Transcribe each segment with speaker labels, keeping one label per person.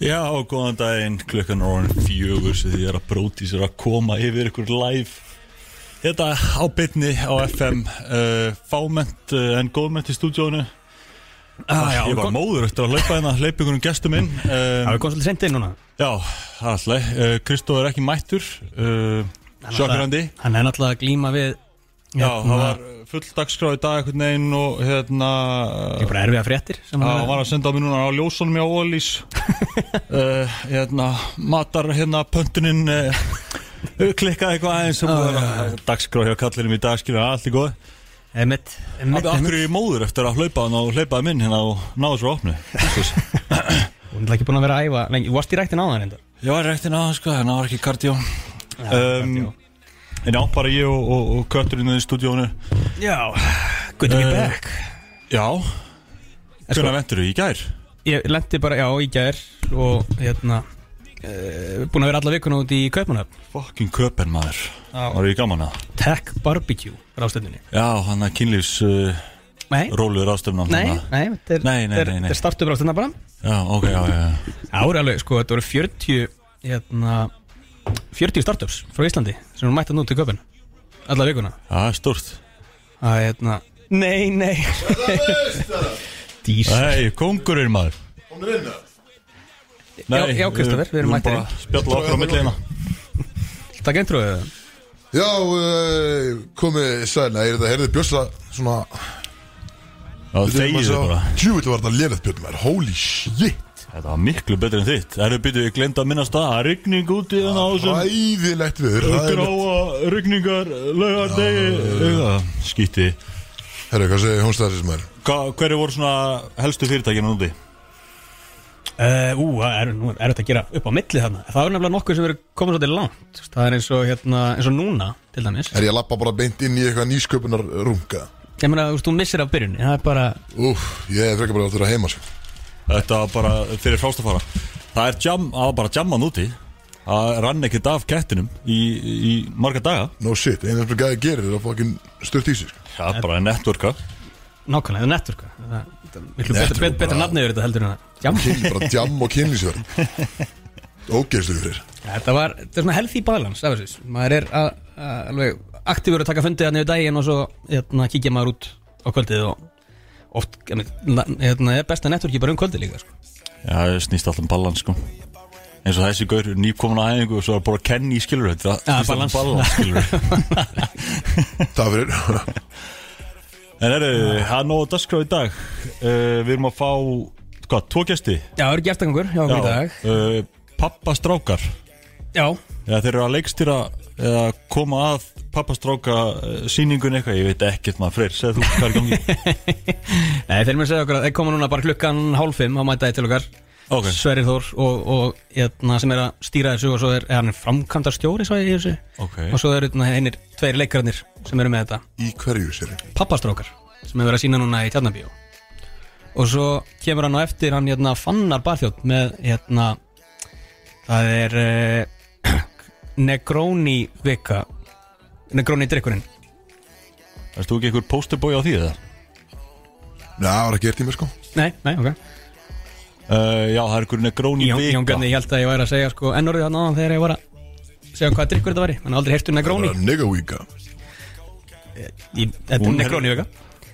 Speaker 1: Já, og góðan daginn, klukkan er orðin fjögur sem því ég er að bróti sér að koma yfir ykkur live Þetta á bytni á FM uh, Fáment uh, en góðment í stúdíónu ah,
Speaker 2: já,
Speaker 1: Ég var
Speaker 2: kom-
Speaker 1: móður eftir að hlaupa hérna, hlaupa ykkur um gestum inn
Speaker 2: Já,
Speaker 1: uh,
Speaker 2: við komum svolítið sent inn núna
Speaker 1: Já, alltaf, uh, Kristóf er ekki mættur uh,
Speaker 2: Hann er
Speaker 1: Sjökkrandi
Speaker 2: náttúrulega- Hann er náttúrulega að glíma við Hérna,
Speaker 1: Já, það var full dagskrá í dag einhvern veginn og hérna
Speaker 2: Ég bara erfið að fréttir sem
Speaker 1: Já,
Speaker 2: hann
Speaker 1: hann var að senda á mér núna á ljósunum hjá Ólís uh, hérna, matar hérna pöntunin uh, klikkaði eitthvað aðeins sem búið að dagskrá hjá kallinum í dag skilur allt í góð
Speaker 2: Emmett Emmett
Speaker 1: Af
Speaker 2: Hún
Speaker 1: hverju er ég móður eftir að hlaupa hann og hlaupaði minn hérna og náðu svo opnu Jesus.
Speaker 2: er ekki búin að vera að æfa lengi Þú varst í rættin á það reynda
Speaker 1: Ég var rektin á það sko, en það var ekki kardió um, En já, bara ég og, og, og kötturinn hérna í stúdíónu
Speaker 2: Já Good to be
Speaker 1: Eh,
Speaker 2: back
Speaker 1: Já,
Speaker 2: En sko,
Speaker 1: hvernig vendur þú í gær?
Speaker 2: Ég lendi bara, já, í gær og hérna uh, búin að vera alla vikuna út í Kaupmannhöfn
Speaker 1: Fucking köpen maður,
Speaker 2: Já.
Speaker 1: var ég gaman að
Speaker 2: Tech Barbecue ráðstöndinni
Speaker 1: Já, hann að kynlífs uh,
Speaker 2: Nei,
Speaker 1: róluður ástöfnum
Speaker 2: nei, nei, þetta er-
Speaker 1: Nei, nei,
Speaker 2: þetta
Speaker 1: nei,
Speaker 2: er-
Speaker 1: nei.
Speaker 2: þetta er startup ráðstöndina bara
Speaker 1: Já, ok, já, já, já.
Speaker 2: Ári alveg, sko, þetta voru 40 hérna, 40 startups frá Íslandi sem eru mættan út í köpun alla vikuna
Speaker 1: Það er stort
Speaker 2: að hérna Nei, nei Dís
Speaker 1: Nei, kongurinn maður
Speaker 3: Komir inn það?
Speaker 2: Já, já, Kristoffer, við erum mættir inn.
Speaker 1: Spjalla okkur á hérna. milliðina
Speaker 2: Takk eindrúið Já,
Speaker 3: Já, eh, komið sæna, ég er þetta, heyrðu Björsa svona
Speaker 1: Já, þegið þið bara
Speaker 3: Tjúvill var þetta lefðið Björn maður, holy shit
Speaker 1: Þetta var miklu betur en þitt Það eru byrjuð, ég glemd að minnast það Það er rigning úti en á þessum
Speaker 3: Ræðilegt viður það er-
Speaker 1: Gráa rigningar Laugar degi Skýtti
Speaker 3: Herru, hvað segir hún stæðis maður?
Speaker 1: Hverju voru svona helstu fyrirtækina úti?
Speaker 2: uh, Ú, það er, nú er þetta að gera upp á milli þarna Það er nefnilega nokkuð sem eru komin svolítið langt Þú veist, Það er eins og, hérna, eins og núna, til dæmis
Speaker 3: Er ég að lappa bara beint inn í eitthvað nýsköpunar runga?
Speaker 2: Ég meina, þú veist, þú missir af byrjunni Það er bara,
Speaker 3: Úf, ég er frekar bara að vera heima sko
Speaker 1: Þetta var bara fyrir frástafara Það er jam, það var bara jamman úti Það rann ekkert af kettinum í, í marga daga
Speaker 3: No shit, einu sem gæði gerir er að fokkin sturt í sig sko
Speaker 1: Það er bara að networka
Speaker 2: nákvæmlega, það er nettur Það það- miklu
Speaker 3: Network,
Speaker 2: betra, betra, betra
Speaker 3: bara-
Speaker 2: nafni yfir þetta heldur en það Jam
Speaker 3: Kynni, bara djam og kynlísverð Ógeðslu fyrir
Speaker 2: Ja, Þetta var, þetta er svona healthy balance af þessu Maður er að, að alveg aktífur að taka fundið hann yfir daginn og svo hérna, kíkja maður út á kvöldið og oft, hérna, hérna, er besta networki bara um kvöldið líka sko.
Speaker 1: Já, það snýst alltaf um balans sko eins og þessi gaur, nýpkomin að æfingu og svo er bara Kenny skilur þetta
Speaker 2: Já,
Speaker 1: snýst
Speaker 2: balans.
Speaker 1: alltaf um balans skilur
Speaker 3: Það fyrir
Speaker 1: En eru, það er nóg að dagskrá í dag uh, Við erum að fá, hvað, tvo gesti
Speaker 2: Já, það eru gertangangur, já, okkur í dag
Speaker 1: uh, Pappastrákar
Speaker 2: Já,
Speaker 1: Eða þeir eru að leikstýra eða koma að pappastráka uh, sýningun eitthvað, ég veit ekkert maður freyr segð þú hvað er í gangi
Speaker 2: Nei, þeir mér segja okkur að þeir koma núna bara klukkan hálf fimm á mætaði til okkar
Speaker 1: Ok.
Speaker 2: Sverrir Þór og, og hérna, sem er að stýra þessu og svo er, er hann framkvæmdar stjóri svo ég í þessu
Speaker 1: Ok.
Speaker 2: og svo eru hérna, einir tveir leikararnir sem eru með þetta
Speaker 3: Í hverju sér
Speaker 2: pappastrókar sem er verið að sína núna í Tjarnabíó og svo kemur hann á eftir hann hérna fannar barþjótt með hérna það er uh, Negroni vika Negroni drikkurinn
Speaker 1: Erst þú ekki einhver posterbói á því eða?
Speaker 3: Já, það var ekki eitt í mér sko
Speaker 2: nei, nei, ok
Speaker 1: Uh, já, það er einhver negróni
Speaker 2: Jón, Jón
Speaker 1: vika
Speaker 2: Bjarni, ég held að ég væri að segja sko ennorðið hann áðan þegar ég var að segja hvað drikkur þetta væri hann hafði aldrei heyrtu Negroni
Speaker 3: Nigga weeka
Speaker 2: í, þetta er
Speaker 1: Hún er-
Speaker 2: Negroni vika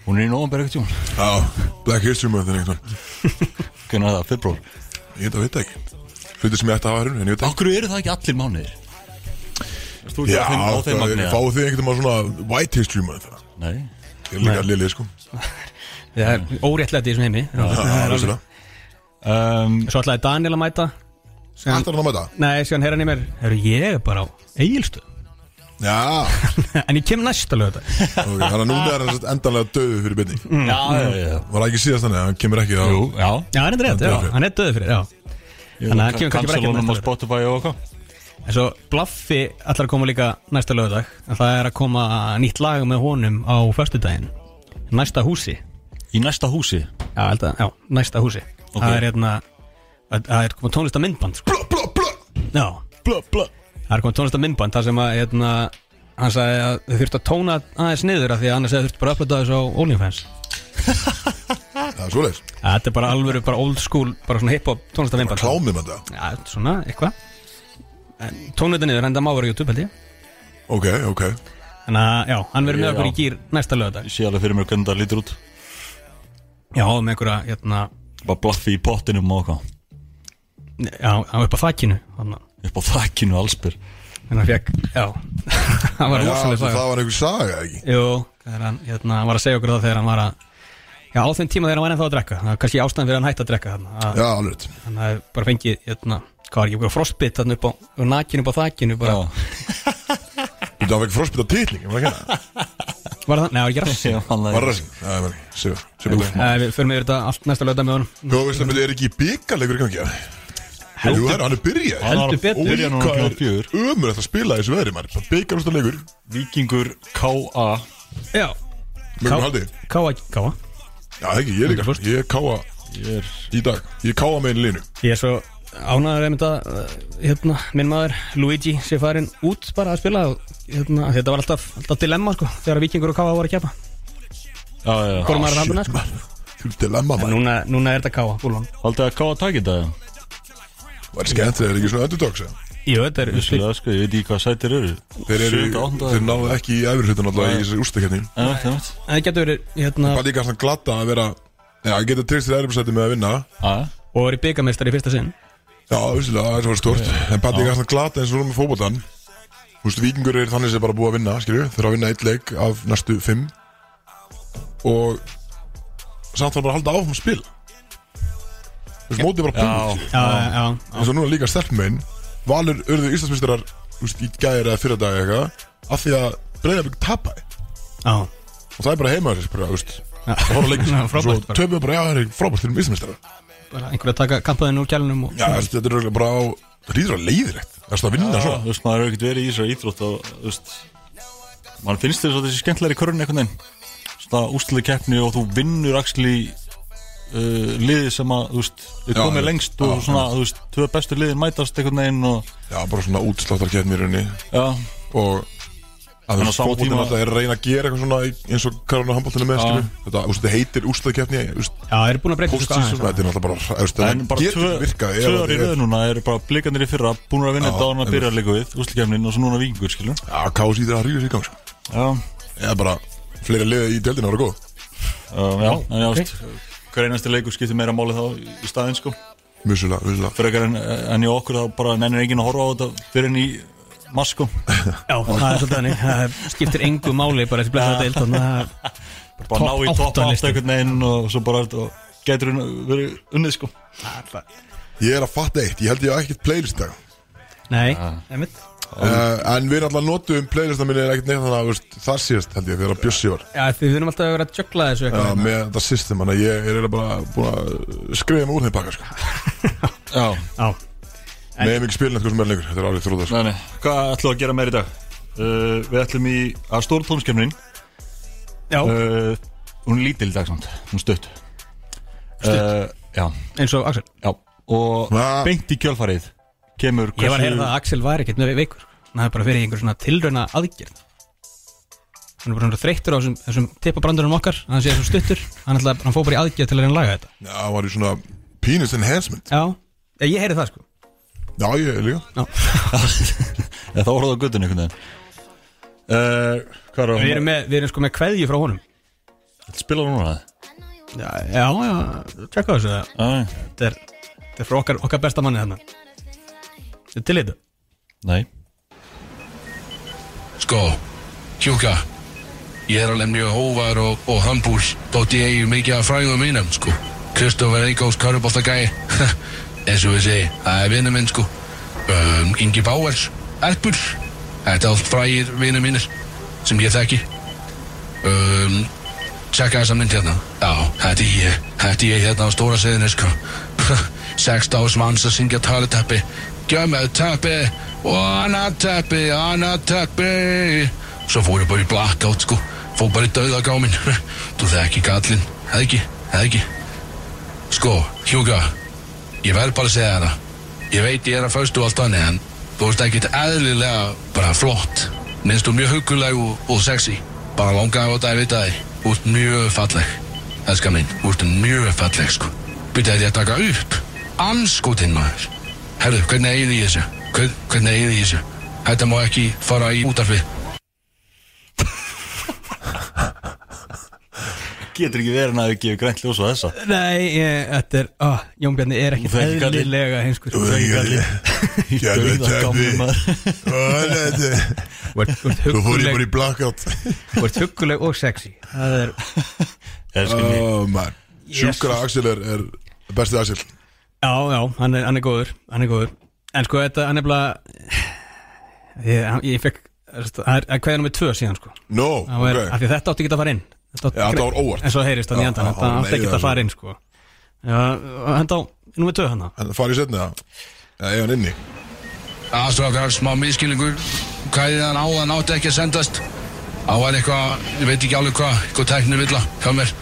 Speaker 1: Hún er í nóðan berg tjón
Speaker 3: Já, Black History Month er einhvern veginn.
Speaker 1: Hvernig er það, februar?
Speaker 3: Ég veit að veit ekki Hluti sem ég ætti að hafa hérna En ég veit ekki
Speaker 1: Akkur eru það ekki allir mánuðir? Erst þú ekki
Speaker 3: Já,
Speaker 1: á þeim, á þeim
Speaker 3: það
Speaker 1: magniða?
Speaker 3: er- fáið þið einhvern veginn svona White History Month það
Speaker 1: Nei
Speaker 3: Ég er líka lilið sko
Speaker 2: það er óréttlega í þessum heimi
Speaker 3: Já, vissulega.
Speaker 1: um,
Speaker 2: svo ætlaði Daniel að mæta Síðan-
Speaker 3: Ætlar hann að mæta?
Speaker 2: Nei, síðan heyrðan ég mér Herru, ég er bara á eigilstu
Speaker 3: Já,
Speaker 2: En ég kem næsta lög þetta
Speaker 3: ok, þannig að núna er hann satt endanlega döðu fyrir byrni
Speaker 1: Já, já, já
Speaker 3: Var það ekki síðast þannig, að hann kemur ekki þá
Speaker 1: Mm. Jú, já
Speaker 2: Já, hann er reynd, já,
Speaker 3: Döður.
Speaker 2: hann er döður fyrir já. Þannig að hann kemur kannski bara ekki
Speaker 1: Kansalunum á
Speaker 2: næsta lög
Speaker 1: Spotify og eitthvað
Speaker 2: En svo Blaffi ætlar að koma líka næsta lögdag En það er að koma nýtt lag með honum á föstudaginn Næsta húsi
Speaker 1: Í næsta húsi
Speaker 2: Já, held að, já, næsta húsi
Speaker 1: Ok.
Speaker 2: Það er hérna Það það er komið tónlista myndband sko.
Speaker 3: Blá, blá, blá
Speaker 2: Já,
Speaker 1: Blö, blö
Speaker 2: það er komið tónlista myndband Það sem að, hérna Hann sagði að þau þurftu að tóna aðeins niður af Því að annars hefði þurftu bara að upplöta þessu á OnlyFans
Speaker 3: Já, það er svoleiðis
Speaker 2: Ja, Þetta er bara alvöru, bara old school Bara svona hip-hop tónlistavinnband
Speaker 3: Klámið með það
Speaker 2: Já, svona, eitthvað Tónleitin niður, enda má vera á YouTube held ég
Speaker 3: Ok, ok
Speaker 2: Þannig að, já, hann verður með
Speaker 1: Já.
Speaker 2: okkur í gýr næsta lögadag
Speaker 1: Ég sé alveg fyrir mér hvernig það lítur út
Speaker 2: Já, með einhverja, hérna
Speaker 1: Bara blaffi í pottinum og okkar
Speaker 2: Já, hann var upp á þakkinu Þannig að
Speaker 1: Upp á þakkinu allsbyr
Speaker 2: hann fekk, já Hann var
Speaker 3: Já,
Speaker 2: rosalega
Speaker 3: það
Speaker 2: þakkar
Speaker 3: var einhver saga, ekki?
Speaker 2: Jú, þegar hann, hérna, hann var að segja okkur það þegar hann var að Já, á þeim tíma þegar hann var ennþá að drekka Það var kannski ástæðan fyrir að hann hætti að drekka þarna að-
Speaker 3: Já, alveg rétt.
Speaker 2: Hann hafði bara fengið, hérna Hvað var ekki, okkur frostbit þarna upp á Nakinu upp á þakkinu bara
Speaker 3: Þú veit, hann fekk frospita titling, ég var ekki hérna.
Speaker 2: Var það, neða, var ekki rassi
Speaker 3: Var
Speaker 1: Bara
Speaker 3: ræsing? Já, ég var ekki. Sigur, sigur búinn.
Speaker 2: Eh, Við förum yfir þetta allt næsta lögða með honum
Speaker 3: Góða veist að er ekki byggarleikur í gangi, eða? Jú, herra, hann er byrjað.
Speaker 2: Heldur betur.
Speaker 1: Byrja núna
Speaker 3: Hvað
Speaker 1: klokkan
Speaker 3: er
Speaker 1: fjögur
Speaker 3: umur að spila í þessu veðri, maður? Byggarleikur,
Speaker 1: Víkingur K.A.
Speaker 2: Já,
Speaker 3: mjög
Speaker 2: Ká-
Speaker 3: haldi.
Speaker 2: káa, káa
Speaker 3: Já, ekki, ég líka. Ég er káa
Speaker 1: Ég er
Speaker 3: í dag. Ég er káa megin línu.
Speaker 2: Ég er svo ánæður einmitt að uh, hérna, minn maður Luigi sé farin út bara að spila og, hérna, þetta var alltaf, alltaf dilemma sko, þegar vikingur og káa voru að keppa
Speaker 1: Já, já, já
Speaker 2: Hvor maður
Speaker 3: Ah,
Speaker 2: er hafði
Speaker 3: Shit,
Speaker 2: næst sko.
Speaker 3: maður. Þú ert dilemma, maður.
Speaker 2: núna, núna er þetta káa, búlan
Speaker 1: Haldið að K.A. taki þetta?
Speaker 3: Það er skemmt, þeir eru ekki svona underdogs, eða?
Speaker 2: Jú, þetta er
Speaker 1: Vissulega,
Speaker 2: uppstil
Speaker 1: sko, Ég veit ekki hvað sætir eru
Speaker 3: Þeir eru,
Speaker 1: Sjönda, áttunda-
Speaker 3: þeir náðu ekki í efri hlutin alltaf í
Speaker 1: Nei.
Speaker 3: þessu úrstakefni.
Speaker 1: Já, það veit.
Speaker 2: Það getur verið, hérna,
Speaker 3: Bara líka svona glata að vera, já, geta treyst þér erfisæti með að vinna.
Speaker 1: Já, já.
Speaker 2: og verið byggamestari í fyrsta sinn
Speaker 3: Já, vissulega, það er svona stort En bara ekki svona glata eins og núna með fótboltan Þú veist, vikingur er þannig sem bara búið að vinna, skilju Þeir eru að vinna eitt leik af næstu fimm Og Samt þarf bara að halda áfram að spila Þú veist, mótið er bara búið skilju.
Speaker 2: Já, já, já,
Speaker 3: Eins og núna líka stelpmein Valur urðu Íslandsmyndstarar Þú veist, í gæri eða fyrir dag eitthvað Af því að breyðabík tapaði
Speaker 2: já
Speaker 3: Og það er bara heima þessi, bara, þú veist
Speaker 2: Já.
Speaker 3: Það voru leikins
Speaker 2: Já, frábært
Speaker 3: Svo
Speaker 2: bara.
Speaker 3: töfum við bara, já, það er frábært fyrir Íslandsmyndstarar
Speaker 2: bara einhverju að taka kampaðinu úr kjælunum og,
Speaker 3: Já, þú veist, þetta er örugglega bara á Það hlýtur að leiðirætt Það er svona að vinna svona
Speaker 1: Þú veist, maður hefur ekkert verið í þessari íþrótt og, þú veist, mann finnst þess að þessi skemmtilegri körun einhvern veginn svona úslega keppni og þú vinnur axli uh, liði sem að, þú veist, við
Speaker 3: Já,
Speaker 1: komið
Speaker 3: já.
Speaker 1: lengst og
Speaker 3: Já,
Speaker 1: svona, þú veist, tvö bestu liðin mætast einhvern veginn og,
Speaker 3: Já, bara svona útsláttarkeppni í rauninni
Speaker 1: já,
Speaker 3: og að
Speaker 1: En á
Speaker 3: þessu
Speaker 1: sama
Speaker 3: fótboltinn
Speaker 1: tíma-
Speaker 3: alltaf er að reyna að gera eitthvað svona í- eins og Karolina handbóltinu með skilur þetta þú veist, þetta heitir úrstæðkeppni
Speaker 2: Já, þeir eru búin að breyta þessu sko,
Speaker 3: postseason,
Speaker 2: aðeins.
Speaker 3: þetta er alltaf bara þú veist,
Speaker 1: en
Speaker 3: þetta
Speaker 1: bara tvö,
Speaker 3: getur virkað ef
Speaker 1: tvö
Speaker 3: að
Speaker 1: ári
Speaker 3: þetta er-
Speaker 1: röð núna eru bara blikandir í fyrra búin að vinna
Speaker 3: Já,
Speaker 1: þetta á hann að
Speaker 3: einmitt.
Speaker 1: byrja að leika við úslega keppnin og svo núna vikingur, skilur
Speaker 3: Já, kási í þeirra rífis í gang sko.
Speaker 1: já,
Speaker 3: eða bara fleiri liði í deildinu ára góð
Speaker 1: uh, já, en já, veist hver einasti leikur skiptir meira máli þá í- í staðinn, sko
Speaker 3: musulega, musulega
Speaker 1: frekar en, en í okkur þá bara nennir enginn að horfa á þetta fyrir en í sko. maskum
Speaker 2: Já, það er svolítið þannig, það skiptir engu máli bara þessi blæða deild, þannig að
Speaker 1: bara
Speaker 2: Topp
Speaker 1: ná í topp
Speaker 2: átta
Speaker 1: átt
Speaker 2: listann.
Speaker 1: einhvern veginn og svo bara þetta- getur hún verið unnið sko
Speaker 3: ég er að fatta eitt, ég held ég á ekkert playlist í dag
Speaker 2: Nei,
Speaker 3: Ah.
Speaker 2: nefnt
Speaker 3: uh, en við erum alltaf notum playlistan minni er ekkert neitt þannig að þú veist, það síðast held ég þegar að bjössi var
Speaker 2: Já, því við erum alltaf að vera að jökla þessu
Speaker 3: Já,
Speaker 2: eitthvað
Speaker 3: með þetta system, þannig að ég er eiginlega bara búin að skrifa mig úr þeim baka sko.
Speaker 1: já,
Speaker 2: Já, En-
Speaker 3: með mig ekki spilin eitthvað sem er lengur, þetta er alveg þrótað sko.
Speaker 1: nei, nei. hvað ætlum við að gera meira í dag? Uh, við ætlum í að stóra tónskemnin
Speaker 2: já
Speaker 1: uh, hún er lítil í dag samt, hún er stutt uh, já,
Speaker 2: eins og Axel
Speaker 1: já og
Speaker 3: Hva?
Speaker 1: beint í kjölfarið kemur
Speaker 2: Ég var að heyra það að Axel var ekkert með veikur Hann hafði bara verið í einhver svona tilrauna aðgjörð Hann er bara svona þreyttur á þessum, þessum tippabrandurinn okkar Hann sé þessum stuttur Hann, ætla, hann fór bara í aðgjörð til að reyna að laga þetta
Speaker 3: Já, það var í svona penis enhancement
Speaker 2: Já, ég, ég heyri það sko
Speaker 3: Já, ég líka
Speaker 1: Eða þá voru það á guttinu einhvern veginn uh, hvað er
Speaker 2: Við erum
Speaker 1: það?
Speaker 2: með, við erum sko með kveðju frá honum
Speaker 1: spila núna það?
Speaker 2: Já, já, já tjekka þessu það
Speaker 1: Æ,
Speaker 2: Þetta er, þetta er frá okkar, okkar besta manni þarna Þetta er til þetta
Speaker 1: nei
Speaker 4: Sko, tjúka Ég er alveg mjög hóvar og, og hambúl Þótt ég eigi mikið af fræðum mínum, sko Kristoffer Eikós, Körubóttagæi Eins og við segi, það er vinur minn, sko um, Ingi Báers, Erpul Þetta er allt fræðir vinur mínir Sem ég þekki um, Tjekka þessa mynd hérna Já, þetta er ég Þetta er ég hérna á stóra seðinu sko Sex dags manns að syngja taletappi Gömmel tappi Og annar tappi, annar tappi Svo fór ég bara í blackout sko Fór bara í döðagámin Þú þekki gallinn, eða ekki, eða ekki Sko, Hjúka Ég verð bara að segja þér það Ég veit ég er að föstu og allt annað En þú veist ekkert eðlilega bara flott Minnst þú mjög huguleg og, og sexy Bara langaði á þetta að vita þig Þú ert mjög falleg Elskar mín, þú ert mjög falleg sko Byrja þér að taka upp Anskotinn maður Herðu, hvernig eigið þið í þessu? Hvern, hvernig eigið þið í þessu? Þetta má ekki fara í útarfið
Speaker 1: Getur ekki verið að við gefum grænt ljós á þessa
Speaker 2: Nei, ég, þetta er, ó, Jón Bjarni er ekki
Speaker 1: Þú þekki kallinn.
Speaker 2: eðlilega heimskur
Speaker 3: Þú þekki kallinn.
Speaker 1: Í
Speaker 3: Já, þetta er
Speaker 1: dauða gamli
Speaker 3: við.
Speaker 1: maður
Speaker 2: Þú ert- þú
Speaker 3: Þú
Speaker 2: ert
Speaker 3: fór ég
Speaker 2: hugguleg-
Speaker 3: bara í blackout
Speaker 2: þú ert hugguleg og sexy Það er,
Speaker 1: Elsku mín
Speaker 3: Oh, man.
Speaker 2: Jesus.
Speaker 3: Sjúkra Axel er, er bestið Axel
Speaker 2: já, já, hann er, hann er góður Hann er góður En sko, þetta, hann er bara Ég, hann- ég fekk, það er hverja nummer tvö síðan sko
Speaker 3: No,
Speaker 2: Það var,
Speaker 3: ok
Speaker 2: af því að þetta átti ekki að fara inn Þetta
Speaker 3: Já, þetta var óvart.
Speaker 2: En svo heyrist það
Speaker 3: Já,
Speaker 2: nýjandan,
Speaker 3: já,
Speaker 2: þetta
Speaker 3: já,
Speaker 2: átti ekki
Speaker 3: nei,
Speaker 2: að fara inn sko Já, henda á, númer tvö hann
Speaker 3: En það farið setna það Já, ég var inni
Speaker 4: Aðstrákar, smá miskilningur Kæðiðan á hann átti ekki að sendast Á hann eitthvað, ég veit ekki alveg hvað Eitthvað tæknu villa hjá mér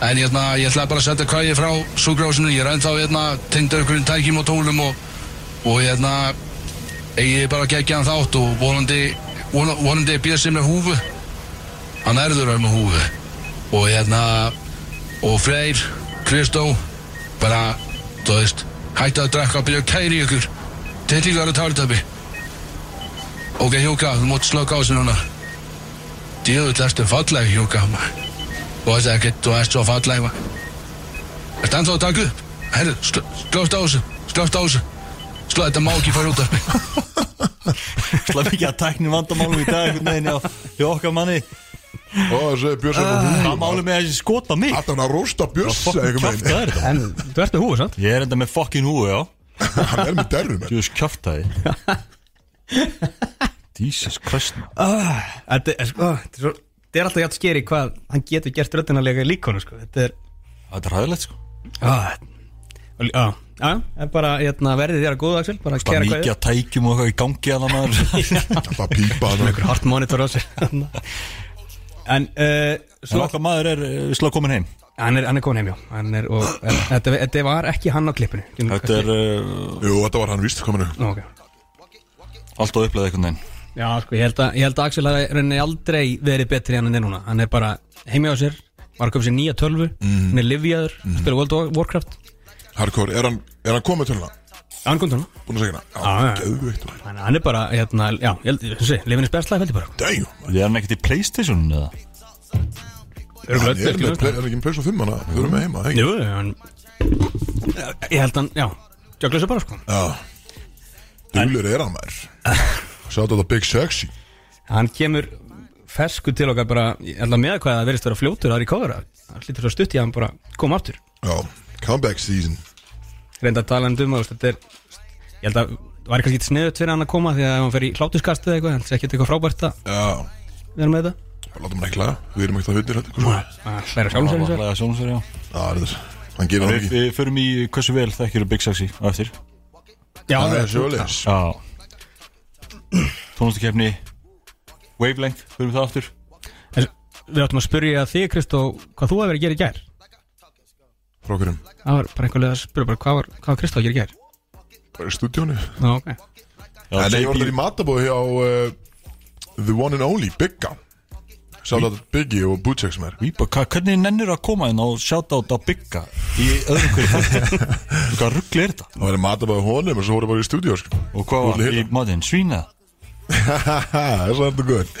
Speaker 4: En ég, ætla- ég ætlaði bara að senda kæði frá Súgrásinu, ég er ennþá hérna, tengdur einhverjum tækjum og tólum Og, og hérna Egið bara geggjaðan þátt Og vonandi von- Vonandi býða sem með húfu Hann erður að með húfu Og hérna Og Freyr, Kristó Bara, þú veist Hættu að drekka og byrja að kæri ykkur Þetta er líka aðra tálitabi Ok, Hjóka, þú mátt slöka á þessu núna Djöðull, ertu falleg, Hjóka maður. Þú veist ekkert, þú ert svo falleg maður. Ertu ennþá að taka upp? Herru, sl slöft á þessu, slöft á þessu Slöft, þetta má ekki fara út af mig
Speaker 1: Slaf ekki að tækni vandamálum í dag einhvern veginn hjá- hjá okkar manni
Speaker 3: Og þessi Björns
Speaker 2: Ah.
Speaker 3: er hún
Speaker 1: Hvað málum með þessi skota mig?
Speaker 3: Alltaf hann að rósta Björns
Speaker 1: Fokkin
Speaker 3: einhvern
Speaker 1: kjafta
Speaker 3: veginn.
Speaker 1: er þetta
Speaker 2: En þú ert með húið, sant?
Speaker 1: Ég er enda með fokkin húi, já
Speaker 3: Hann er með derrum en.
Speaker 1: Þú veist kjafta þið Jesus Christ man.
Speaker 2: Ah, Þetta er sko, þetta er svo Þetta er alltaf hjátt skeri hvað hann getur gert röddinalega líkonu sko Þetta er,
Speaker 1: Þetta er ræðilegt sko
Speaker 2: ah, og lí- á, á, er bara, hérna, verðið þér að góða Axel Bara
Speaker 1: Það
Speaker 2: kæra
Speaker 1: er mikið
Speaker 2: hvað
Speaker 1: að tækjum og eitthvað í gangi að það maður
Speaker 3: Alltaf að pípa hann
Speaker 2: Einhver hart monitor á sér En, uh,
Speaker 1: En
Speaker 2: svo,
Speaker 1: okkar maður er eh, vissulega komin heim
Speaker 2: hann er, hann er komin heim já Hann er, og, en, þetta, þetta var ekki hann á klippinu Getum
Speaker 1: Þetta
Speaker 2: kannski-
Speaker 1: er uh,
Speaker 3: Jú, þetta var hann víst kominu
Speaker 2: Nú, ok.
Speaker 1: allt á upplega einhvern veginn
Speaker 2: Já, sko, ég held að, ég held að Axel hafi rauninni aldrei verið betri en hann er núna Hann er bara heimi á sér, var að köpa sér nýja tölvu Hann er livjaður, spila World of Warcraft
Speaker 3: Hardcore, er hann, er hann komið töluna?
Speaker 2: Hann kom til hann
Speaker 3: Búin að segja
Speaker 2: Ah, Já,
Speaker 3: hana?
Speaker 2: já.
Speaker 3: Já, geðveikt maður.
Speaker 2: Þannig að hann er bara, hérna, já, ég held, þessi, lifinni spjastlæði held ég bara
Speaker 3: Damn
Speaker 1: Við erum ekkert í Playstation eða?
Speaker 3: Hann
Speaker 2: Örugglega,
Speaker 3: er
Speaker 2: örugglega,
Speaker 3: með play- er ekki með pleysa 5 hana Þau eru með heima, ekki?
Speaker 2: Jú, hann Ég held hann, já, jökla þessu bara sko
Speaker 3: Já Dúlur er hann maður Sjátt þetta Big Sexy
Speaker 2: Hann kemur fersku til okkar bara, ég held að með hvað það verðist vera fljótur að recovera Hann hlýtur svo stutt í að hann bara koma aftur
Speaker 3: Já, comeback season
Speaker 2: reynda að tala um duma veist, þetta er, ég held að það var kannski sniðut fyrir hann að koma því að ef hann fer í hlátuskast eða eitthvað, það er ekkert eitthvað frábært að
Speaker 3: Já,
Speaker 2: vera með þetta
Speaker 3: bara látum hann ekki laga Við erum ekkert að huttir þetta sko.
Speaker 2: að hlæra sjálfum sér eins og
Speaker 1: Alla, sjónsverja.
Speaker 3: Já, þetta er Hann gefur hann
Speaker 1: Við,
Speaker 3: ekki
Speaker 1: við förum í hversu vel þekkjur Big Sexy á eftir
Speaker 2: já,
Speaker 3: Það
Speaker 2: það
Speaker 3: er sjöleis
Speaker 1: Já Tónlistakefni Wavelength, förum við það aftur
Speaker 2: er, við áttum að spyrja þig Kristó hvað þú hefur verið að gera í gær
Speaker 3: Frá hverjum
Speaker 2: það var bara einhverlega að spyrja bara, hvað var, hvað var Kristó að gera í gær
Speaker 3: Bara í stúdíónu
Speaker 2: Ná, ok,
Speaker 1: Já,
Speaker 3: En
Speaker 1: JP
Speaker 3: ég var þar í matabóði hjá uh, The one and only, Bigga Sjátt þetta Biggi og Butchek sem er
Speaker 1: Vípa, hva, hvernig nennir að koma inn og sjáta á bygga í öðrum hverju þetta? Hvað ruggli er þetta?
Speaker 3: Það var í matabóði honum og svo voru bara í stúdíó sko.
Speaker 1: Og hvað
Speaker 3: Þú
Speaker 1: var
Speaker 3: ætlar
Speaker 1: í
Speaker 3: að
Speaker 1: matinn? Svína?
Speaker 3: Þess er þetta góð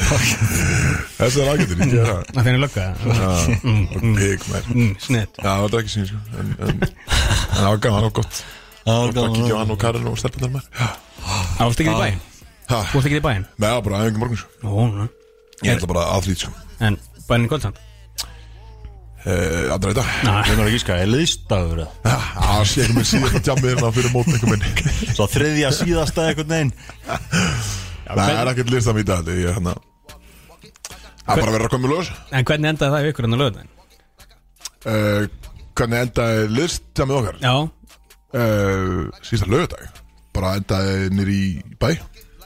Speaker 3: Þess er ágættin, ég gera
Speaker 2: það finnir lögga
Speaker 3: það Big, maður
Speaker 2: mm, snett,
Speaker 3: Já, það var ekki sín, sko En en- en það var gaman og gott
Speaker 1: Það
Speaker 3: Það kikið á hann og Karin og stelpunar maður Já.
Speaker 2: það varst ekki í bæinn
Speaker 3: Ha,
Speaker 2: þú varst ekki í bæinn
Speaker 3: Nei, það var bara aðeins morgun, sko
Speaker 2: Ó, nú.
Speaker 3: Ég ætla bara aðlít, sko
Speaker 2: en bæinn í kvöldsamt
Speaker 3: Eh, Allra þetta
Speaker 1: Ég var ekki skæði, liðstagur eða?
Speaker 3: Það sé ekki með síðan að tjamið hérna fyrir mót einhver minn
Speaker 1: Svo þriðja síðasta eitthvað neginn
Speaker 3: Nei, það er ekkert listam í dag þetta, Ég hann að Það er bara að vera að koma í ljós
Speaker 2: en hvernig endaði það í ykkur en á lögðin
Speaker 3: uh, hvernig endaði listjamið okkar
Speaker 2: já,
Speaker 3: uh, sísta lögadag bara endaði nýri í bæ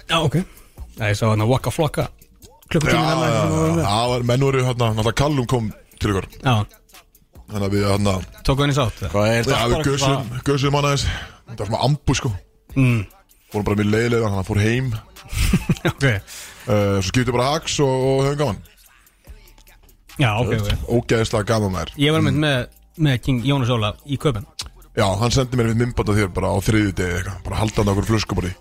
Speaker 2: já, ok hérna, það er svo hann að waka flokka
Speaker 3: Já,
Speaker 2: klukkutími
Speaker 3: já, já, það var menn voru hérna, náttúrulega Callum kom til ykkur
Speaker 2: já,
Speaker 3: þannig að við hérna,
Speaker 2: Tók hann í sátt eða?
Speaker 1: Hvað er
Speaker 3: já,
Speaker 1: þetta?
Speaker 3: við gösum gösum hann aðeins, þetta var svona ambu sko
Speaker 2: Mm.
Speaker 3: vorum bara mjög leiðilega, hann fór heim Eh, uh,
Speaker 2: Ok
Speaker 3: svo skipti bara haks og, og höfum gaman
Speaker 2: Já, ok, ok
Speaker 3: Ógæðislega gaman maður
Speaker 2: Ég var mynd með, með King Jónas Óla í köpun
Speaker 3: Já, hann sendi mér einmitt myndband af þér bara á þriðju degi eitthvað Bara haldandi á okkur flöskubari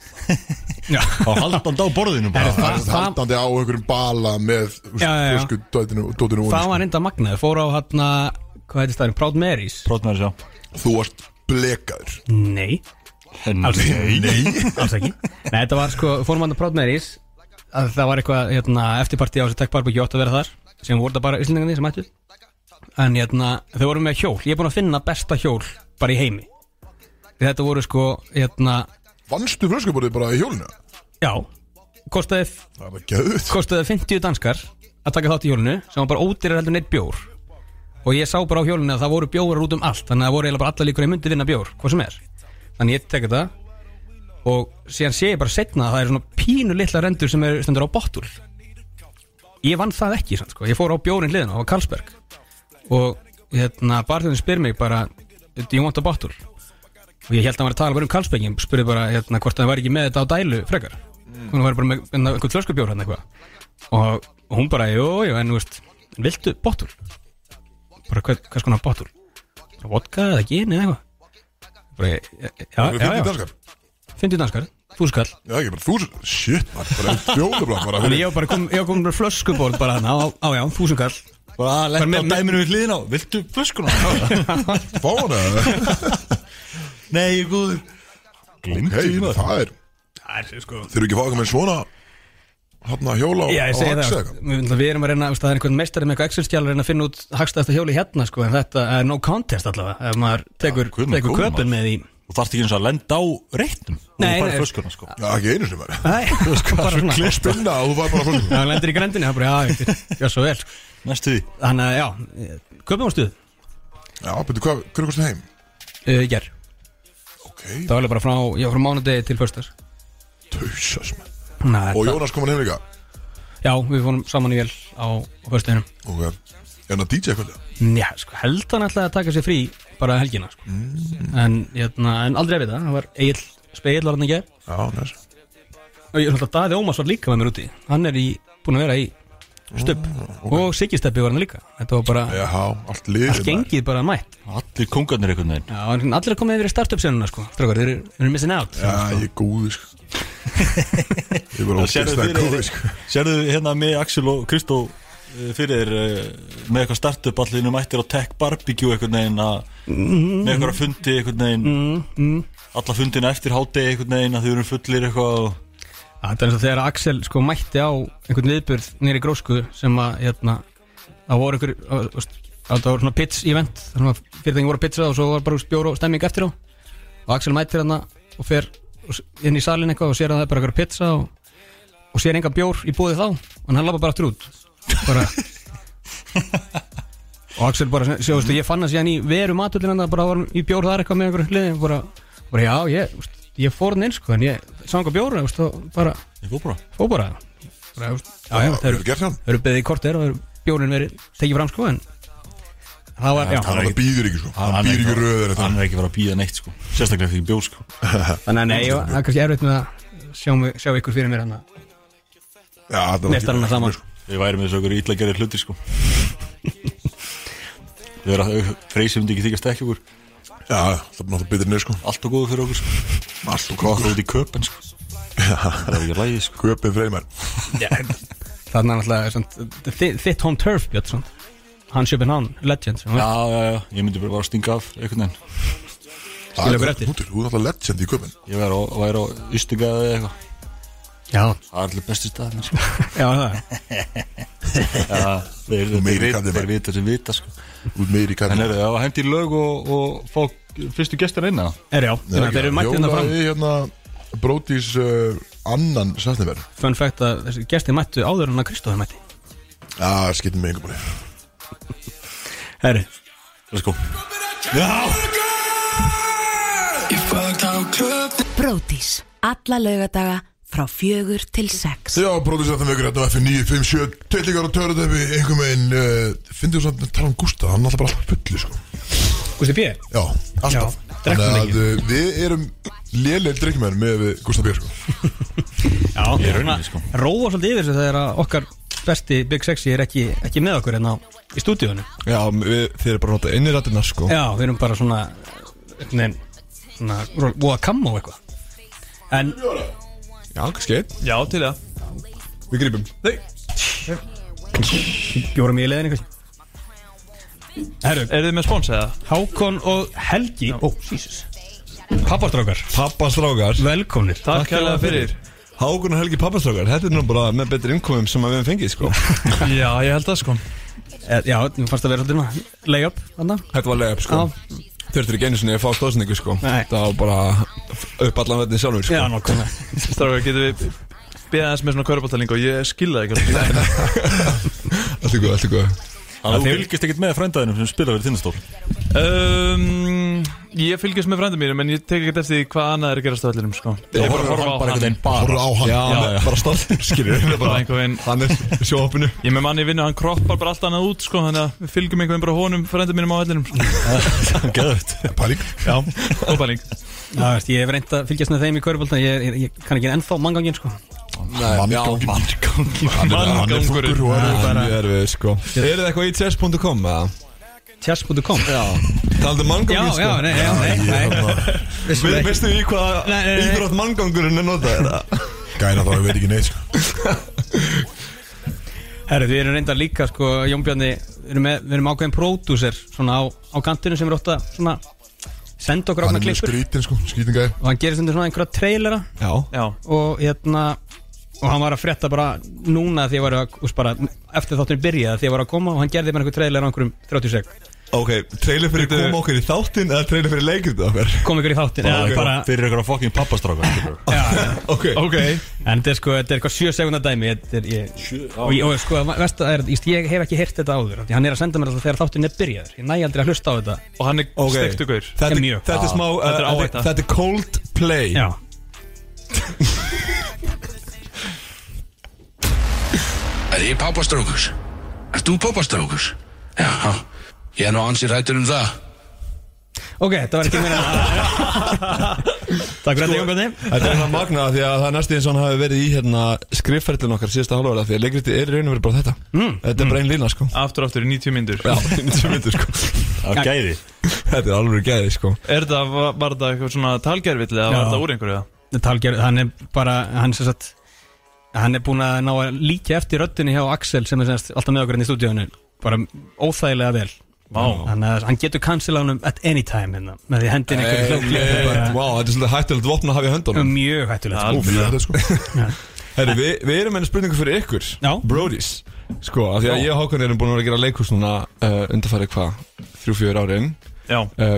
Speaker 2: Já,
Speaker 1: Á haldandi á borðinu bara
Speaker 2: það-
Speaker 3: Haldandi á einhverjum bala með
Speaker 2: Já, já, já.
Speaker 3: flöskudótinu
Speaker 2: það var reynda magnaði Fór á hérna, hvað heitir staðurinn, Proud Marys
Speaker 1: Prótnar sjá
Speaker 3: Þú varst blekaður
Speaker 2: Nei, alls ekki Nei, alls ekki Nei, þetta var sko, fórum hann að Proud Marys að Það var eitthvað, hérna, eftirparti á þessu Tech Barbecue átt að vera þar sem voru það bara Íslandingarnir sem ættu En hérna, þau voru með hjól Ég er búin að finna besta hjól bara í heimi Þetta voru sko, hérna,
Speaker 3: Vannstu flöskubarið bara í hjólinu?
Speaker 2: já Kostaði
Speaker 3: Það er bara geðut
Speaker 2: kostuði 50 danskar að taka þátt í hjólinu sem var bara ódýrar heldur neitt bjór og ég sá bara á hjólinu að það voru bjórar út um allt þannig að það voru eiginlega bara allar líkur að ég myndi vinna bjór hvað sem er, þannig ég tek þetta og síðan sé ég bara setna að það er svona pínu litla rendur sem er stendur á bottul ég vann það ekki sann, sko. ég fór á bjórin hliðina á Karlsberg og hérna barðurinn spyr mig bara do you want a bottle og ég held að hann var að tala bara um Karlsberg ég spurði bara hérna hvort hann var ekki með þetta á dælu frekar hún var bara með hérna, einhvern flöskubjór hann eitthvað og og hún bara jú, jú, en þú veist en viltu bottle bara hver, hvers konar bottle bara vodka eða gin eða eitthvað
Speaker 3: Það
Speaker 2: bara,
Speaker 3: er
Speaker 2: já,
Speaker 3: fyrir
Speaker 2: já, já,
Speaker 3: danskar
Speaker 2: 50 danskar, þúskall
Speaker 3: Já, ekki bara þúsund Shit, maður, bara fjóðablað bara
Speaker 2: Þannig ég var bara kom, ég var komin með flöskuból bara hann á, á já, þúsundkall
Speaker 1: Bara að lenda á
Speaker 2: Bara með-
Speaker 1: dæminu við hliðin á Viltu flöskuna?
Speaker 3: Fá hana eða?
Speaker 1: Nei, gúður
Speaker 3: Ok,
Speaker 1: Glimtu í maður
Speaker 3: það er
Speaker 2: Það er sko
Speaker 3: Þeir eru ekki að fá eitthvað með svona Hanna hjóla á
Speaker 2: Já, ég segi
Speaker 3: á
Speaker 2: það,
Speaker 3: Axel
Speaker 2: sko.
Speaker 3: eitthvað?
Speaker 2: við, við erum að reyna, veist, það er einhvern meistari með eitthvað Excel-skjál að reyna að finna út hagstæðasta hjóli hérna sko, en þetta er no contest allavega ef maður tekur,
Speaker 1: guð minn
Speaker 2: tekur
Speaker 1: góður, maður.
Speaker 2: köpun með í
Speaker 1: Þú þarft ekki eins og að lenda á reitnum Þú
Speaker 2: Nei,
Speaker 1: færð
Speaker 2: nei.
Speaker 1: flöskuna sko
Speaker 3: Já, ekki einu sem verið
Speaker 2: Nei, sko, bara svona Já,
Speaker 3: Spinna og þú fær bara svona
Speaker 2: hann lendir í grendinni, það er bara, já, ég- já, svo vel sko.
Speaker 1: Næstu því
Speaker 2: Þannig að, já, köpum á stuð
Speaker 3: Já, betur hvað, hvernig kostum heim?
Speaker 2: uh, Ger,
Speaker 3: Ok,
Speaker 2: það var alveg bara frá, já, frá mánudegi til föstas
Speaker 3: tausas maður. Og Jónas kom hann heim líka
Speaker 2: Já, við fórum saman í vel á, á föstuðinum
Speaker 3: Ok, er hann að DJ eitthvað?
Speaker 2: Já, sko, held hann alltaf að taka sér frí bara helgina, sko
Speaker 1: Mm.
Speaker 2: en, jötna, en aldrei að vita, hann var Egil Spegil var hann ekki
Speaker 3: Já, næs
Speaker 2: og ég held að Daði Ómars var líka með mér úti hann er í, búin að vera í stöpp og Siggisteppi var hann líka þetta var bara,
Speaker 3: Ah, Já, allt lið
Speaker 2: allt gengið bara mætt
Speaker 1: Allir kongarnir einhvern veginn
Speaker 2: Já, en allir er komið yfir í startup senuna, sko strákar, þeir eru- þeir eru missing out
Speaker 3: Já, ég er góði sko Ég er bara
Speaker 1: Sérðu
Speaker 3: ógæðslega
Speaker 1: fyrir-
Speaker 3: góði sko
Speaker 1: Sérðu hérna með Axel og Kristó eh, fyrir þér eh, með eitthvað startup allir innum mættir á tech barbecue einhvern veginn að
Speaker 3: Mhm.
Speaker 1: með eitthvað fundi einhvern veginn
Speaker 3: Mm.
Speaker 2: Mm,
Speaker 1: alla fundina eftir hátegi einhvern veginn að þau eru fullir eitthvað og-
Speaker 2: Já, Þetta er eins og þegar Axel sko mætti á einhvern viðbjörð nýri grósku sem að hérna, það voru einhver að- þú veist, að það voru svona pits event þannig að fyrirtækin voru að pitsa og svo var bara bjór og stemming eftir á og Axel mættir hérna og fer og s- inn í salin eitthvað og sér að það er bara einhver pizza og, og sér enga bjór í búið þá en hann lappa bara aftur út bara og Axel bara, sjáðust, ég fann það síðan í veru matullin en það bara var í bjór þar eitthvað með einhverju hliði og bara, bara já, ég, úst, ég fór hann eins sko, en ég sá einhver bjór úst, og bara,
Speaker 1: ég fór bara
Speaker 2: fór bara bara, úst, já, já, það
Speaker 3: Það
Speaker 2: eru,
Speaker 3: er gert hann
Speaker 2: það eru beðið í kortir og það eru bjórin verið tekið fram sko, en það var, já,
Speaker 3: Hann
Speaker 1: er
Speaker 3: alltaf býður ekki sko Hann býður ekki röður
Speaker 1: hann er ekki verið að býða neitt sko sérstaklega ekki bjór sko
Speaker 2: þannig að nei, ég var- það er kannski erfitt með að sjá, mig, sjá ykkur fyrir mér hérna. hann að
Speaker 3: Já, það var
Speaker 2: neftar hann að
Speaker 3: sko.
Speaker 2: saman
Speaker 1: við værum með þessu okkur illa gerir hluti sko við erum að freysi myndi ekki þykast ekki okkur
Speaker 3: Já, það er náttúrulega betur neð sko
Speaker 1: allt og góðu fyrir okkur sko
Speaker 3: Allt og
Speaker 1: okkur
Speaker 3: góð
Speaker 1: út í köpen sko það er ekki að lægi sko
Speaker 3: Köpinn freymar
Speaker 2: þannig að náttúrulega samt, þi- þitt home turf Björn, svona. hann sjöpinn hann, legend sem var-
Speaker 1: já já já ég myndi bara bara stinga af einhvern veginn
Speaker 2: Skilja okkur eftir.
Speaker 3: Þú er alltaf legend í köpinn
Speaker 1: ég væri á- væri á Ístingaði eða eitthvað
Speaker 2: já,
Speaker 1: Það er allir bestu staðin sko.
Speaker 2: já, það er
Speaker 1: ja, þeir,
Speaker 3: meiri
Speaker 1: þeir,
Speaker 3: kallið
Speaker 1: þeir,
Speaker 3: bara.
Speaker 1: þeir vita sem vita sko.
Speaker 3: Út meiri
Speaker 1: En
Speaker 3: kallið
Speaker 1: eru það að hendi í lög og, og fá fyrstu gestur inn að
Speaker 2: Er, já, þannig að þeir eru mættið hérna fram
Speaker 3: Jólaði hérna Brótis uh, annan sætnivern
Speaker 2: fun fact að þessi gesti mættu áður en að Kristóður mætti
Speaker 3: Já, skiptir mig einhver búin
Speaker 2: Herri,
Speaker 1: Let's go Já,
Speaker 5: Brótis. Alla laugadaga frá fjögur til sex.
Speaker 3: Já, Brótis annan vekur hérna á F957 Tveitlingar og törðefi, einhver megin uh, Fyndu þú samt að tala um Gústa, hann er alltaf bara alltaf fullu sko.
Speaker 2: Gusti P
Speaker 3: Já, alltaf
Speaker 2: Já, drekkum
Speaker 3: Þannig að
Speaker 2: mikið.
Speaker 3: uh, við erum léleil drikkmenn með við Gústa Björn sko.
Speaker 2: Já,
Speaker 1: Í rauninni, sko.
Speaker 2: róa svolítið yfir þessu þegar að okkar besti Big Sexy er ekki, ekki með okkur en á í stúdíunum
Speaker 6: Já, við, þið eru bara að nota innirættina sko
Speaker 2: Já, við erum bara svona Nein, svona Búið að kamma á eitthvað En,
Speaker 6: Já, kannski einn
Speaker 7: Já, til það
Speaker 6: Við grípum Nei
Speaker 2: bjórum í leðin eitthvað Herru,
Speaker 7: Er þið með spons eða?
Speaker 2: Hákon og Helgi Ó, Jesus Pappastrákar,
Speaker 6: Pappastrákar
Speaker 2: velkomnir
Speaker 7: Takk kærlega fyrir
Speaker 6: Hákun og Helgi pappastrákar Þetta er nú bara með betri innkomum sem að við hefum fengið sko
Speaker 7: Já, ég held það sko
Speaker 2: Eh, Já, mér fannst að vera svolítið Layup, þannig
Speaker 6: Þetta var lega upp sko Þurftir ekki einu sinni að fá stóðsendingu sko
Speaker 2: Nei.
Speaker 6: Þetta var bara upp allan vettin sjálfur sko
Speaker 2: Já, nokkuna
Speaker 7: Stráka, getum við beðið aðeins með svona körbáttalingu og ég skilða ekki alveg.
Speaker 6: Allt í góð, allt í góð
Speaker 1: Þannig að þú fylgist ekkert með frændaðinum sem spila verið þinnastól
Speaker 7: um, Ég fylgjast með frændum mínum en ég tek ekkert eftir því hvað annað er að gerast á öllinum sko.
Speaker 1: Ég bara horfa á bara einhvern veginn bara
Speaker 6: á hann Já, já bara stoltur skilur Þetta er
Speaker 7: Bara
Speaker 6: bara
Speaker 7: einhvern veginn
Speaker 6: Hann er í sjóhopinu
Speaker 7: Ég er með manni í vinnu, hann kroppar bara allt annað út sko, þannig að við fylgjum einhvern veginn bara honum frændum mínum á öllinum sko.
Speaker 1: Geðvögt
Speaker 6: Pæling
Speaker 7: Já, óbæling
Speaker 2: Já, veist, ég hef reynd að fylgjast með þeim í kvörubóltan ég, ég, ég kann ekki ennþá manngangin sko
Speaker 6: Manngangin Manngangin Hann er
Speaker 7: Manngangurinn.
Speaker 6: fúkur og er Hann er við sko Er það eitthvað í chess.com eða?
Speaker 2: Chess.com Já,
Speaker 6: Talandi um
Speaker 2: já,
Speaker 6: manngangin sko
Speaker 2: já, nei, já, nei, nei.
Speaker 6: Við veistu í hvað
Speaker 2: Nei, nei, nei.
Speaker 6: íþrótt manngangurinn er notað er það?
Speaker 3: Gæna þá, ég veit ekki neitt sko.
Speaker 2: Herru, við erum reynda líka sko, Jón Bjarni, við erum, með, við erum ákveðin pródúser svona á, á kantinu sem er ótt að svona senda okkur
Speaker 3: Hann
Speaker 2: ákveðin
Speaker 3: er mjög
Speaker 2: klippur
Speaker 3: skrítin sko, skrítin gæði
Speaker 2: og hann gerir stundur svona einhverja trailera
Speaker 6: Já
Speaker 7: Já,
Speaker 2: og hérna og hann var að frétta bara núna því ég var að, úst, bara, eftir þáttunum byrjaði því ég var að koma og hann gerði bara einhver trailer á einhverjum 30 sek
Speaker 6: Ok, trailer fyrir
Speaker 7: Bíddu.
Speaker 6: koma okkur í þáttinn eða trailer fyrir leikritið okkar?
Speaker 2: kom ykkur í þáttin
Speaker 1: Bara,
Speaker 2: eða bara,
Speaker 1: Fyrir einhverja fucking pappastrákar skilur.
Speaker 2: já,
Speaker 6: Ok,
Speaker 7: ok
Speaker 2: en þetta er sko þetta er eitthvað 7 sekundar dæmi þetta er, ég, og, ég, og sko, veist, það er, ég, ég hef ekki heyrt þetta áður af því hann er að senda mér alltaf þegar þáttin er byrjaður ég næ aldrei að hlusta á þetta
Speaker 7: Og hann er
Speaker 6: ok
Speaker 7: okay. stektu gaur
Speaker 6: Þetta,
Speaker 2: Mjög.
Speaker 6: þetta er smá, uh,
Speaker 7: Þetta er áhætta.
Speaker 6: þetta, þetta er cold play
Speaker 2: já
Speaker 8: Er ég pappastrákur? Ert þú pappastrákur? Já, ég er nú ansið rættur um það
Speaker 2: Ok, þetta var ekki Sko, meira Takk fyrir þetta Jón Bjarni
Speaker 6: Þetta er hann magna því að það er næstu eins og hann hafi verið í hérna, skrifferðlun okkar síðasta hálfverða því að leikritið er í raun og verið bara þetta Þetta er bara einn lína sko
Speaker 7: Aftur og aftur í 90 myndur
Speaker 6: Já, þetta er myndir sko
Speaker 1: Það er gæði
Speaker 6: Þetta er alveg gæði sko
Speaker 7: Er það, var, var það eitthvað svona talgerfill eða var
Speaker 2: Já.
Speaker 7: það úr einhverju eða?
Speaker 2: Talgerð, hann er bara hann, sem sagt, hann er búin að ná að líka eftir röddunni hjá Axel sem er semast alltaf með okkur inn í stúdíónu bara óþægilega vel
Speaker 7: Vá.
Speaker 2: Þannig að hann getur cancela honum at any time hérna, með því hendin einhverju hljókli
Speaker 6: Hey,
Speaker 2: bara
Speaker 6: Wow, þetta er svolítið hættulegt vopn að hafa í höndunum
Speaker 2: mjög hættulegt sko.
Speaker 3: Ó, fyrir þetta sko
Speaker 6: Herri, við, við erum með spurningu fyrir ykkur
Speaker 2: Já.
Speaker 6: Brodies Sko, af því að ég og Hákan erum búin að vera að gera leikhús núna uh, undarfæri hvað, þrjú, fjör árin
Speaker 7: Já,
Speaker 6: uh,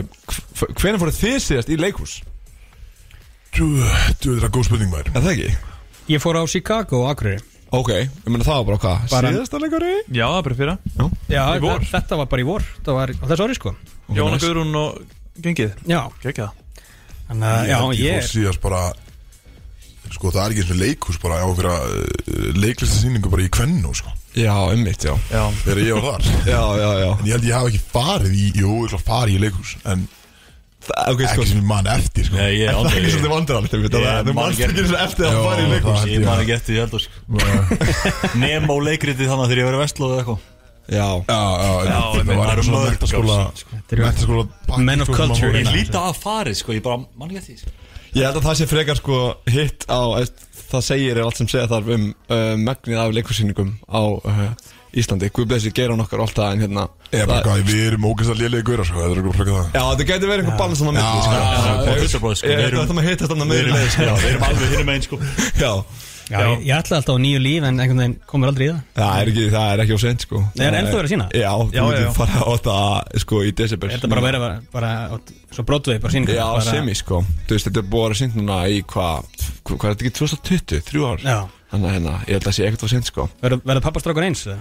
Speaker 6: Hvenær fóruð þið síðast í leikhús?
Speaker 3: Þú veit það góð spurning maður
Speaker 6: Er það ekki?
Speaker 2: Ég fór á Chicago og Akureyri
Speaker 6: Ok, ég meina það var bara hvað,
Speaker 2: Bara-
Speaker 6: síðasta leikari?
Speaker 7: já, það er bara fyrra
Speaker 2: Já,
Speaker 7: Í vor?
Speaker 2: þa- þetta var bara í vor Þetta var á þessu ári sko
Speaker 7: Jóna
Speaker 6: nice.
Speaker 7: Guðrún og gengið
Speaker 2: Já,
Speaker 7: Gekka
Speaker 2: þannig að já,
Speaker 3: held
Speaker 2: ég
Speaker 3: fór síðast bara Sko það er ekki eins og leikhús bara á einhverja uh, leiklistasýningu bara í kvennu sko
Speaker 6: Já, ummitt, já
Speaker 7: Já,
Speaker 3: Þegar ég var þar
Speaker 6: Já, já, já
Speaker 3: En ég held ég hafa ekki farið í, jú, ég hef farið í leikhús En
Speaker 6: Þa, Ok, sko
Speaker 3: ekki sem ég man eftir sko
Speaker 1: Nei, ég
Speaker 6: Er
Speaker 1: er
Speaker 6: það
Speaker 1: aldrei
Speaker 6: ekki svolítið vandrarlegt einmitt,
Speaker 1: Ég
Speaker 6: að það- Þú
Speaker 1: man
Speaker 6: manst
Speaker 1: ekki
Speaker 6: ekki eins og eftir að
Speaker 3: Já,
Speaker 6: fara í leikhús
Speaker 3: það-
Speaker 1: Ég man ekki eftir því heldur sko. Nemo leikritið þannig að þegar ég verið vestlóð eða eitthvað
Speaker 6: Já,
Speaker 3: Já, já, já
Speaker 1: einmitt.
Speaker 3: Það var eitthvað svona mentaskóla
Speaker 1: Mörg ár síðan,
Speaker 2: eru-
Speaker 3: Mentaskóla pakki,
Speaker 2: Men of
Speaker 3: sko, sem að
Speaker 2: culture.
Speaker 3: voru-
Speaker 1: Ég líti að farið sko, ég bara man ekki eftir því sko.
Speaker 6: ég held að það sé frekar sko hitt á eða, Það segir er allt sem segja þarf um uh, megnið af leikhússýningum á uh, Íslandi Guð blessi, gera nokkar alltaf en hérna
Speaker 3: Eða
Speaker 6: það-
Speaker 3: bara hvað, við erum ógæst að lélega gauðra sko Það er eitthvað frekar það
Speaker 6: Já, þetta getur verið einhver balans á milli
Speaker 3: Já,
Speaker 6: sko.
Speaker 3: já,
Speaker 1: Já, það er fyrsta bróð, sko,
Speaker 6: Ég
Speaker 1: við
Speaker 6: ætla
Speaker 1: erum-
Speaker 6: að það maður hittast þannig að
Speaker 1: Við
Speaker 6: meður leið
Speaker 1: erum-
Speaker 6: sko.
Speaker 1: já, við erum alveg hinum einn sko
Speaker 6: Já,
Speaker 2: Já, ég, ég ætla alltaf á nýju líf en einhvern veginn komur aldrei í það
Speaker 6: það er ekki, það er ekki á sent sko
Speaker 2: Nei, er ennþá verið að sýna?
Speaker 6: Já,
Speaker 7: Já, já,
Speaker 6: þú
Speaker 7: já.
Speaker 6: getur fara á þetta sko í
Speaker 2: Er
Speaker 6: december
Speaker 2: þetta bara að vera bara, bara á- svo brotvegi bara síningar
Speaker 6: Já,
Speaker 2: bara,
Speaker 6: semi sko Þú veist, þetta er búið að vera sýnt núna í hvað hva, Hvað er þetta ekki, 2020, þrjú ár
Speaker 2: Já,
Speaker 6: Þannig að hérna, ég held að það sé ekkert á sent sko
Speaker 2: verður, verður pappastrákur eins? eða?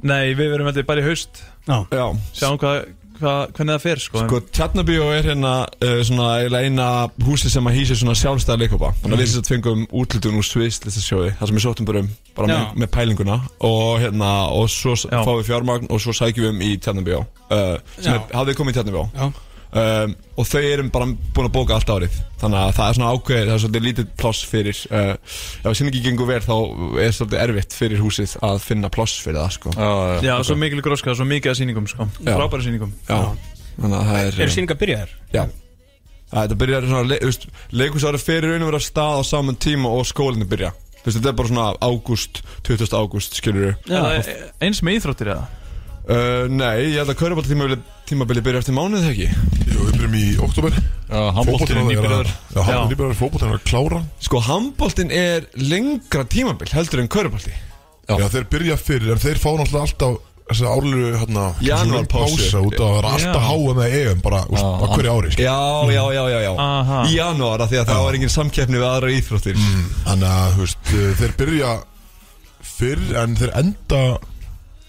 Speaker 7: Nei, við verum heldur bara í haust
Speaker 2: Já,
Speaker 6: Já
Speaker 7: Sjáum hvað, hvað, hvernig það fer sko,
Speaker 6: Sko, Tjarnabíó er hérna uh, svona eiginlega eina húsi sem að hýsi svona sjálfstæða leikopa Þannig
Speaker 2: Mhm.
Speaker 6: að við sem sagt fengum útlutun úr sviðslistasjóði Það sem við sóttum bara um, bara
Speaker 2: Já.
Speaker 6: með, með pælinguna Og hérna, og svo s-
Speaker 7: Já.
Speaker 6: fáum við fjármagn og svo sækjum við um í Tjarnabíó uh,
Speaker 2: Já.
Speaker 6: Sem er, hafði komið í Tjarnabíó
Speaker 2: já
Speaker 6: um, og þau erum bara búin að bóka allt árið þannig að það er svona ákveðið, það er svolítið lítið pláss fyrir uh, ef sýningi gengur vel þá er svolítið erfitt fyrir húsið að finna pláss fyrir það sko.
Speaker 1: já,
Speaker 7: Já, svo mikil gróska, svo mikið að sýningum sko.
Speaker 6: Já.
Speaker 7: Frábæra sýningum
Speaker 6: já, þannig að það er
Speaker 2: Eru síningar byrjaðar?
Speaker 6: Já Að Þetta byrjar svona, le- þú veist, leikhúsári fyrir raun og vera stað á saman tíma og skólinu byrja Þú veist, þetta er bara svona ágúst, 20. ágúst, skilur við
Speaker 7: Er það e- Eins með íþróttir eða?
Speaker 6: Uh, Nei, ég held að kaurubáltímabili tímabili byrja eftir mánuð, þegar ekki?
Speaker 3: Jú, við byrjum í oktober
Speaker 1: handbóltinn er nýbyrður
Speaker 3: Já, handbóltinn er nýbyrjar, fótbóltinn er að klára
Speaker 6: Sko, handbóltin er lengra tímabil heldur en kaurubálti
Speaker 3: Já, þeir byrja fyrir, en þeir fá náttúrulega alltaf þessi árlu, hérna,
Speaker 6: Janúarpásu.
Speaker 3: pása út að það er alltaf
Speaker 7: Já.
Speaker 3: háa með EM bara, úst, á hverju ári, sko. skil.
Speaker 6: Já, já, já, já, já
Speaker 7: Aha.
Speaker 6: Í janúar, af því að það var engin samkeppni við aðra íþróttir
Speaker 3: Mm. Þannig að, þú veist, eh, þeir byrja fyrr, en þeir enda,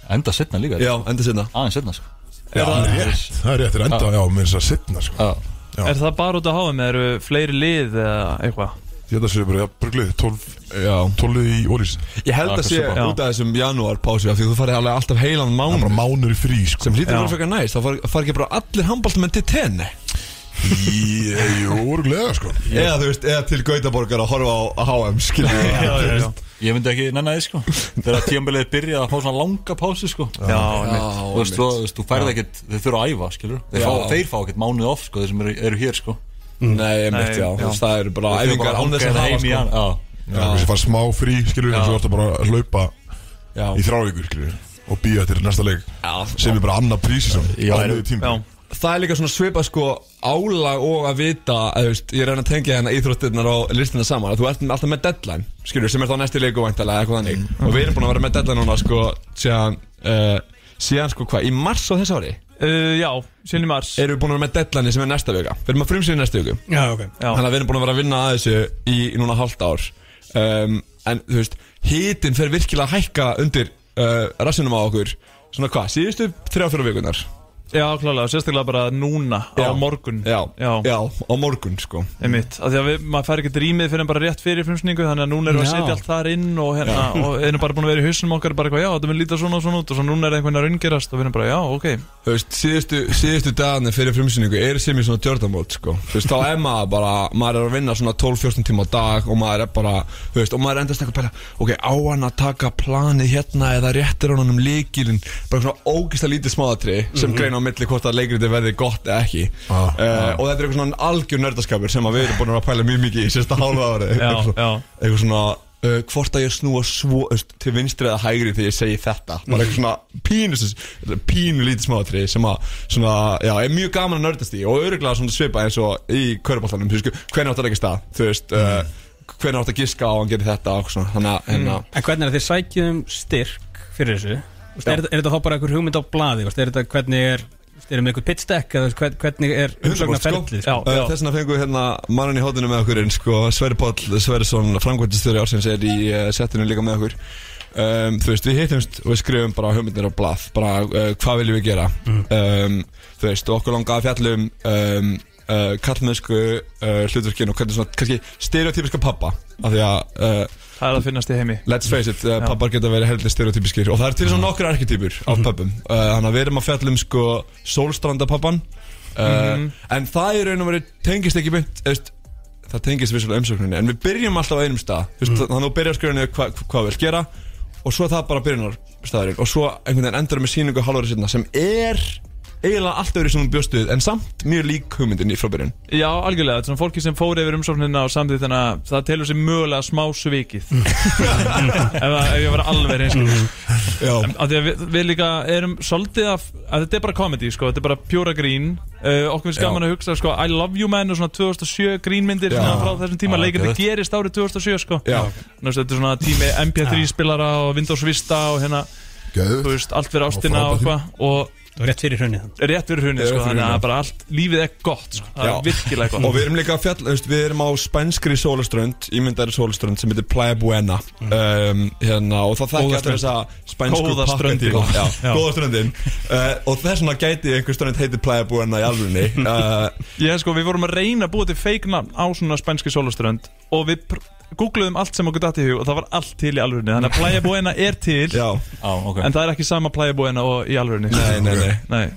Speaker 1: Enda setna líka
Speaker 6: Já, enda sinna
Speaker 1: Aðeins setna sko
Speaker 3: já, það er rétt, það er rétt, þeir enda, já, með þess að setna, sko.
Speaker 1: Já
Speaker 3: Já.
Speaker 7: Er það bara út að háa með, eru fleiri lið eða eitthvað?
Speaker 3: Ég held að séu bara, já, brugluð, 12,
Speaker 6: Já
Speaker 3: 12 í ólís,
Speaker 6: Ég held
Speaker 1: Já,
Speaker 6: að sé
Speaker 1: hversu
Speaker 7: bara.
Speaker 6: Ah, út af þessum janúar pásu af því að þú farið alveg alltaf heilan
Speaker 3: það er
Speaker 6: mánuð
Speaker 3: bara mánur í frí, sko.
Speaker 6: sem hlýtur
Speaker 7: Já.
Speaker 6: að vera frekar næst, þá far- fara ekki bara allir handbóltamenn til tenni
Speaker 3: Í- eh, Jú, örgulega, sko.
Speaker 6: Eða þú veist, eða til Gautaborgar að horfa á HM skilur við.
Speaker 7: Já, já, já.
Speaker 1: Ég myndi ekki nenni því sko Þegar tímabilið byrja að fá svona langa pásu sko
Speaker 7: Já, einmitt.
Speaker 1: Þú veist, þú, þú veist, þú færð ekkert, þeir þurfa að æfa, skilur Þeir, fá, þeir fá ekkert mánuð off, sko, þeir sem eru, eru hér, sko
Speaker 6: Nei, ég mitt,
Speaker 7: Nei,
Speaker 6: já,
Speaker 7: já.
Speaker 6: Þú veist, það eru bara
Speaker 1: Þeir
Speaker 6: æfingar
Speaker 1: bara
Speaker 6: án þess
Speaker 1: hanga
Speaker 6: að
Speaker 1: þeim
Speaker 6: hafa
Speaker 1: í
Speaker 6: sko.
Speaker 1: hann- Já,
Speaker 3: Já, þessi fara smá frí, skilur, en svo ertu bara að hlaupa
Speaker 6: Já,
Speaker 3: í þrjár vikur, skilur, og býja til næsta leik, sem er bara annað prísísson,
Speaker 1: Já,
Speaker 3: bara miður
Speaker 7: já.
Speaker 3: tíma.
Speaker 6: það er líka svona svipað sko álag og að vita að, þú veist, ég reyna að tengja hérna íþróttirnar og listina saman að þú ert alltaf með deadline, skilur, sem er þá næsti leiku væntalega eitthvað þannig, og við erum búin að vera með deadline núna sko, síðan uh, síðan sko hvað, í mars á þess ári
Speaker 7: Uh, já, síðan í mars
Speaker 6: erum við búin að vera með deadline sem er næsta vika, við erum að frumsýna í næsta viku
Speaker 2: Já, ok
Speaker 7: Já.
Speaker 6: Þannig að við erum búin að vera að vinna að þessu í núna hálft ár um, En þú veist, hitin fer virkilega að hækka undir uh, rassinum á okkur Svona hvað, síðustu þrjá fjóra vikunar
Speaker 7: Já, klálega, sérstaklega bara núna
Speaker 6: Já.
Speaker 7: á morgun
Speaker 6: já, já,
Speaker 7: já,
Speaker 6: á morgun sko
Speaker 7: einmitt Af Því að við, maður fær ekki rýmið fyrir en bara rétt fyrir frumsningu Þannig að núna erum við að
Speaker 2: Já.
Speaker 7: setja allt þar inn Og, hérna, og erum bara búin að vera í hausnum okkar Bara eitthvað, já, þetta mun líta svona og svona út Og svo núna er einhvern að raungerast og við erum bara, já, ok
Speaker 6: Þú veist, síðustu, síðustu dagarnir fyrir frumsýningu eru sem í svona djörðamót sko Þú veist, þá er maður bara, maður er að vinna svona 12-14 tíma á dag Og maður er bara, þú veist, og maður er endast eitthvað pæla Ok, á hann að taka planið hérna eða réttir honum um líkilinn Bara svona ógista lítið smáðatri sem greina á milli hvort að leikriti verði gott eða ekki
Speaker 3: Ah,
Speaker 6: Eh, Og þetta er eitthvað svona algjör nördaskapur sem að við erum búin að vera að pæla mjög mikið í sérsta hálfa árið
Speaker 7: Já,
Speaker 6: Eitthvað svona-
Speaker 7: já.
Speaker 6: Eitthvað svona uh, hvort að ég snúa svo öst, til vinstri eða hægri þegar ég segi þetta bara eitthvað svona pínu pínu lítið smáatri sem að svona, já, er mjög gaman að nördast í og öruglega svona svipa eins og í köruballanum hvernig átt að leggja stað þú veist, uh, hvernig átt að giska á að hann gerir þetta og svona, þannig að hérna,
Speaker 2: En hvernig er að þið sækjum styrk fyrir þessu? Þú veist,
Speaker 6: Já.
Speaker 2: Er, þetta- er þetta þá bara einhver hugmynd á blaði? þú veist, Er þetta hvernig er, þú veist, erum við einhver pitstack eða þú veist, hvern- hvernig er
Speaker 6: 100% sko.
Speaker 2: umsóknarferlið?
Speaker 7: Já,
Speaker 6: Uh, þess vegna fengum við hérna mannan í hóttinu með okkur en sko Sverri Páll Sverrisson framkvæmtistöri ársins er í uh, settinu líka með okkur um, þú veist við hittumst og við skrifum bara hugmyndir á blað bara uh, hvað viljum við gera um, þú veist og okkur langaði að fjallum um, uh, kallmennsku uh, hlutverkin og hvernig svona kannski stereotypiska pappa af því að uh,
Speaker 7: það er að finnast í heimi
Speaker 6: Let's face it, uh,
Speaker 7: Já.
Speaker 6: pappar geta verið heldur stereotypiskir og það er til svona nokkur arketýpur af pappum uh, þannig að við erum að fjalla um sko sólstrandapappan uh, en það er raun og verið tengist ekki beint eðst, það tengist vissulega umsökninni en við byrjum alltaf á einum stað mm. þannig að þú byrjar skrifinu hvað hva, hva vil gera og svo er það bara byrjunar staðurinn og svo einhvern veginn endur með síningu hálfari sinna sem er eiginlega allt öðru sem hún bjóst við en samt mjög lík hugmyndinni frá byrjun
Speaker 7: Já, algjörlega, þetta er svona fólki sem fór yfir umsóknina og samþýtt þannig að það telur sér mögulega smá svikið ef, að- ef ég var alveg reynsk
Speaker 6: Mm. Já,
Speaker 7: að því að við, við líka erum svolítið að, að þetta er bara komedi, sko, þetta er bara pjóra grín uh, okkur finnst
Speaker 6: Já.
Speaker 7: gaman að hugsa, sko, I love you man og svona 2007 grínmyndir svona frá þessum tíma,
Speaker 1: Já,
Speaker 7: leikandi
Speaker 1: geðvegt.
Speaker 7: gerist árið 2007, sko
Speaker 6: Já.
Speaker 7: Nú, veist, þetta er svona tími MP3 spilara og Windows Vista og hérna, þú
Speaker 3: Gæðu,
Speaker 7: veist, allt fyrir ástina
Speaker 3: frábær
Speaker 7: og eitthvað og
Speaker 2: Það var rétt fyrir hrunni þannig
Speaker 7: rétt fyrir
Speaker 6: Rétt
Speaker 7: hrunið, sko,
Speaker 6: fyrir
Speaker 7: þannig
Speaker 6: hrunið.
Speaker 7: að bara allt lífið er gott, sko, það
Speaker 6: Já.
Speaker 7: er virkilega gott
Speaker 6: og við erum líka að fjalla, þú veist, við erum á spænskri sólaströnd, ímyndari sólaströnd sem heitir Playa Buena um, hérna, og það
Speaker 7: Mm. Góða
Speaker 6: þekkja allir
Speaker 7: strönd.
Speaker 6: þessa spænsku
Speaker 7: Góða ströndin.
Speaker 6: pakkadíla. Já,
Speaker 7: Já.
Speaker 6: góða ströndin uh, og þess vegna gæti einhver strönd heiti Playa Buena í alvörinni uh,
Speaker 7: Ég hef sko, við vorum að reyna að búa til fake nafn á svona spænski sólaströnd og við pr- googluðum allt sem okkur datt í hug og það var allt til í alvörunni þannig að Playa Buena er til
Speaker 6: já,
Speaker 1: Já, ok
Speaker 7: en það er ekki sama Playa Buena og í alvörunni
Speaker 6: nei, nei, nei
Speaker 7: Nei.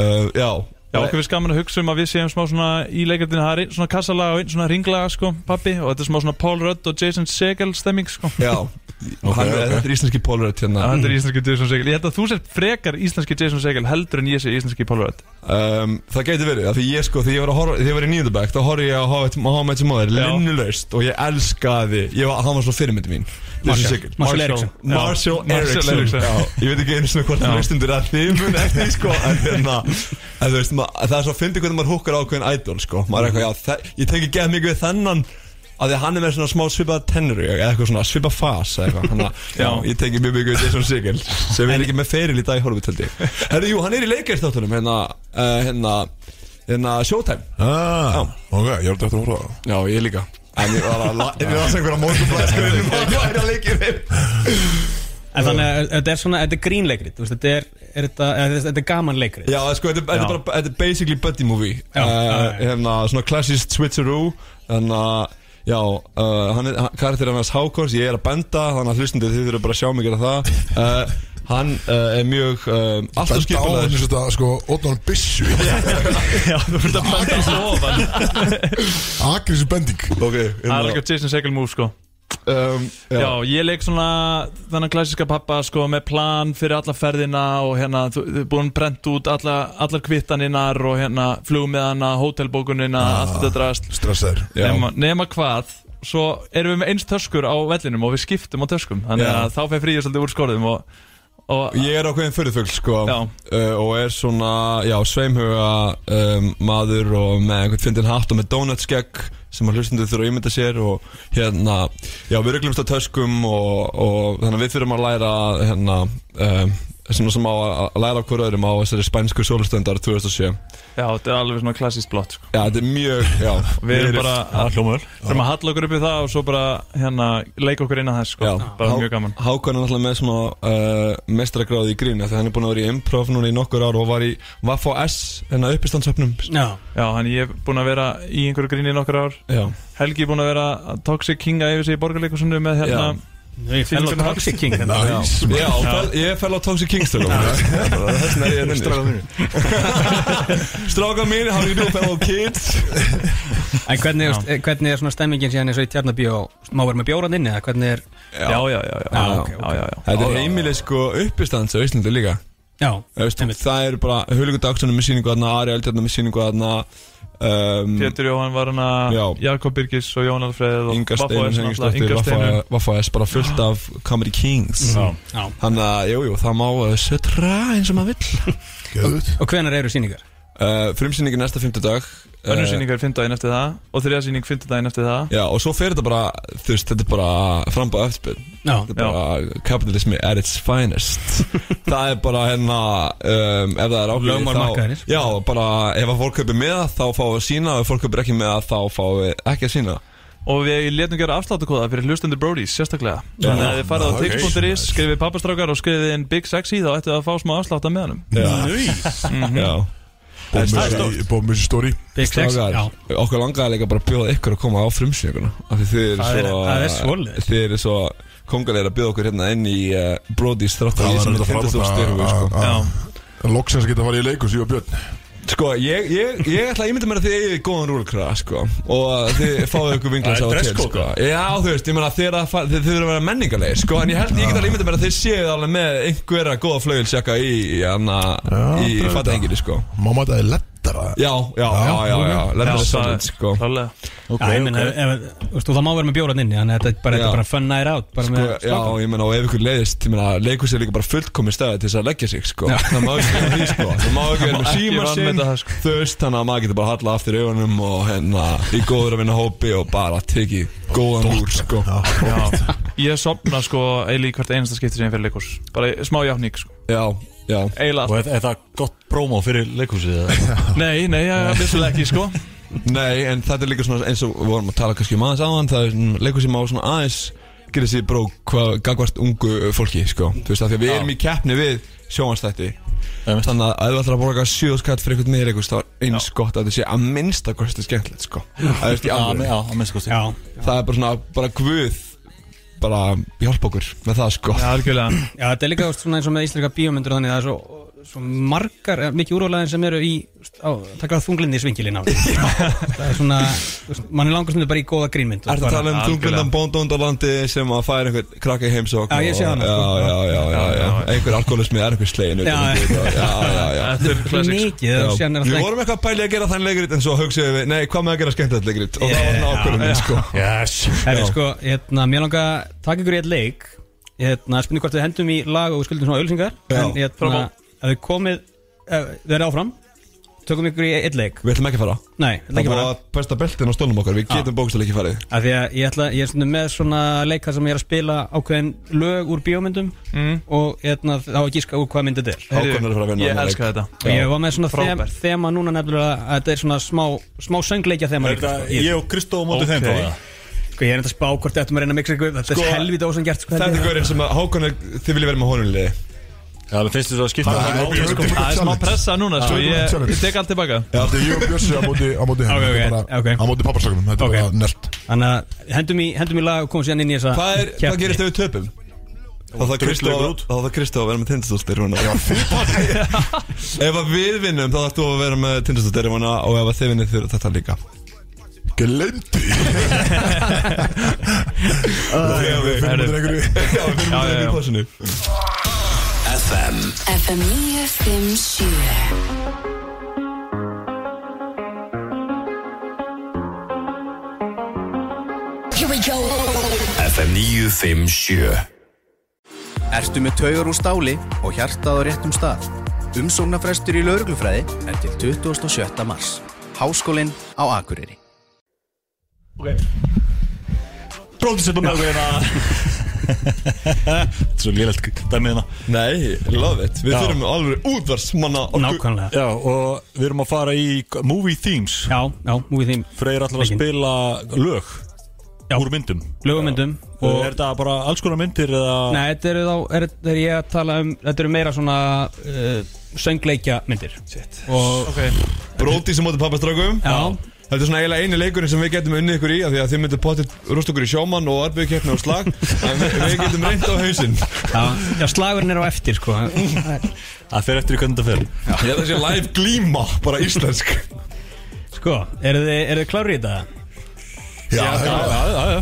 Speaker 6: uh, já,
Speaker 7: Já, okkur við skaman að hugsa um að við séum smá svona í leikardinu, það er einn svona kassalaga og einn svona ringlaga sko, pappi, og þetta er smá svona Paul Rudd og Jason Segel stemming sko Mm.
Speaker 6: Já, hann,
Speaker 3: ok.
Speaker 6: þetta er íslenski póluröð hérna
Speaker 7: Það er íslenski Jason Segel, ég held að þú sér frekar íslenski Jason Segel heldur en ég sé íslenski Paul Rudd
Speaker 6: um, Það gæti verið, af því ég sko, því ég var, að horfa, því ég var í nýjöndabæk Þá horfði ég á How I- How I Met Your Mother,
Speaker 7: Já.
Speaker 6: linnulaust Og ég elskaði, ég var, hann var svo fyrirmyndi mín Jason Segel.
Speaker 2: Marshall Eriksson
Speaker 7: Já.
Speaker 6: Marshall
Speaker 7: Marshall
Speaker 6: Eriksson
Speaker 7: Eriksson.
Speaker 6: Já, Ég veit ekki einu svona hvort það veistundur að þið mun eftir því, sko En hérna en þú veist, mað, Það er svo að fyndi hvernig maður húkkar ákveðin idol sko Maður er eitthvað, já, þe- ég tengi geð mikið við þennan að því að hann er með svona smá svipað tennur eða eitthvað svona svipað fas eða eitthvað hann að, já, ég tengi mjög mikið við Jason Sigel sem er ekki með feril í dag í horfið töldi Herðu, jú, hann er í leikastáttunum hérna, uh, hérna, hérna Showtime
Speaker 3: Ah, ok, ég er þetta að horfa á það
Speaker 6: Já, ég líka En ég var að, la- ég var að segja einhverja mótublæð sko, ég var að læra leikir
Speaker 2: En þannig að þetta er svona, þetta er grínleikrit þú veist, Þetta er, er, þetta, er, þetta er gaman leikrit
Speaker 6: Já, sko, þetta þetta er bara, þetta er basically buddy movie
Speaker 2: Já, já,
Speaker 6: uh,
Speaker 2: já.
Speaker 6: Hérna, svona klassist switcheroo Þannig að, já, uh, hann er, karakter hann er Hákons, ég er að benda Þannig að hlustandi þið þurfum bara að sjá mig gera það uh, Hann uh, er mjög um, Allt og
Speaker 3: Benda á hann
Speaker 6: skipulegur
Speaker 3: eins og þetta, sko, Óttan Bissu
Speaker 7: Já, þú fyrir að benda svo ofan
Speaker 3: Agrissi bending
Speaker 6: Ok,
Speaker 7: Það er
Speaker 6: hérna
Speaker 7: ekki Jason Segel move sko
Speaker 6: um,
Speaker 7: Já,
Speaker 6: já.
Speaker 7: ég leik svona þannig klassiska pappa sko með plan fyrir alla ferðina og hérna þú, þú er búin brent út alla, allar kvittaninnar og hérna flugmiðana, hótelbókunina, allt þetta drast
Speaker 3: Stressaður
Speaker 6: Ah. Já.
Speaker 7: nema, nema hvað svo erum við með eins töskur á vellinum og við skiptum á töskum þannig
Speaker 6: Já.
Speaker 7: að þá fer fríður svolítið úr skorðum og, og
Speaker 6: Ég er ákveðin fyrirfugl sko
Speaker 7: Já.
Speaker 6: uh, og er svona, já, sveimhuga um, maður og með einhvern fyndin hatt og með donutskegg sem að hlustundu þurfa að ímynda sér og hérna, já, við reglumst á töskum og, og þannig að við þurfum að læra hérna, um, svona sem á að að læra af hverju öðrum á þessari spænsku sólustöndar 2007
Speaker 7: já, þetta er alveg svona klassískt blott sko.
Speaker 6: Já, þetta er mjög, já
Speaker 7: við erum bara að,
Speaker 1: hljómaður
Speaker 7: erum að halla okkur upp í það og svo bara hérna, leika okkur inn að þess sko.
Speaker 6: Já.
Speaker 7: bara
Speaker 6: Há-
Speaker 7: mjög gaman
Speaker 6: Hákon er náttúrulega með svona uh, mestragráði í grín af því að hann er búin að vera í improv núna í nokkur ár og var í Vaffo S, hérna uppistandsöfnum
Speaker 2: Já,
Speaker 7: já, hann ég er búin að vera í einhverju gríni í nokkur ár
Speaker 6: Já
Speaker 7: Helgi er búin að vera að toxic kinga yfir sig í borgarleikusinu með hérna
Speaker 6: Já.
Speaker 2: ég finn
Speaker 7: Fylgjum
Speaker 2: á Toxic King hérna.
Speaker 6: Já, já fel, ég fell á Toxic Kingston Þessna er sko. ég henni Stráka mínu Stráka mínu, how you do fellow kids
Speaker 2: En hvernig, þú veist, hvernig er svona stemmingin síðan eins og í Tjarnabíó Má vera með bjóran inni eða hvernig er
Speaker 7: já, já, já, já,
Speaker 2: Já,
Speaker 7: já,
Speaker 2: ok, ok.
Speaker 7: já, já, já.
Speaker 6: Þetta er heimileg sko uppistans á Íslandi líka
Speaker 2: Já,
Speaker 6: Veist,
Speaker 2: einmitt.
Speaker 6: Það eru bara Hulgu Dagssonum með síningu þarna Ari Eldjarnar með síningu þarna um,
Speaker 7: Pétur Jóhann var hann að
Speaker 6: Já.
Speaker 7: Jakob Birgis og Jón Alfreð og
Speaker 6: Inga
Speaker 7: Vaffa
Speaker 6: Steinun
Speaker 7: S náttúrulega,
Speaker 6: Hengingsdóttir
Speaker 7: Inga Steinun
Speaker 6: Vaffa S bara fullt af Comedy Kings
Speaker 1: Já.
Speaker 2: Já.
Speaker 6: Þannig að, jújú, það má uh, sötra eins og maður vill
Speaker 3: Gjöðut
Speaker 2: Og hvenær eru síningar?
Speaker 6: uh, Frumsýningu næsta fimmtudag uh,
Speaker 7: Önnur sýning er fimmtudaginn eftir það og þriða sýning fimmtudaginn eftir það
Speaker 6: Já, og svo fer þetta bara, þú veist, þetta er bara frambað eftirbyr
Speaker 2: Já,
Speaker 6: Þetta er bara kapitalismi at its finest Það er bara hérna um, Ef það er ákveðið
Speaker 2: Lögmál
Speaker 6: þá-
Speaker 2: markaðarins.
Speaker 6: Já, bara ef að fólk kaupir með það Þá fáum við sína, ef fólk kaupir ekki með það Þá fáum við ekki að sína
Speaker 7: og við letum gera afsláttakóða fyrir hlustundur Brodies sérstaklega þannig að þið farið á
Speaker 3: nice.
Speaker 7: tix.is, skrifið pappastrákar og skrifið inn Big Sexy þá ættu það að fá smá afslátt af meðanum
Speaker 2: Mhm.
Speaker 6: Já
Speaker 3: Bóðmissi stóri
Speaker 2: Big Sex
Speaker 6: Strákar,
Speaker 2: Já,
Speaker 6: okkur langaði líka bara að bjóða ykkur að koma á frumsýninguna af því þið eru
Speaker 2: Það er-
Speaker 6: svo
Speaker 2: það er svoleiðis.
Speaker 6: þið eru svo kongalegir að bjóða okkur hérna inn í uh, Brody's þrátt að
Speaker 3: Það
Speaker 6: ég
Speaker 3: var
Speaker 6: sem er
Speaker 3: þetta
Speaker 6: tindast og styrfu sko.
Speaker 3: frábært að Loksins geta farið í leikus, ég og Björn
Speaker 6: Sko, ég, ég, ég ætla að ímynda mér að þið eigið góðan rúlkraða, sko Og þið fáið ykkur vinglas á
Speaker 1: Það er
Speaker 6: til,
Speaker 1: dresscode.
Speaker 6: sko Já, þú veist, ég meina þið, eru að fa- þið, þið eru að vera menningarlegir, sko En ég held ég get alveg ímynda mér að þið séu alveg með einhverja góða flögilsjaka í, hana,
Speaker 3: Já,
Speaker 6: í
Speaker 3: drauga.
Speaker 6: fatahengiri, sko
Speaker 3: Má maður þetta er lettara
Speaker 6: Já, já, já, já, já, lemma þið sannlega, sko
Speaker 7: klálega
Speaker 2: Já, ég meina, ef- ef- þú veist, og það má vera með bjóran inni Þannig að þetta er bara, þetta
Speaker 6: Já.
Speaker 2: er bara fun night out Bara
Speaker 6: Sko,
Speaker 2: með
Speaker 6: já,
Speaker 2: strákum.
Speaker 6: ég meina, og ef ykkur leiðist, ég meina, leikhús er líka bara fullkomin staði til þess að leggja sig, sko Það má ekki vera því, sko Það má ekki vera með
Speaker 7: ekki
Speaker 6: síma sinn,
Speaker 7: vanmeta það, sko.
Speaker 6: þú veist, þannig að maður getur bara halla aftur augunum og hérna í góður að vinna hópi og bara teki góðan úr, sko
Speaker 7: Já. ég sopna sko eiginlega í hvert einasta skipti sem ég fyrir leikurs bara í- smá játning sko.
Speaker 6: Já, já
Speaker 7: eiginlega
Speaker 1: Og
Speaker 7: allt.
Speaker 1: er, er það gott prómó fyrir leikhúsið? eða?
Speaker 7: nei, nei, ég vissulega ekki sko
Speaker 6: Nei, en þetta er líka svona eins og við vorum að tala kannski um aðeins áðan Það er leikhús sem á svona aðeins gerir sér brók hvað gagvart ungu fólki, sko Þú veist, af því að við erum í keppni við sjónvannstætti
Speaker 1: Einmitt.
Speaker 6: Þannig að ef þú ætlar að borga sjöðskatt fyrir eitthvað meira eitthvað, þá er eins gott að þetta sé að minnsta kosti skemmtilegt, sko. Það er,
Speaker 1: Já,
Speaker 6: ja,
Speaker 1: já, að minnst kosti
Speaker 2: já,
Speaker 6: það er bara svona, bara guð, bara hjálpa okkur með það, sko.
Speaker 7: já, algjörlega
Speaker 2: já, þetta er líka þú veist, svona eins og með íslenska bíómyndur og Þannig að það er svo svo margar, eh, mikið úrvalæðin sem eru í á, taka þunglinni svingilin á það er svona, þú veist, mann er langar sem bara í góða grínmynd
Speaker 6: Er það að tala um
Speaker 7: Algjörlega.
Speaker 6: þunglindan bóndóndalandi sem að færa einhver krakka í heimsókn
Speaker 2: Já, ég sé
Speaker 6: og-
Speaker 2: hana, sko.
Speaker 6: Já, já, já, já, já, einhver alkoholismi er einhver slegin
Speaker 2: Já.
Speaker 6: utan um þetta, já, já, já
Speaker 7: Þetta er classic sko.
Speaker 2: mikið, þú sér
Speaker 6: Við
Speaker 2: næra
Speaker 6: vorum eitthvað að pæli að gera þann leikrit en svo hugsiðum við, nei, hvað með að gera skemmtilegt leikrit og það var nákvæmlega, sko
Speaker 1: Yes
Speaker 2: Herri, sko, hérna, mér langa að taka ykkur í eitt leik hérna, spynni hvort við hendum í lag og við skuldum svona ölsingar
Speaker 6: Já,
Speaker 2: en hérna,
Speaker 7: frábá.
Speaker 2: að við komið ef við erum áfram, tökum ykkur í eitt leik
Speaker 6: Við ætlum ekki að fara
Speaker 2: Nei, þetta
Speaker 6: Það
Speaker 2: ekki
Speaker 6: er
Speaker 2: bara
Speaker 6: bara að pesta beltin á stólnum okkar, við getum bókstæl ekki farið
Speaker 2: Af því að ég, ætla, ég er svona með svona leik þar sem ég er að spila ákveðin lög úr bíómyndum og hérna, þá að gíska úr hvað myndið er
Speaker 7: Heyrðu,
Speaker 6: Hákon er að fara að vinna
Speaker 7: Ég
Speaker 6: þennan
Speaker 7: elska þetta
Speaker 2: og ég var með svona þem,
Speaker 7: Frábært.
Speaker 2: þema núna nefnilega að þetta er svona smá, smá söngleikja þema
Speaker 1: Er
Speaker 2: líka,
Speaker 1: þetta
Speaker 2: sko. ég,
Speaker 1: ég og Kristó á móti
Speaker 7: Ok.
Speaker 1: þeim þá eða?
Speaker 2: sko, ég er enda að spá hvort þetta maður reyna að mixa ykkur upp. þetta
Speaker 1: Sko,
Speaker 2: er helvítið ósangert sko,
Speaker 6: Þetta er
Speaker 2: þetta er-
Speaker 6: gaurinn sem að Hákon er, þið viljið vera með honum í liði
Speaker 1: Já, það sko. finnst þér svo að skipta
Speaker 3: Það er
Speaker 1: Ég-
Speaker 3: European
Speaker 7: Það er smá
Speaker 3: Challenge.
Speaker 7: pressa núna sko.
Speaker 3: Já.
Speaker 7: Ég
Speaker 3: Challenge.
Speaker 7: ég tek allt
Speaker 3: Já,
Speaker 7: tilbaka
Speaker 3: Þetta er Jón Björnsi á móti á móti henni. Þetta
Speaker 2: Ok,
Speaker 3: er bara-
Speaker 2: ok, ok.
Speaker 3: Á móti papparsögnum, þetta er
Speaker 2: Ok.
Speaker 3: bara nelt
Speaker 2: þannig að hendum í, hendum í lag og komum síðan inn í þessa
Speaker 6: Hvað er, hvað
Speaker 2: keppni.
Speaker 6: gerist ef við töpum? Þá þarf Kristó
Speaker 1: drullegur
Speaker 6: þá þarf Kristó að vera með tindastóttir hún Ef að við vinnum þá þarf þú að vera með tindastóttir hún og ef að þið vinnum þurfa þetta líka
Speaker 3: Glemdi Þegar við finnum þetta einhverju
Speaker 6: Já, við finnum þetta í pásinu
Speaker 5: FM 957
Speaker 9: FM 957
Speaker 10: Ertu með taugar úr stáli og hjartað á réttum stað? Umsóknarfrestur í lauruglufræði er til 27. mars. Háskólinn á Akureyri.
Speaker 1: Bróðis upp á mjög hérna Svo lélegt dæmið hérna
Speaker 6: Nei, love it, við
Speaker 1: Já.
Speaker 6: þurfum alveg útvarsmanna
Speaker 2: nákvæmlega
Speaker 1: Já, og við erum að fara í movie themes
Speaker 2: já, já, múið þeim
Speaker 1: Freyr allar að
Speaker 2: Leikinn.
Speaker 1: spila lög
Speaker 2: Já.
Speaker 1: Úr myndum
Speaker 2: lögumyndum
Speaker 1: Og
Speaker 2: og
Speaker 1: er þetta bara alls konar myndir eða
Speaker 2: Nei, þetta eru þá, er, er ég að tala um, þetta eru meira svona uh, söngleikja myndir Shit. Og
Speaker 6: Bróti sem móti pappastrákum
Speaker 2: Já.
Speaker 6: Þetta er svona eiginlega eini leikurinn sem við getum unnið ykkur í af Því að þið myndir potið rúst okkur í sjómann og arbeigkeppni og slag En við, við getum reynd á hausinn
Speaker 2: Já, já slagurinn er á eftir sko
Speaker 1: Það fer eftir í hvernig það fer
Speaker 6: Ég held að það sé live glíma, bara íslensk
Speaker 2: Sko, eru þið, eru þið klári í þetta?
Speaker 3: Já, já,
Speaker 1: já, já, já.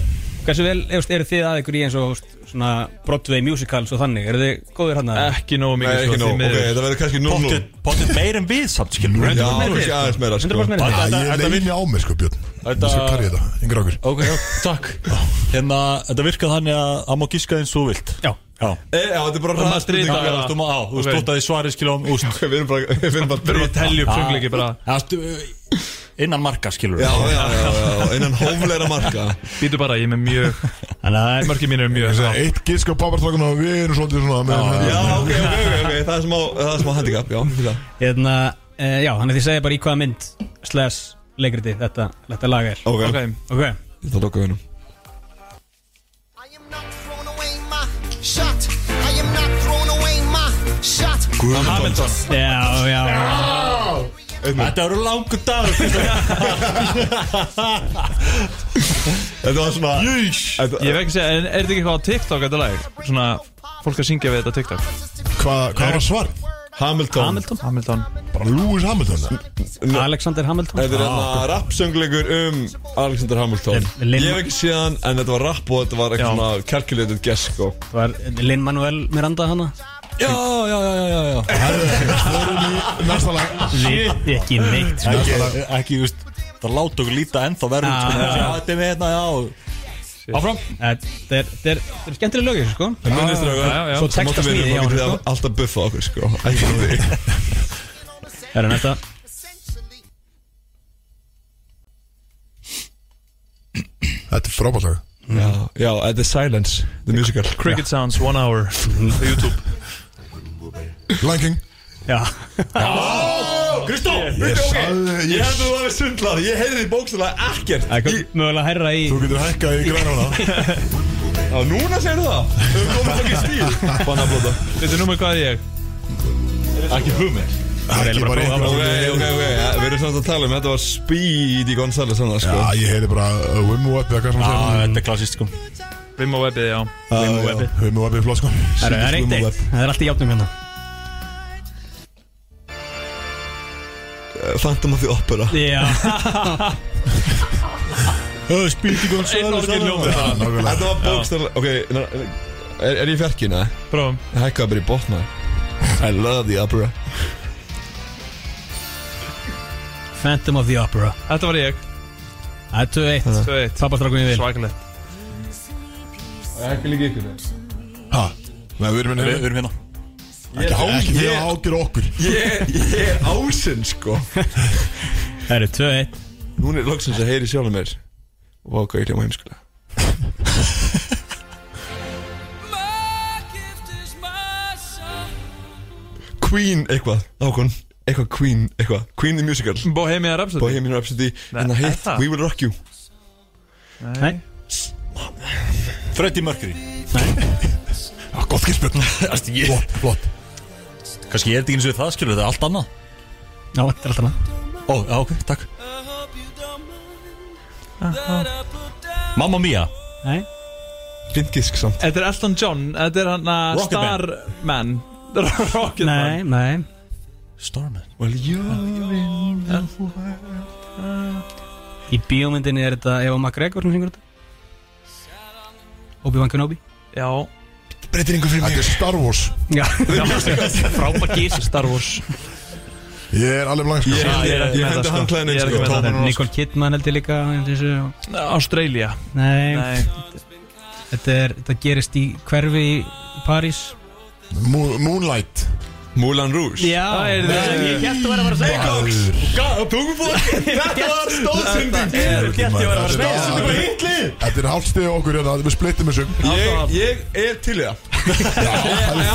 Speaker 2: Hversu vel, eftir, eru þið að ykkur í eins og þú veist, svona Broadway musicals og þannig? Eru þið góðir hann að
Speaker 7: Ekki nógu
Speaker 6: Nei,
Speaker 7: mikið
Speaker 6: ekki
Speaker 7: sko,
Speaker 6: nóg,
Speaker 7: því
Speaker 6: ok,
Speaker 7: miður.
Speaker 6: þetta verður kannski 0-0
Speaker 1: Pottet, pottet meir en við samt sko. skilur
Speaker 6: Já, kannski aðeins meira sko
Speaker 2: 100% meira?
Speaker 1: Þetta-
Speaker 3: Ég
Speaker 1: þetta-
Speaker 3: leini á mig sko Björn Ég skal karja þetta, yngra okkur
Speaker 1: Ok, já, takk Hérna, þetta virkað þannig að það má gíska eins og þú vilt
Speaker 2: Já.
Speaker 1: Já
Speaker 6: E, já, þetta er bara
Speaker 7: maður
Speaker 6: ræðspurning
Speaker 7: strita.
Speaker 1: Það er stóma á, þú
Speaker 7: Ok.
Speaker 1: stótaði svarið skilum um, úst
Speaker 6: Við erum bara, við erum bara
Speaker 7: Þurfum að telja upp söngleiki bara
Speaker 1: Það stu, innan marka skilur
Speaker 6: Já, já, já, já, innan hófleira marka
Speaker 7: Býtu bara, ég er með mjög
Speaker 2: Þannig að það er
Speaker 7: Mörkið mín er mjög
Speaker 3: Þessi
Speaker 7: há.
Speaker 3: Eitt gísk á papparsögnum og við erum svolítið svona með-
Speaker 6: Já, ok, ok, ok, ok, það er smá, það er smá handicap, já, fyrir það
Speaker 2: hérna, e, Já, þannig að þið segja bara í hvaða mynd slash leikriti þetta, þetta lag er
Speaker 6: Ok,
Speaker 7: Ok,
Speaker 2: Ok,
Speaker 6: ég ætla að loka hennum
Speaker 7: Hamilton
Speaker 2: já, já, já
Speaker 1: Þetta eru langur dagur
Speaker 6: Þetta var svona
Speaker 1: Jís
Speaker 6: þetta-
Speaker 7: Ég veit ekki að segja, en er þetta ekki eitthvað á TikTok þetta lag? Svona, fólk að syngja við þetta á TikTok
Speaker 3: Hvað hvað var svarið?
Speaker 6: Hamilton
Speaker 2: Hamilton,
Speaker 7: Hamilton
Speaker 3: Bara Lewis Hamilton
Speaker 2: Alexander Hamilton
Speaker 6: Þetta er hérna rappsöngleikur um Alexander Hamilton
Speaker 2: Lin-
Speaker 6: Ég hef ekki séð hann, en þetta var rapp og þetta var
Speaker 7: Já.
Speaker 6: eitthvað svona calculated guess, sko
Speaker 2: Var Lin-Manuel Miranda hana?
Speaker 1: Já, já, já, já, já
Speaker 3: Næsta lag
Speaker 2: Shit, ekki neitt sko.
Speaker 1: Ekki, ekki, úst Það láta okkur líta ennþá verður
Speaker 2: Já,
Speaker 1: sko.
Speaker 2: já, já. Eh,
Speaker 1: Já, Þetta er með hérna, já Áfram
Speaker 2: Þetta er, þetta er, þetta er skemmtilega lögir, sko
Speaker 6: En munið þér að
Speaker 7: já, já.
Speaker 6: Svo
Speaker 2: Texta
Speaker 6: texta
Speaker 2: smíði, já,
Speaker 6: smíði, já
Speaker 2: sko.
Speaker 6: Alltaf buffa okkur, sko Ekki því
Speaker 2: Það er næsta
Speaker 3: Þetta er frábært lag
Speaker 6: Já, já, þetta er Silence, the musical
Speaker 7: Cricket Sounds, One Hour á YouTube
Speaker 3: Lion King
Speaker 2: Já,
Speaker 6: Kristó,
Speaker 3: Ég
Speaker 6: veitu, ok
Speaker 3: sagði-
Speaker 6: Ég
Speaker 3: ég-
Speaker 6: held að þú hafið sundlað, ég heyrði því bókstæðlega ekkert
Speaker 2: það er mögulega hærra í
Speaker 3: Þú getur hækkað í græna hana
Speaker 6: Já, núna segir það Þau komum ekki stíl Banna blóta
Speaker 7: Þetta er númer hvað er ég?
Speaker 6: Ekki hugmynd
Speaker 3: Ekki bara
Speaker 6: Ok,
Speaker 3: einhver
Speaker 6: ok, ok ja, Við erum samt að tala um Þetta var Speedy Gonzales Þannig sko
Speaker 3: Já, ég heyri bara uh, Wim og Webbi eða hvað sem
Speaker 1: Já,
Speaker 2: Ah,
Speaker 3: hann
Speaker 1: þetta er klassist sko
Speaker 7: Vim á webið, já
Speaker 3: segir Wim og Webbi Wim og Webbi er flott sko
Speaker 2: Það er eitt eitt, það er alltaf játnum hérna
Speaker 6: uh, Phantom of the Opera
Speaker 2: Já,
Speaker 1: Spýti góðan
Speaker 7: Einn orgin ljómið það
Speaker 6: Þetta var bókstæðan Ok, er, er ég fjarkina?
Speaker 7: Prófum
Speaker 6: Hækkaði bara í botna I love the opera
Speaker 2: Phantom of the Opera
Speaker 7: Þetta var ég
Speaker 2: Það er 2-1
Speaker 7: 2-1
Speaker 2: Tapastrákunni vil
Speaker 7: Svakalegt
Speaker 6: Ekki líka ykkur það
Speaker 3: Hæ? Nei, við erum hérna
Speaker 1: Við erum hérna
Speaker 3: Ekki ágjur, ég ágjur okkur
Speaker 6: Ég, ég er ásinn sko
Speaker 2: Það eru 2-1
Speaker 6: Núna er loksins að heyri sjálfum mér Vá, hvað ég hljóma heimskulega Queen eitthvað Ákon Eitthvað Queen eitthvað Queen the Musical
Speaker 7: Bohemia Rhapsody
Speaker 6: Bohemian Rhapsody
Speaker 7: Nei,
Speaker 6: En það
Speaker 7: er
Speaker 6: hitt
Speaker 7: það?
Speaker 6: We Will Rock You
Speaker 2: Nei
Speaker 1: Freddie Mercury Ah,
Speaker 3: Já, Gott gilspjörn Flott, flott
Speaker 1: Kanski ég er þetta ekki eins og það skilur þetta er allt annað
Speaker 2: Já, þetta er alltaf annað
Speaker 1: Ó, já, ok, takk Mamma Mia
Speaker 2: Nei
Speaker 6: Blindgisk samt
Speaker 7: Þetta er Elton John Þetta er hann að Starman Rocketman
Speaker 2: Nei, nei
Speaker 1: Starman
Speaker 6: Well you're in
Speaker 2: Í bíómyndinni er þetta Eva McGregor sem syngur þetta Obi-Wan Kenobi
Speaker 7: Já
Speaker 6: Breytir yngur fyrir
Speaker 3: Þetta er Star Wars
Speaker 2: Já Frábær gís Star Wars
Speaker 3: Ég er alveg blank sko
Speaker 7: Ég er ekki með
Speaker 6: Ég hendi
Speaker 7: það sko
Speaker 6: handklæðinu
Speaker 7: Ég er ekki
Speaker 6: sko.
Speaker 7: með það
Speaker 3: Tóman og-
Speaker 2: Nicole Kidman held ég líka eins og þessu.
Speaker 7: Ástralja
Speaker 2: Nei,
Speaker 7: Nei
Speaker 2: Þetta, er, þetta gerist í hverfi í París
Speaker 3: Mo- Moonlight
Speaker 6: Moulin Rouge
Speaker 2: Það er það Ég held að vera að vera að
Speaker 6: Þetta er
Speaker 3: Þetta er-
Speaker 6: hitli
Speaker 3: Þetta er hálfstegið okkur hérna Við splittum þessu
Speaker 6: Ég, ég er til í það
Speaker 7: Já,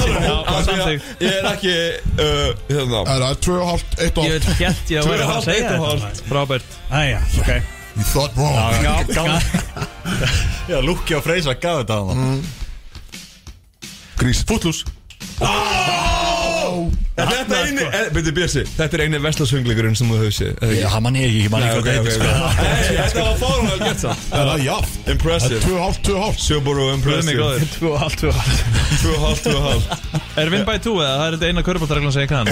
Speaker 6: Ég- Ég er ekki uh, Hérna
Speaker 3: Það er að tvö og hálft, eitt og
Speaker 2: Ég
Speaker 3: hálft
Speaker 2: veit gett ég að vera að
Speaker 6: Tvö og
Speaker 2: fara
Speaker 6: hálft,
Speaker 2: að segja
Speaker 6: eitt og
Speaker 2: þetta
Speaker 6: hálft.
Speaker 7: Robert
Speaker 2: Æja, ok
Speaker 3: You thought wrong
Speaker 1: Já, Lukki og Freysa gaf þetta að hann
Speaker 3: Grís
Speaker 1: Footloose
Speaker 6: Þetta er eini eh, Byrju Bjössi Þetta er eini veslasöngleikurinn sem þú hefur séð eða ekki?
Speaker 1: Já, hann mann ég ekki, mann
Speaker 6: Nei,
Speaker 1: ekki
Speaker 6: ok,
Speaker 1: hvað
Speaker 6: ok,
Speaker 1: þetta
Speaker 6: ok.
Speaker 1: heitir sko.
Speaker 6: Nei, Þetta var fárunlega gett samt
Speaker 3: Það er jaft Það er
Speaker 6: Impressive
Speaker 3: tvö og hálft, tvö og hálft
Speaker 6: Sjöbúru
Speaker 7: Guðmi
Speaker 6: impressive
Speaker 7: góður 2,5 2,5
Speaker 6: Tvö og hálf, tvö og hálf
Speaker 7: Er win by 2 eða það er þetta eina körbóltarreglan sem ég kann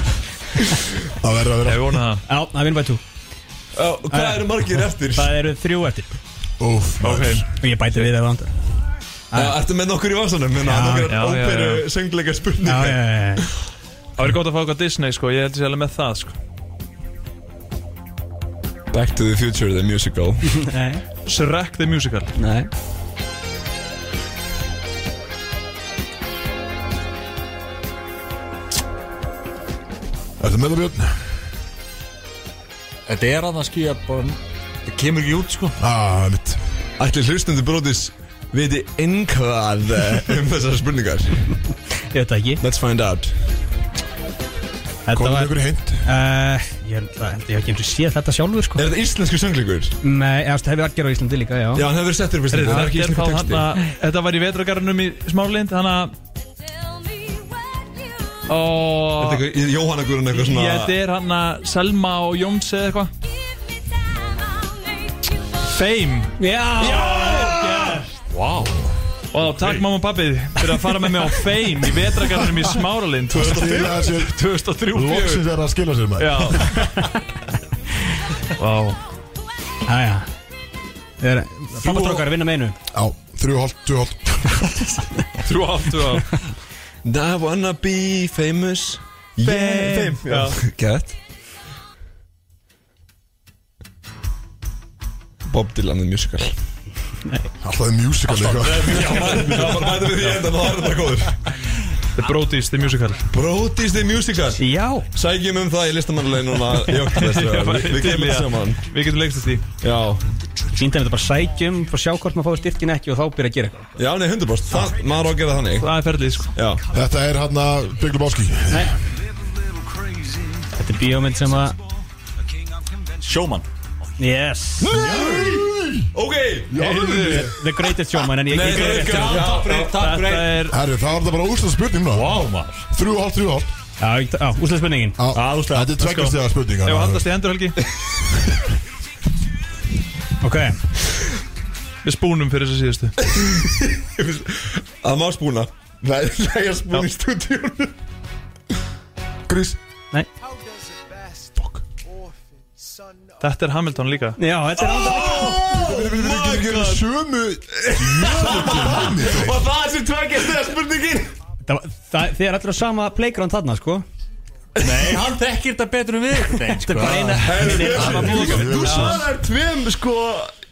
Speaker 3: Það verður að vera
Speaker 7: Ég vona það
Speaker 2: Já, það er vinnbæð 2
Speaker 6: Á, Hvað eru margir eftir?
Speaker 2: Það eru þrjú eftir
Speaker 3: Úf
Speaker 7: Ok
Speaker 2: Og ég bæti við ef það andar
Speaker 6: Já, Ertu með nokkur í vasanum? Minna, nokkur
Speaker 7: já, já,
Speaker 6: óperu söngleika
Speaker 2: Já, já,
Speaker 6: spurningar
Speaker 2: já, já
Speaker 7: Það verður gott að fá eitthvað Disney sko Ég held að sé alveg með það sko
Speaker 6: Back to the Future, the musical
Speaker 2: Nei,
Speaker 7: Shrek the Musical
Speaker 2: nei
Speaker 3: Er það með það björn?
Speaker 1: Þetta er að það skýja bara Það kemur ekki út sko
Speaker 3: Ah, mitt
Speaker 6: Ætli hlustundu bróðis viti einhvað eh, um þessar spurningar
Speaker 2: Ég veit það ekki
Speaker 6: Let's find out
Speaker 2: Þetta
Speaker 3: Komum við
Speaker 2: var
Speaker 3: ykkur í hint
Speaker 2: Uh, ég held að held ég hef ekki eins og séð þetta sjálfur sko
Speaker 6: Er þetta íslensku söngleikur?
Speaker 2: Nei, eða það hefur algjör á Íslandi líka, já
Speaker 6: Já, hann hefur settur fyrst
Speaker 7: Þetta
Speaker 6: Það er
Speaker 7: er
Speaker 6: ekki
Speaker 7: þá
Speaker 6: íslensku texti
Speaker 7: þarna Þetta var í vetragarunum í smálind Þannig að
Speaker 6: Þetta
Speaker 7: Ó
Speaker 6: er eitthvað- Jóhanna Guðrún eitthvað
Speaker 7: Ég
Speaker 6: svona
Speaker 7: þetta er hann að Selma og Jóns eða eitthvað Fame
Speaker 2: Já,
Speaker 1: Vá
Speaker 7: Og takk mamma og pappi fyrir að fara með mig á Fame í vetragarunum í Smáralind
Speaker 3: Skila sér
Speaker 7: 2003
Speaker 3: Loksins er það að skila sér maður
Speaker 7: Já Vá
Speaker 2: já, já. Það er Pappastrókar vinna með einu
Speaker 3: Já, þrjú og hálft, tvö og hálft
Speaker 7: Þrjú áttu á
Speaker 6: I wanna be famous
Speaker 7: Fame, já.
Speaker 6: Gætt Bob Dylan the musical
Speaker 3: Alltaf sko. er musical eitthvað
Speaker 6: Það var bæta við því enda Það var þetta góður
Speaker 7: The Brodies, The Musical
Speaker 6: Brody's the musical
Speaker 2: Já
Speaker 6: Sækjum um það í listamannlegin núna í
Speaker 7: Ég
Speaker 6: oktober
Speaker 7: var
Speaker 6: Við
Speaker 7: til í
Speaker 6: kemum
Speaker 7: það.
Speaker 6: saman
Speaker 7: Við getum leikstast því
Speaker 6: Já
Speaker 2: Sýndaðum þetta bara sækjum, fór sjá hvort maður fáið styrkin ekki og þá byrja að gera eitthvað
Speaker 6: Já, nei, 100% Það, maður á að gera þannig
Speaker 7: Það er ferlið sko
Speaker 6: Já
Speaker 3: Þetta er hérna hann að Bygglu Báski
Speaker 2: Þetta er bíómynd sem að
Speaker 1: Sjóman
Speaker 2: Yes
Speaker 6: Ok
Speaker 2: The Greatest Showman en ég
Speaker 6: Nei,
Speaker 2: ég-
Speaker 6: það er ekki Takk fyrir, takk fyrir
Speaker 7: Þetta er
Speaker 3: Herru, það var þetta bara úrstæða spurning núna
Speaker 1: Vá maður
Speaker 3: Þrjú og hálft, þrjú og hálft
Speaker 2: Já, ég- já, úrslagsspurningin
Speaker 3: Já,
Speaker 1: Já, úrslita.
Speaker 3: Þetta er tveggjast þegar spurning
Speaker 7: Ef
Speaker 3: hann
Speaker 7: að
Speaker 3: að-
Speaker 7: haldast í hendur Helgi
Speaker 2: Ok
Speaker 7: Við spúnum fyrir þessu síðustu
Speaker 6: Að má spúna
Speaker 3: Nei, lægja spurning í stúdíun Gris
Speaker 2: Nei.
Speaker 3: Fuck
Speaker 7: Þetta er Hamilton líka
Speaker 2: Já, þetta er alltaf
Speaker 6: Oh
Speaker 3: Við erum ekki að gera sömu Jöfnum
Speaker 6: Og það sem tvekja stegja spurningin
Speaker 2: Það, var- það, þið er allir á sama playground þarna sko
Speaker 1: Nei, hann þekkir þetta betur en við Nei,
Speaker 2: Þetta er bara eina Þetta er sama músík.
Speaker 6: Þú svarar tveim sko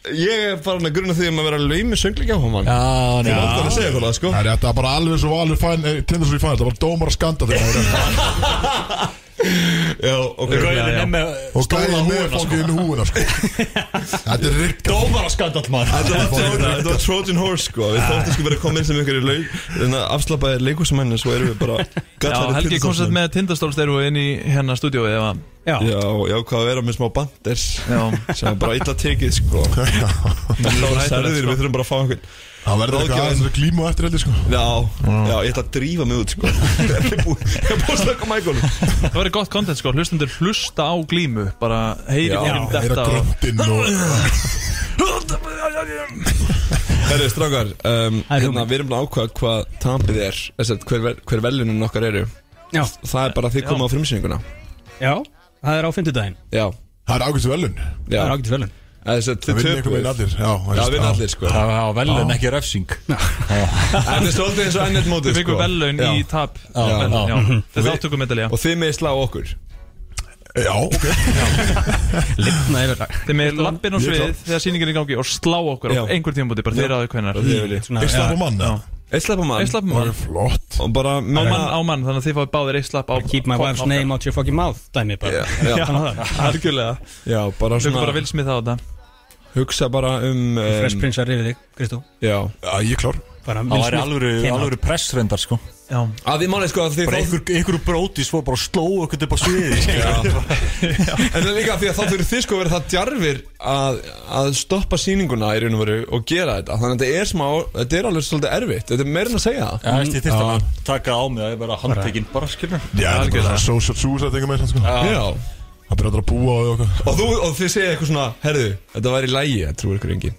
Speaker 6: Ég er farin að gruna því um að vera laumi söngleikja á homan Já,
Speaker 1: hann
Speaker 6: já Það er að segja eitthvað sko
Speaker 3: Það er þetta bara alveg svo alveg fæn Tindur svo í fæn Það var dómar að skanda þegar
Speaker 6: Já, ok
Speaker 1: Gauðin er með
Speaker 3: Og
Speaker 1: stóla
Speaker 3: gæði með
Speaker 1: húuna sko
Speaker 3: fangið inn í húuna sko Þetta er rigg
Speaker 1: Dómar að skandall maður
Speaker 6: Þetta var Trojan- þetta var Trojan Horse sko Við þóttum sko verið að koma inn sem ykkur í afslappaði leikúsamenn en svo erum við bara
Speaker 7: Já,
Speaker 6: gallaðir
Speaker 7: Helgi komst
Speaker 6: tindastólsmenn.
Speaker 7: með tindastólsteiru inn í hérna stúdíói eða
Speaker 2: Já,
Speaker 6: Já, já, hvað að vera með smá banders
Speaker 7: Já.
Speaker 6: sem er bara illa tekið sko Það var sko.
Speaker 7: sko.
Speaker 6: særðir, við þurfum bara að fá einhvern
Speaker 3: Það verður eitthvað
Speaker 6: Ráðgjafinn.
Speaker 3: aðeins að glíma á eftir heldur sko
Speaker 6: Já, já, ég ætla að drífa mig út sko Ég er búið ég er búið að slöka mækónum
Speaker 7: Það verður gott content sko, hlustundur hlusta á glímu Bara heyri
Speaker 6: Já,
Speaker 7: fyrir
Speaker 3: Heyra
Speaker 7: þetta og...
Speaker 3: gröntinn og
Speaker 6: Herri, strákar, um,
Speaker 2: er
Speaker 6: hérna,
Speaker 2: hugmynd.
Speaker 6: við erum búin að ákvaða hvað tampið er þess að hver, vel- hver velunin okkar eru
Speaker 2: já,
Speaker 6: Það er bara að þið koma á frumsýninguna
Speaker 2: já Það er á fimmtudaginn
Speaker 6: Já,
Speaker 3: Það er ágæstu velun
Speaker 6: já
Speaker 2: Það er ágætt fjölun
Speaker 6: Þess að
Speaker 3: Það
Speaker 6: þið
Speaker 3: vinna einhvern
Speaker 6: töpuð
Speaker 3: veginn allir Já,
Speaker 6: Já, við erum allir sko
Speaker 1: Það var vel en ekki refsing
Speaker 6: Þetta er svolítið eins og ennett mótið sko.
Speaker 7: Við fengum vellaun
Speaker 6: Já.
Speaker 7: í
Speaker 6: Mhm.
Speaker 7: tap
Speaker 1: já.
Speaker 7: Þetta er
Speaker 6: Við-
Speaker 7: þáttökum medalja
Speaker 6: Og þið meði slá okkur
Speaker 3: Já, ok
Speaker 2: Lifna yfir það
Speaker 7: Þeir með lappin á
Speaker 6: Ég er
Speaker 7: svið
Speaker 6: klár.
Speaker 7: þegar sýningin er í gangi og slá okkur á
Speaker 6: Já.
Speaker 7: einhver tímabúti bara þeir aðeins hvenar
Speaker 6: Þið viljið.
Speaker 2: Svona,
Speaker 3: Eitt slapp á
Speaker 2: já,
Speaker 3: mann eða?
Speaker 6: Eitt slapp á mann
Speaker 7: Eitt slapp á mann.
Speaker 3: Flott
Speaker 6: Og bara
Speaker 7: á
Speaker 6: menna
Speaker 7: mann, á mann, þannig að þið fáið báðir eitt slapp á
Speaker 2: Keep my
Speaker 7: á-
Speaker 2: wife's
Speaker 7: á-
Speaker 2: name out your fucking mouth Dæmi bara
Speaker 6: Já, já,
Speaker 2: Þannig að það.
Speaker 7: Algjörlega
Speaker 6: já, bara
Speaker 7: Þau bara
Speaker 6: svona
Speaker 7: vil smið það á þetta
Speaker 6: Hugsa bara um um,
Speaker 2: Fresh Prince að rifið þig, Kristó
Speaker 6: Já
Speaker 3: Já, ég er klár
Speaker 2: Bara
Speaker 1: Það
Speaker 2: Will
Speaker 1: væri
Speaker 2: Smith
Speaker 1: alvöru,
Speaker 2: came out.
Speaker 1: alvöru pressrendar sko
Speaker 7: Já,
Speaker 6: Að því málið sko að þið
Speaker 1: Bara
Speaker 6: þá
Speaker 1: einhver, einhverju bróti svo bara slóu okkur upp á sviði skilur.
Speaker 6: En það er líka því að þá þurfið þið sko að vera það djarfir að, að stoppa sýninguna í raun og veru og gera þetta Þannig að þetta er smá, þetta er alveg svolítið erfitt Þetta er meirin að segja það
Speaker 1: Já, veist, Ég þyrst að taka á mig að ég vera handtekinn bara skilur
Speaker 3: Já, það er bara svona social suicide einhver með sko.
Speaker 6: Já
Speaker 3: Það byrjar allir að búa á því og eitthvað
Speaker 6: Og, þú, og þið segja eitthvað svona, herðu, þetta væri í lægi, þetta trúir ykkur enginn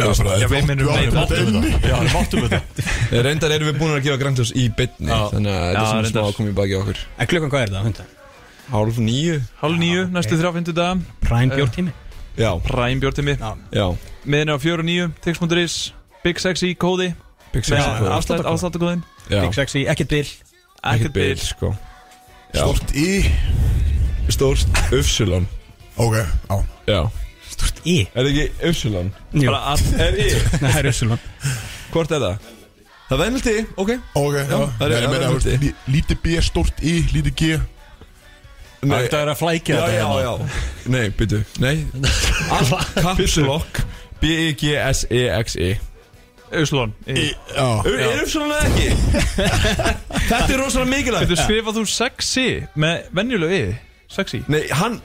Speaker 3: Já, bara,
Speaker 7: Já, við minnum- við
Speaker 3: þetta er inni
Speaker 1: Já, við máttum þetta
Speaker 6: Reyndar erum við búin að gefa græntjós í bytni Þannig að þetta
Speaker 7: Já,
Speaker 6: er svona smá
Speaker 7: reyndar.
Speaker 6: að koma í baki á okkur
Speaker 2: En klukkan hvað er það, hundar?
Speaker 6: Hálf nýju
Speaker 7: hálf nýju, næstu þrjá fyndu dag
Speaker 2: Prime bjór tími
Speaker 6: Já,
Speaker 7: Ræm bjórtimi,
Speaker 6: já
Speaker 7: miðin er á fjóru nýju Tix.is, Big Sexy, Kóði
Speaker 6: Big Sexy Kóði.
Speaker 7: Afsláttakóðin
Speaker 6: sko. Já,
Speaker 2: Big sexy, ekkert bil
Speaker 7: Ekkert bil
Speaker 6: sko Já.
Speaker 3: Stort í
Speaker 6: Stórt Upsilon
Speaker 3: Ok, á
Speaker 6: Já
Speaker 2: Í
Speaker 6: Er það ekki Upsilon?
Speaker 2: Jú,
Speaker 7: Bara all-
Speaker 6: Er í
Speaker 2: það er Russulman
Speaker 6: Hvort er það? Það er venjalt í, ok
Speaker 3: Ok, já
Speaker 6: það er-
Speaker 3: Nei, ég
Speaker 6: það
Speaker 3: meina,
Speaker 6: er
Speaker 3: þú veist,
Speaker 6: úti.
Speaker 3: lí- Lítið B, stort í, lítið G
Speaker 1: Þetta er að flækja
Speaker 6: Já,
Speaker 1: þetta
Speaker 6: já, já Nei, byttu Nei Allt Caps Lock E B-E-G-S-E-X-E
Speaker 7: Auslón Í-
Speaker 3: Já
Speaker 6: Er Upsilon eða ekki? Þetta er rosalega
Speaker 7: Þú
Speaker 6: mikilvægt
Speaker 7: skrifað þú sexy með venjulegu yði Sexy
Speaker 6: Nei, hann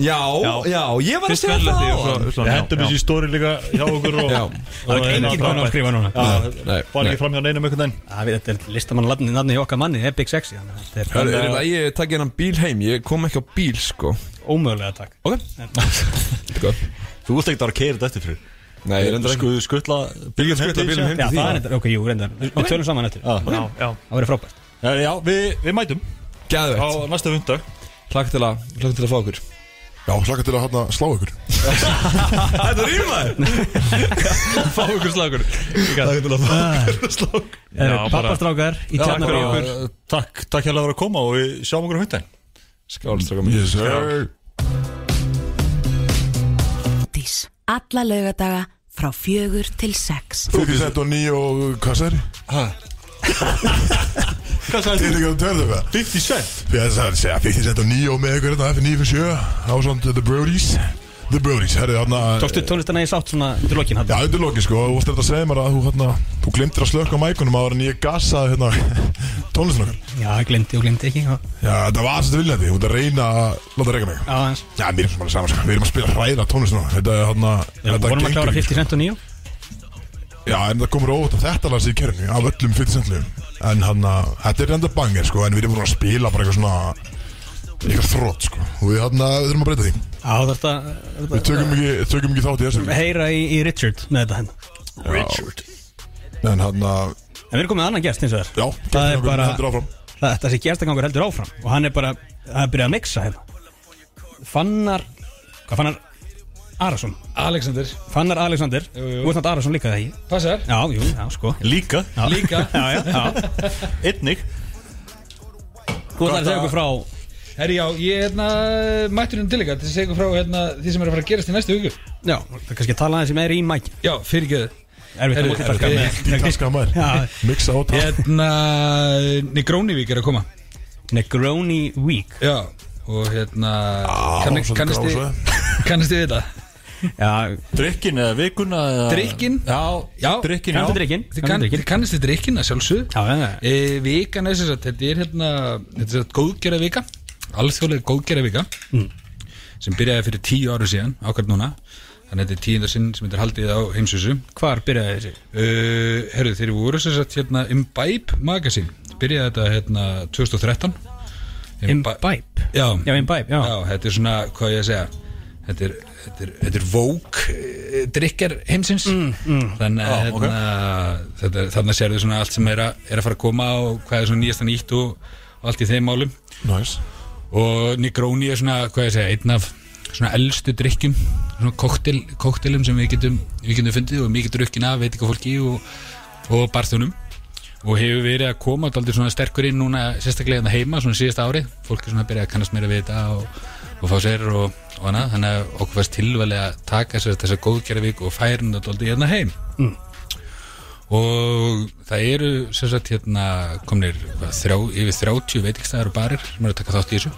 Speaker 6: Já, já, ég var að segja það á hann
Speaker 1: Við
Speaker 7: það
Speaker 1: hendum þessi stóri líka hjá okkur og, hérna-
Speaker 6: Já.
Speaker 1: og
Speaker 2: Það er enginn búin að skrifa núna
Speaker 6: Nei,
Speaker 1: Já, fara
Speaker 6: nei.
Speaker 1: ekki fram hjá neinum einhvern veginn
Speaker 2: Það við þetta er listamann ladni Nadni okkar manni er Big Sexy Þannig að þetta
Speaker 6: Það
Speaker 2: er
Speaker 6: er í lagi að taka hennan hérna bíl heim Ég kom ekki á bíl, sko
Speaker 2: ómögulega takk
Speaker 6: Ok Góð
Speaker 1: Þú ert ekkert að keira þetta eftir fyrir
Speaker 6: Nei, ég reyndar ekki
Speaker 1: Skuðu skuttla
Speaker 6: Bílum skutla bílum heim
Speaker 2: Já,
Speaker 6: til
Speaker 2: það er
Speaker 6: því
Speaker 2: reyndar, ok, jú, reyndar Við tölum saman eftir
Speaker 1: Já. Eh,
Speaker 2: Það
Speaker 7: Já,
Speaker 2: verður frábært
Speaker 1: Já, við, við mætum á
Speaker 6: Gæðvegt
Speaker 1: næsta fundag
Speaker 6: Klakk til að, klakk til að fá okkur
Speaker 3: Já, slaka til að hátna slá ykkur
Speaker 6: Þetta rýmaður
Speaker 7: fá ykkur slagur
Speaker 6: Klakk til að fá okkur
Speaker 7: Já, bara-
Speaker 2: Pappastrákar í
Speaker 7: fyrir
Speaker 2: tjarnabíu
Speaker 7: okkur.
Speaker 1: Uh, Takk, takk hérlega fyrir að koma og við sjáum okkur um á fundag
Speaker 6: Skál, strákar mín
Speaker 3: Yes, sir
Speaker 5: Dís. Alla laugadaga frá fjögur til sex.
Speaker 3: Þú getur sett á nýju og uh, hvað sér?
Speaker 1: Hvað sagði
Speaker 3: Þið um er ekki að törðu með
Speaker 1: 50 cent
Speaker 3: Ég ætla að segja, fyrst ég sett á nýju og með ykkur hérna, þetta F9 fyrir sjö Ásand The Brodies The Brodies, herri þarna
Speaker 2: Tókstu tónlistana í sátt svona til lokin hann
Speaker 3: Já, þetta er lokið sko, þú varst þetta að segja mér að þú hérna Þú glimtir að slökka á mækunum áður en ég gassaði hérna tónlistin okkar
Speaker 2: Já, glemdi og glemdi ekki Já,
Speaker 3: Já, þetta var aðsett viljandi, þú ert að reyna að láta reyka mig
Speaker 2: aðeins
Speaker 3: Já, mér er svona bara saman sko, við erum að spila hræðra tónlistin okkar Þetta er hérna,
Speaker 2: Við
Speaker 3: þetta
Speaker 2: vorum að klára
Speaker 3: ekki. sko.
Speaker 2: 50 cent og 9
Speaker 3: Já, en það komur óvægt að þetta lasi í kerfinu af öllum 50 centlum En hérna, þetta er enda bangir sko, en við erum búin að spila bara eitthvað svona Eitthvað þrótt sko, og við hérna, við þurfum að breyta því
Speaker 2: Já, þetta
Speaker 3: Við tökum ekki, tökum ekki þátt í þessu
Speaker 2: Heyra í, í Richard með þetta henn
Speaker 3: En hérna,
Speaker 2: En við erum komið með annan gest eins og þér
Speaker 3: uh, já,
Speaker 2: Það er
Speaker 3: kerfinu okkar
Speaker 2: bara-
Speaker 3: heldur áfram
Speaker 2: það, það sé gerstagangur heldur áfram og hann er bara, hann er byrjað að mixa hérna Fannar hvað Fannar Arason
Speaker 4: Alexander,
Speaker 2: Fannar Alexander,
Speaker 4: Jú, jú.
Speaker 2: þú ert nátt Arason líka þegar
Speaker 4: passar
Speaker 2: Já, jú, já, sko
Speaker 1: Líka,
Speaker 2: já.
Speaker 4: Líka.
Speaker 2: Já, já, já
Speaker 1: einnig
Speaker 2: Þú ætlar að segja okkur frá
Speaker 4: Herri já, ég hérna mættur hérna til ykkar til að segja ykkur frá hérna, því sem er að fara að gerast í næstu viku
Speaker 2: Já, það kannski tala aðeins sem er í mæk
Speaker 4: Já, fyrirgeðu
Speaker 2: Erfitt að
Speaker 4: Herri,
Speaker 2: multitaska
Speaker 4: herri,
Speaker 2: með
Speaker 3: Taska maður
Speaker 2: Já,
Speaker 3: Mixa og taska
Speaker 4: Hérna, Negrónivík er að koma
Speaker 2: Negroni Week
Speaker 4: Já, og hérna kann-
Speaker 3: svolítið
Speaker 4: kannast þið-
Speaker 3: grásvæði.
Speaker 4: Kannast þið við þetta?
Speaker 2: Já,
Speaker 1: Drykkin eða vikuna eða...
Speaker 4: Drykkin?
Speaker 1: Já,
Speaker 4: Já,
Speaker 1: drykkin
Speaker 2: kanntu
Speaker 1: já.
Speaker 2: drikkin
Speaker 4: Þið kann, þið kannast þið drikkinn að sjálfsög
Speaker 2: Já, já, já.
Speaker 4: e, Vikan er sem sagt, þetta er hérna Þetta er sem sagt góðgerða vika Alþjóðlega góðgerða vika Sem byrjaði fyrir tíu áru síðan, ákvært núna Þannig að þetta er tíundar sinn sem þetta er haldið á heimsvísu
Speaker 2: Hvar byrjaði þessi?
Speaker 4: uh, Herðu, þeir voru sem sagt hérna Imbibe Magazine Byrjaði þetta hérna 2013
Speaker 2: Imbibe
Speaker 4: Já,
Speaker 2: Já, Imbibe, já,
Speaker 4: Já, þetta er svona, hvað á ég að segja Þetta er, þetta er, þetta er vók drikkar heimsins þannig að
Speaker 1: Já, ok.
Speaker 4: hérna, þetta, þannig að sérðu svona allt sem er að, er að fara að koma og hvað er svona nýjasta nýtt og, og allt í þeim málum
Speaker 3: Næs
Speaker 4: og Negroni er svona, hvað ég að segja, einn af svona elstu drikkjum svona koktel, koktelum sem við getum, við getum fundið og mikið drukkin af veitingafólki og, og barþjónum og hefur verið að koma aldrei svona sterkur inn núna sérstaklega hérna heima svona síðasta árið fólk er svona að byrja að kannast meira við þetta og, og fá sér og, og annað þannig að okkur fannst tilvæli að taka þessar þessar góðgerða vik og færa hún aldrei hérna heim og það eru sem sagt hérna komnir hvað, þrjá, yfir 30 veitingstæðar og barir sem eru að taka þátt í þessu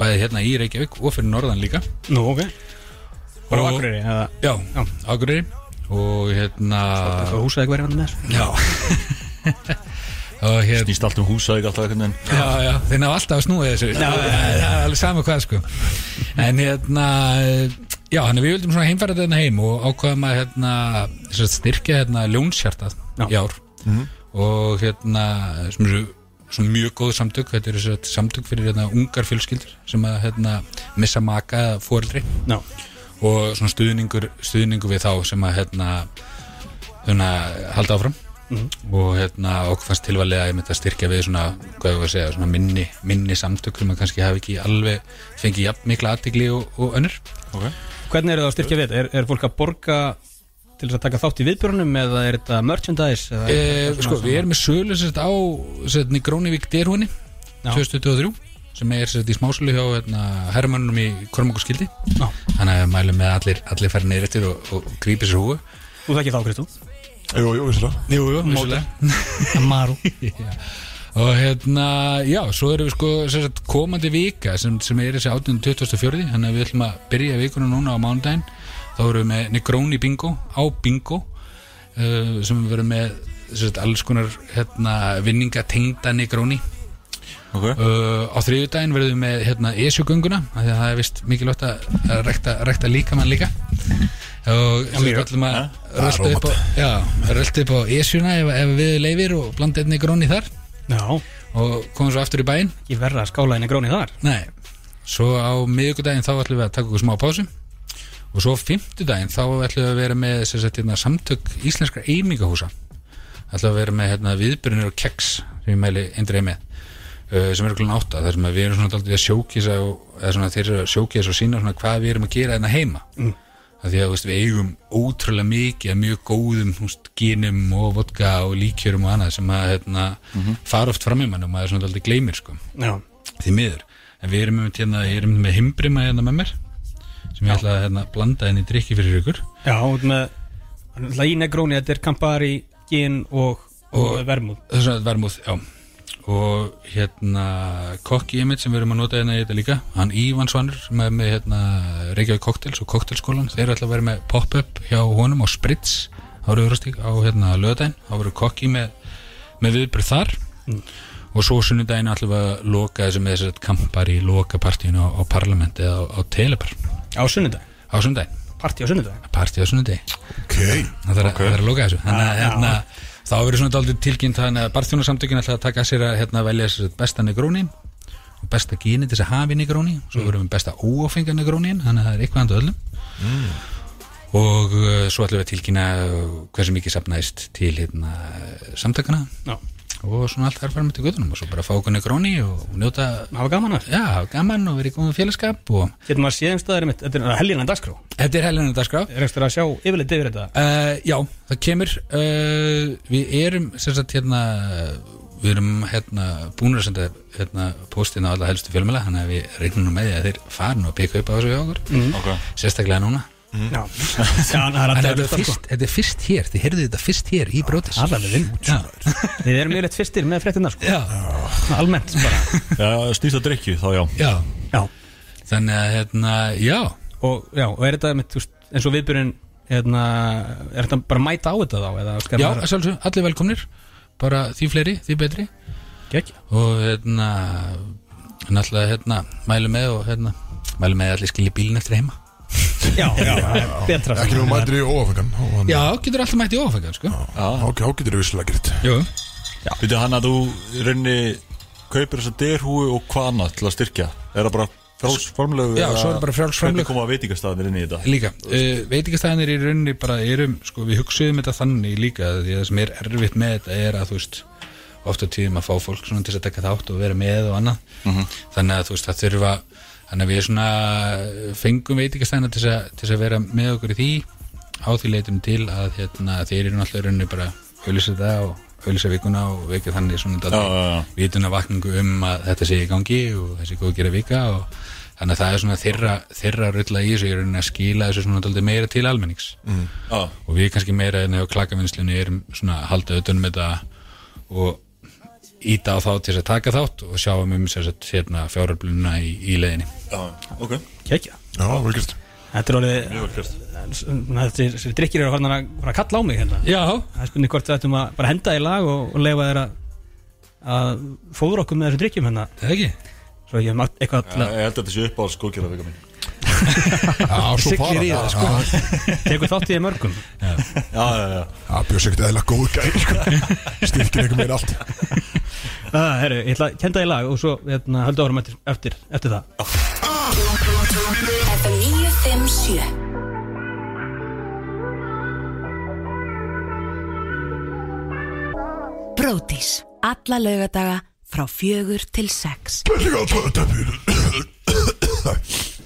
Speaker 4: bæði hérna í Reykjavík og fyrir norðan líka
Speaker 2: Nú, ok Bara á
Speaker 4: Og-
Speaker 2: Akureyri, eða
Speaker 4: já,
Speaker 2: Já.
Speaker 4: Akureyri og hérna
Speaker 2: Svo húsaði ekki verið hann hérna með
Speaker 4: já og hérna
Speaker 1: Snýst allt um húsæk alltaf einhvern veginn
Speaker 4: já, já, þeir ná alltaf að snúa þessu það er alveg sama hvað sko en hérna já, hann við vildum svona heimfæra þetta hérna heim og ákvaðum að hérna, sem sagt, styrkja hérna ljónshjartað
Speaker 2: Já. Mhm.
Speaker 4: í ár og hérna sem eru svona mjög góð samtök þetta eru sem sagt samtök fyrir hérna ungar fjölskyldur sem að hérna missa maka eða fóreldri
Speaker 2: Já,
Speaker 4: og svona stuðningur, stuðningur við þá sem að hérna, hérna halda áfram og hérna okkur fannst tilvalið að ég myndi að styrkja við svona, hvað ég var að segja, svona minni, minni samtök sem að kannski hafi ekki alveg fengið jafn mikla aðtigli og, og önnur
Speaker 2: hvernig eru það að styrkja við? þetta? Er, er fólk að borga til þess að taka þátt í viðbjörnum eða er þetta merchandise? Eða,
Speaker 4: Eh, sko, við erum með sölu sérst á sérst Grónivík derhúinni
Speaker 2: Já.
Speaker 4: 2023 sem er sérst í smásölu hjá hérna, herrmönnum í Kormakurskildi
Speaker 2: Já.
Speaker 4: þannig að við mælum með að allir, allir færi neyrir eftir og, og grípi sér húu
Speaker 2: Þú þekkir þá, Kristú
Speaker 3: Jú, jú, vissulega
Speaker 4: Jú, jú, móta
Speaker 2: Amaru
Speaker 4: og hérna, já, svo erum við sko sem sagt, komandi vika sem, sem er þessi 18.24, þannig að við ætlum að byrja vikuna núna á mánudaginn þá erum við með Negroni Bingo á Bingo uh, sem við verum með sem sagt, alls konar hérna, vinninga tengda Negroni
Speaker 1: Ok
Speaker 4: uh, á þriðjudaginn verðum við með hérna, esjugönguna, af því að það er vist mikilvægt að að rækta, rækta líka mann líka og sem við ætlum að rölda upp, á- já, rölta upp á esjuna ef, ef við leifir og blanda einnig gróni þar
Speaker 2: Já,
Speaker 4: og komum svo aftur í bæinn
Speaker 2: ekki verða að skála henni gróni þar
Speaker 4: Nei, svo á miðvikudaginn þá ætlum við að taka okkur smá pásu og svo á fimmtudaginn þá ætlum við að vera með sem sagt, hérna, samtök íslenskra eimingahúsa ætlum við að vera með hérna, viðbyrjunir og keks sem ég mæli eindreið með uh, sem eru klun átta þar sem að við erum svona daldið að sjókisa og, eða svona þeir eru að sjókisa og sína svona hvað við erum að gera hérna heima mm. að því að þú veist, við eigum ótrúlega mikið af mjög góðum þú veist, ginum og vodka og líkjörum og annað sem að hérna, fara oft fram í mann og maður svona daldið gleymir sko
Speaker 2: Já,
Speaker 4: því miður en við erum með, hérna, ég erum með himbrima hérna með mér sem ég ætla að hérna, blanda henni í drikki fyrir ykkur
Speaker 2: já, út með Þannig að í negróni, þetta er Campari, Gin og, og,
Speaker 4: Og-
Speaker 2: Vermúð
Speaker 4: þess að verðmúð, já og hérna kokki ég mitt sem við erum að nota hérna í þetta líka hann Ívan Svanur sem er með hérna, Reykjavík Cocktails og Cocktailskólan þeir ætla að vera með pop-up hjá honum á Spritz á Rauðrastík á hérna lögadaginn þá verður kokki með, með viðbröð þar og svo sunnudaginn ætlum við að loka þessu með þess að kampar í lokapartíinu á, á parlamenti eða á, á telebar
Speaker 2: Á sunnudag,
Speaker 4: á sunnudaginn
Speaker 2: partí á sunnudag
Speaker 4: partí á sunnudegi
Speaker 3: Ok
Speaker 4: það þarf okay. að loka þessu þannig að
Speaker 2: Já, já.
Speaker 4: hérna, þá verður svona daldið tilkynnt þannig að barþjónarsamtökin ætla að taka að sér að hérna, velja sér besta negróni og besta gini til þess að hafi negróni svo verðum við besta óáfengar negróni þannig að það er eitthvað andu öllum og uh, svo ætlum við að tilkynna uh, hversu mikið sapnaðist til hérna, samtökana
Speaker 2: Já,
Speaker 4: og svona allt þarf fram til gutunum og svo bara fá okkur gróni og njóta hafa gaman að já, hafa gaman og verið í góðum félagskap og
Speaker 2: Getur maður séð um staðar mitt, þetta er helginan dagskrá
Speaker 4: Þetta er helginan dagskrá
Speaker 2: Er eftir að sjá yfirleitt yfir þetta
Speaker 4: Uh, já, það kemur uh, Við erum sem sagt hérna Við erum hérna búin að senda hérna, postin á alla helstu fjölmjöla Þannig að við regnum nú með því að þeir farin og pika upp á þessu hjá okkur
Speaker 2: Mhm.
Speaker 1: Ok.
Speaker 4: Sérstaklega núna
Speaker 2: Já. Já, hann er að
Speaker 4: Þannig að
Speaker 2: dæla
Speaker 4: þetta er
Speaker 2: þetta,
Speaker 4: fyrst- þetta er fyrst hér, þið heyrðu þetta fyrst hér í brótis
Speaker 2: Alveg vinn Við erum yfirleitt fyrstir með fréttina sko. Almennt bara
Speaker 1: Já, snýst að drikju, þá já
Speaker 4: Já,
Speaker 2: já.
Speaker 4: Þannig að hérna, já
Speaker 2: Og, já, og er þetta mitt, veist, eins og viðbyrjun hérna, Er þetta bara að mæta á þetta þá? Eða, skal
Speaker 4: Já,
Speaker 2: maður-
Speaker 4: að sjálfsög, allir velkomnir Bara því fleiri, því betri
Speaker 2: Gekk.
Speaker 4: Og hérna Náttúrulega hérna, mælu með og hérna Mælu með að allir skilji bílinn eftir heima
Speaker 2: já, já, betra
Speaker 3: Ekki nú mætir í óafengan
Speaker 4: Já, getur alltaf mætt í ofengan, sko
Speaker 3: Ok, þá getur við vissulega gert
Speaker 4: Jú
Speaker 1: Býtu hann að þú í rauninni kaupir þessa derhúi og kvana til að styrkja Er það bara frálsframlög
Speaker 4: Já, svo er bara frjáls framlög.
Speaker 1: Hvernig koma veitingastæðanir inn í þetta?
Speaker 4: Líka, uh, veitingastæðanir í rauninni bara erum, sko, við hugsuðum þetta þannig líka því að það sem er erfitt með þetta er að, þú veist, oft á tíðum að fá fólk svona til þess að taka þátt og vera með og annað þannig að þú veist, það þurfa þannig að við svona fengum veitingastæðina til þess að, til þess að vera með okkur í því á því leitum til að hérna, þeir eru náttúrulega í rauninni bara auðlýsa þetta og auðlýsa vikuna og vekja þannig svona
Speaker 1: já, já.
Speaker 4: vitunavakningu um að þetta sé í gangi og þessi góð gera vika og þannig að það er svona þeirra, þeirra rulla í þessu, ég er rauninni að skila þessu svona dálítið meira til almennings mm.
Speaker 1: Já,
Speaker 4: og við kannski meira en hjá klakavinnslunni erum svona að halda auðvitað með þetta og íta á þá til þess að taka þátt og sjáum um þess að hérna fjáröflunna í, í leiðinni
Speaker 1: já, ok
Speaker 2: Kekja
Speaker 3: Já, vel gert
Speaker 2: Þetta er orðið
Speaker 1: Mjög vel gert
Speaker 2: Þessi þessi drikkir eru farin að fara að kalla á mig hérna
Speaker 4: Já,
Speaker 2: Það er spurning hvort við ættum að bara henda í lag og, og leifa þeirra að fóður okkur með þessu drikkjum hérna
Speaker 4: það er ekki
Speaker 2: Svo ég hef margt eitthvað til
Speaker 1: Já,
Speaker 2: að
Speaker 1: Ég held að þetta sé upp á skókjörðarvika mín
Speaker 3: Já, svo
Speaker 4: Siglir
Speaker 3: fara
Speaker 4: í það, sko
Speaker 2: tekur þátt í þeim mörgum
Speaker 1: Já, já, já
Speaker 3: Já, bjóðs ekkert eðla góð gæði, sko Styrkir eitthvað meira allt
Speaker 2: Ah, herru, ég ætla að kenda í lag og svo hérna, höldu áfram eftir, eftir, eftir það
Speaker 5: FM 957 Brótis Alla laugadaga frá fjögur til sex
Speaker 3: Ég á tötapýr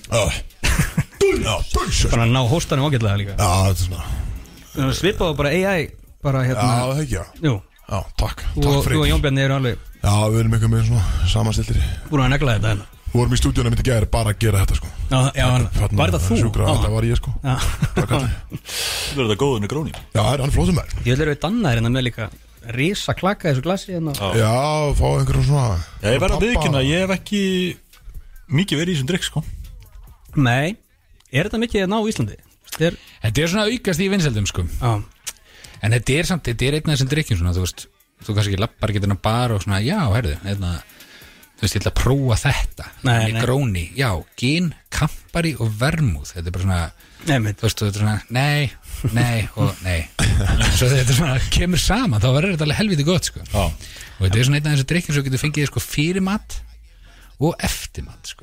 Speaker 3: Ah. Já, bjóðs Já,
Speaker 2: Bara að ná hóstanum ágætlega líka
Speaker 3: þetta er svona
Speaker 2: Þú svipaðu bara AI bara
Speaker 3: Já, það
Speaker 2: hérna
Speaker 3: er ekki, já
Speaker 2: Jú,
Speaker 3: Já, takk,
Speaker 2: þú
Speaker 3: takk
Speaker 2: og, þú og
Speaker 3: fyrir
Speaker 2: Jón Bjarni eru alveg
Speaker 3: Já, við erum eitthvað með svona samanstiltir
Speaker 2: búin að negla þetta hérna
Speaker 3: Við vorum í stúdíunum mitt í gæri bara að gera þetta, sko
Speaker 2: Já, já, hann-
Speaker 3: Þarna,
Speaker 2: var þetta þú?
Speaker 3: Sjúkra,
Speaker 2: Já.
Speaker 3: þetta var ég, sko
Speaker 2: Já.
Speaker 3: Það kallar ég.
Speaker 1: Þú verður þetta góðunni gróni
Speaker 3: Já, það er hann flótum með
Speaker 2: Ég vil eru dannaðir hérna með líka Rísa klaka í þessu glasi hérna
Speaker 1: Já.
Speaker 3: Já, fá einhverjum svona
Speaker 1: Já, ég verð
Speaker 3: Pabba-
Speaker 1: að viðkynna, ég hef ekki mikið verið í þessum drikk, sko
Speaker 2: Nei, er þetta mikið hérna á Íslandi? Þetta er,
Speaker 4: Þetta er svona að aukast í vinsældum, sko
Speaker 2: á,
Speaker 4: En þetta er samt, þetta er einn af þessum drikkjum svona, þú veist, þú kannski ekki lappar getur að bara og svona, já, herðu, hérna, þú veist, ég ætla að prófa þetta,
Speaker 2: Nei, nei.
Speaker 4: gróni, já, gin, kampari og vermúð, þetta er bara svona,
Speaker 2: nei mitt
Speaker 4: þú veist, þú veist, svona, nei, nei og nei, svo þetta er svona, kemur saman, þá verður þetta alveg helviti gott, sko,
Speaker 1: Já.
Speaker 4: og þetta er svona einn af þessum drikkjum sem þú getur fengið, sko, fyrir mat og eftir mat, sko,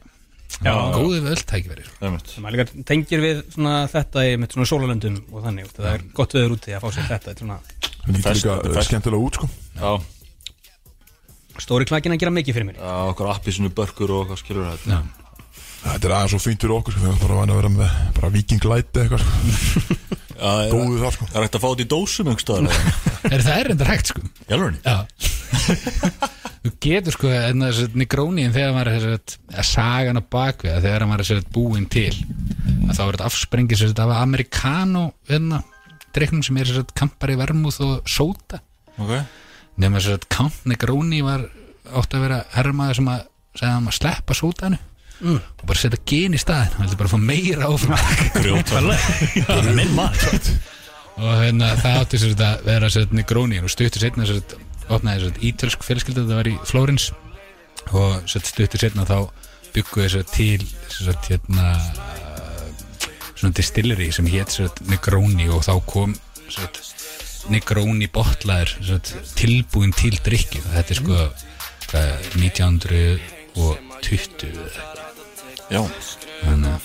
Speaker 2: Já.
Speaker 4: góðu völdtækifæri, sko.
Speaker 1: einmitt.
Speaker 2: sem að líka tengir við svona þetta í mitt svona sólalöndum og þannig það er gott veður úti að fá sér þetta þetta er svona
Speaker 3: Hann lítur
Speaker 1: Fest-
Speaker 3: líka uh,
Speaker 1: fest-
Speaker 3: skemmtilega út, sko
Speaker 1: Já,
Speaker 2: stóri klakin að gera mikið fyrir mér
Speaker 1: já, okkur appisinu börkur og okkar skilur þetta
Speaker 3: Þetta er aðeins svo fínt fyrir okkur, sko Við erum bara vanið að vera með bara vikinglæti eitthvað, sko
Speaker 1: Já, er-
Speaker 3: Góðu það, sko
Speaker 1: Það er hægt að fá þetta í dósum einhverstaðar
Speaker 4: Er það er enda hægt, sko?
Speaker 1: Jálfurinn
Speaker 4: Já Þú getur sko enna þessi negrónin þegar maður er þessi að sagan á bakvið að þegar maður er þessi búinn til að þá er þetta afsprengi þessi af amerikano enna dreiknum sem er þessi kampari vermúð og sóta
Speaker 1: Ok
Speaker 4: nema þessi kamp negróni var átt að vera herrmaður sem að segja um að sleppa sótanu mm. og bara setja gen í staðin hann vildi bara fá meira áfram
Speaker 2: Grjótfælega minn maður
Speaker 4: og hérna, það átti sér þetta að vera sér negróni og stuttur setna sér þetta opnaði sér ítölsk fjölskylda þetta var í Flórens og sér stuttur setna þá bygguði sér til sér hérna svona distillery sem hétt sér negróni og þá kom sér negróni botlaður sér, tilbúin til drikki þetta er sko hvað, 1920
Speaker 1: Já,
Speaker 4: þannig að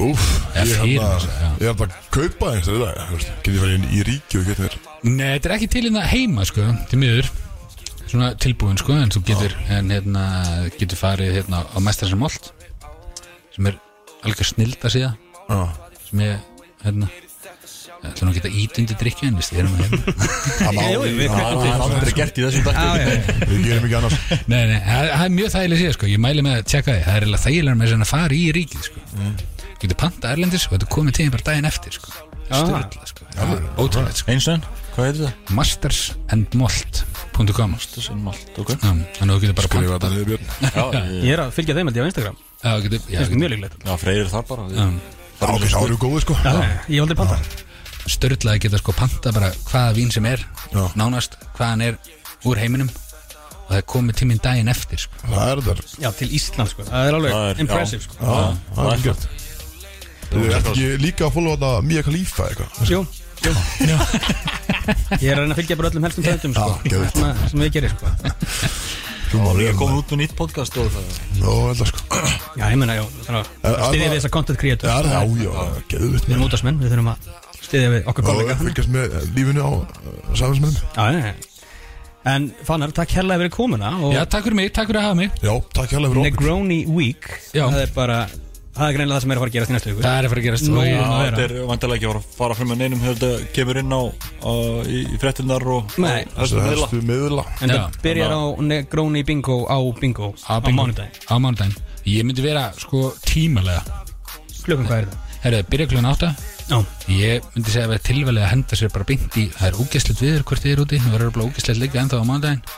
Speaker 3: Úf,
Speaker 4: Já,
Speaker 3: ég er
Speaker 4: fyrir
Speaker 3: hérna-
Speaker 4: þessu, já.
Speaker 3: ég er hérna að kaupa einhverjum þetta Geti ég farið inn í ríki og geti mér
Speaker 4: Nei, þetta er ekki til hérna heima sko, til miður svona tilbúin sko en þú getur, en, hérna, getur farið hérna, á mestar sem allt sem er algjör snilda síðan
Speaker 3: Já.
Speaker 4: sem ég hérna ætla nú að geta ít undir drikki en við erum að hérna
Speaker 3: Það má- Jú, jú, við það kveikjum var til. aldrei gert í þessum þætti.
Speaker 4: Já, já, já.
Speaker 3: Við gerum ekki annars
Speaker 4: Nei, nei, það það er mjög þægileg síðan sko, ég mæli með að tjekka því það er eiginlega þægilega með þess að fara í ríkið sko getur panta erlendis og þetta er komið til þín bara daginn eftir sko Sturla, sko. Ótrúlega, sko.
Speaker 1: Einsen, hvað heitir það?
Speaker 4: mastersandmalt.com
Speaker 1: Mastersandmalt, ok
Speaker 4: Þannig að þú getur bara
Speaker 1: Skrifa
Speaker 4: pantað.
Speaker 1: þetta niður, Björn. Já, ég-
Speaker 2: Ég er að fylgja þeim held ég á Instagram
Speaker 4: Já, getur
Speaker 2: Það er mjög líklegt
Speaker 1: Já, freyrir þar bara
Speaker 4: Já.
Speaker 1: Það er
Speaker 3: ári góði sko
Speaker 2: Ég valdi panta
Speaker 4: Störðlaði geta sko panta bara hvaða vín sem er
Speaker 3: Já.
Speaker 4: Nánast hvaðan er úr heiminum Og það er komið tíminn daginn eftir sko.
Speaker 3: Það er þar
Speaker 2: Já, til Ísland sko Það er alveg
Speaker 1: Það er-
Speaker 2: impressive sko
Speaker 3: Já, það er gert Þú ert ekki líka að fólga þetta Mia Khalifa eitthvað
Speaker 2: Jú, jú Ég er að reyna að fylgja bara öllum helstum þættum sko
Speaker 3: Já, geðveikt.
Speaker 2: Þarna sem ég gerir sko
Speaker 3: Þú má
Speaker 1: Ég
Speaker 3: vel
Speaker 1: er
Speaker 3: maður.
Speaker 1: komið út með nýtt podcast og það
Speaker 3: Nó, held að sko
Speaker 2: Já, ég meina, já Stiðja við þessa content creator
Speaker 3: Já, já, já, geðvitt
Speaker 2: Við erum útastmenn, við þurfum að stiðja við okkar
Speaker 3: Og
Speaker 2: kollega
Speaker 3: fylgjast með eh, lífinu á eh, safinsmennum
Speaker 2: Já, já, já En Fannar, takk hérlega fyrir komuna og
Speaker 4: Já, takk fyrir mig, takk fyrir að hafa mig
Speaker 3: Já, takk hérlega fyrir okkur
Speaker 2: Negroni Week
Speaker 4: Já.
Speaker 2: Það er bara Það er greinlega það sem er að fara að gerast í næstu viku
Speaker 4: Það er að fara að gerast
Speaker 2: Nú,
Speaker 4: og
Speaker 2: já,
Speaker 4: ég-
Speaker 1: Þetta
Speaker 2: þetta
Speaker 1: er vantilega ekki að fara- fara fram með neinum þegar þetta kemur inn á, á í, í frettinnar og
Speaker 2: Nei.
Speaker 1: og þessu miðla
Speaker 3: Hestu miðla
Speaker 2: En
Speaker 4: Já.
Speaker 2: það byrjar á Negroni Bingo á Bingo
Speaker 4: Á
Speaker 2: á
Speaker 4: bingo.
Speaker 2: mánudaginn
Speaker 4: Á mánudaginn Ég myndi vera sko tímalega
Speaker 2: Klukkan hvað er það?
Speaker 4: Herðu, byrja klun átta
Speaker 2: Já,
Speaker 4: Ég myndi segja að vera tilvalið að henda sér bara beint í Það er ógæslegt viður hvort þið er úti Það verður bara ógæslegt líka ennþá á mánudaginn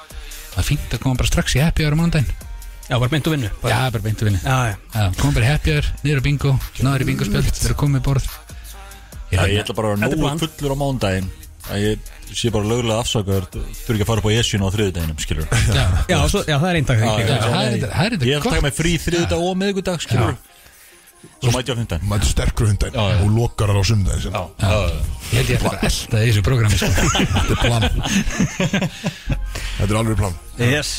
Speaker 4: Það er fínt að koma bara strax í happy hour á mánudaginn
Speaker 2: já bara beint og vinnu bara.
Speaker 4: Já, bara beint að vinna
Speaker 2: Já, já,
Speaker 4: Já, kom bara í happy hour, niður á bingo Náður í bingospjöld, þeir eru komið í borð
Speaker 1: Mm. Já, ég ætla bara að
Speaker 2: Þetta er
Speaker 1: vera
Speaker 2: plan.
Speaker 1: nógu fullur á mándaginn að ég sé bara lögulega afsakaður þú þurfi ekki að fara upp á esjun á þriðudaginum, skilur
Speaker 4: Já,
Speaker 2: já, og svo, já það er einn dag
Speaker 1: Já,
Speaker 2: já,
Speaker 1: já,
Speaker 4: það er þetta- það er þetta
Speaker 1: Ég er að
Speaker 4: gott.
Speaker 1: taka mig frí þriðudag og miðgudag, skilur Svo mæti ég á fymtan
Speaker 3: Mættu sterkur hundin og lokar þar á sumdæðin sinna
Speaker 4: Ég held ég ætla bara að elda í þessu prógrami sko.
Speaker 3: Þetta er plan Þetta er alveg plan
Speaker 2: Yes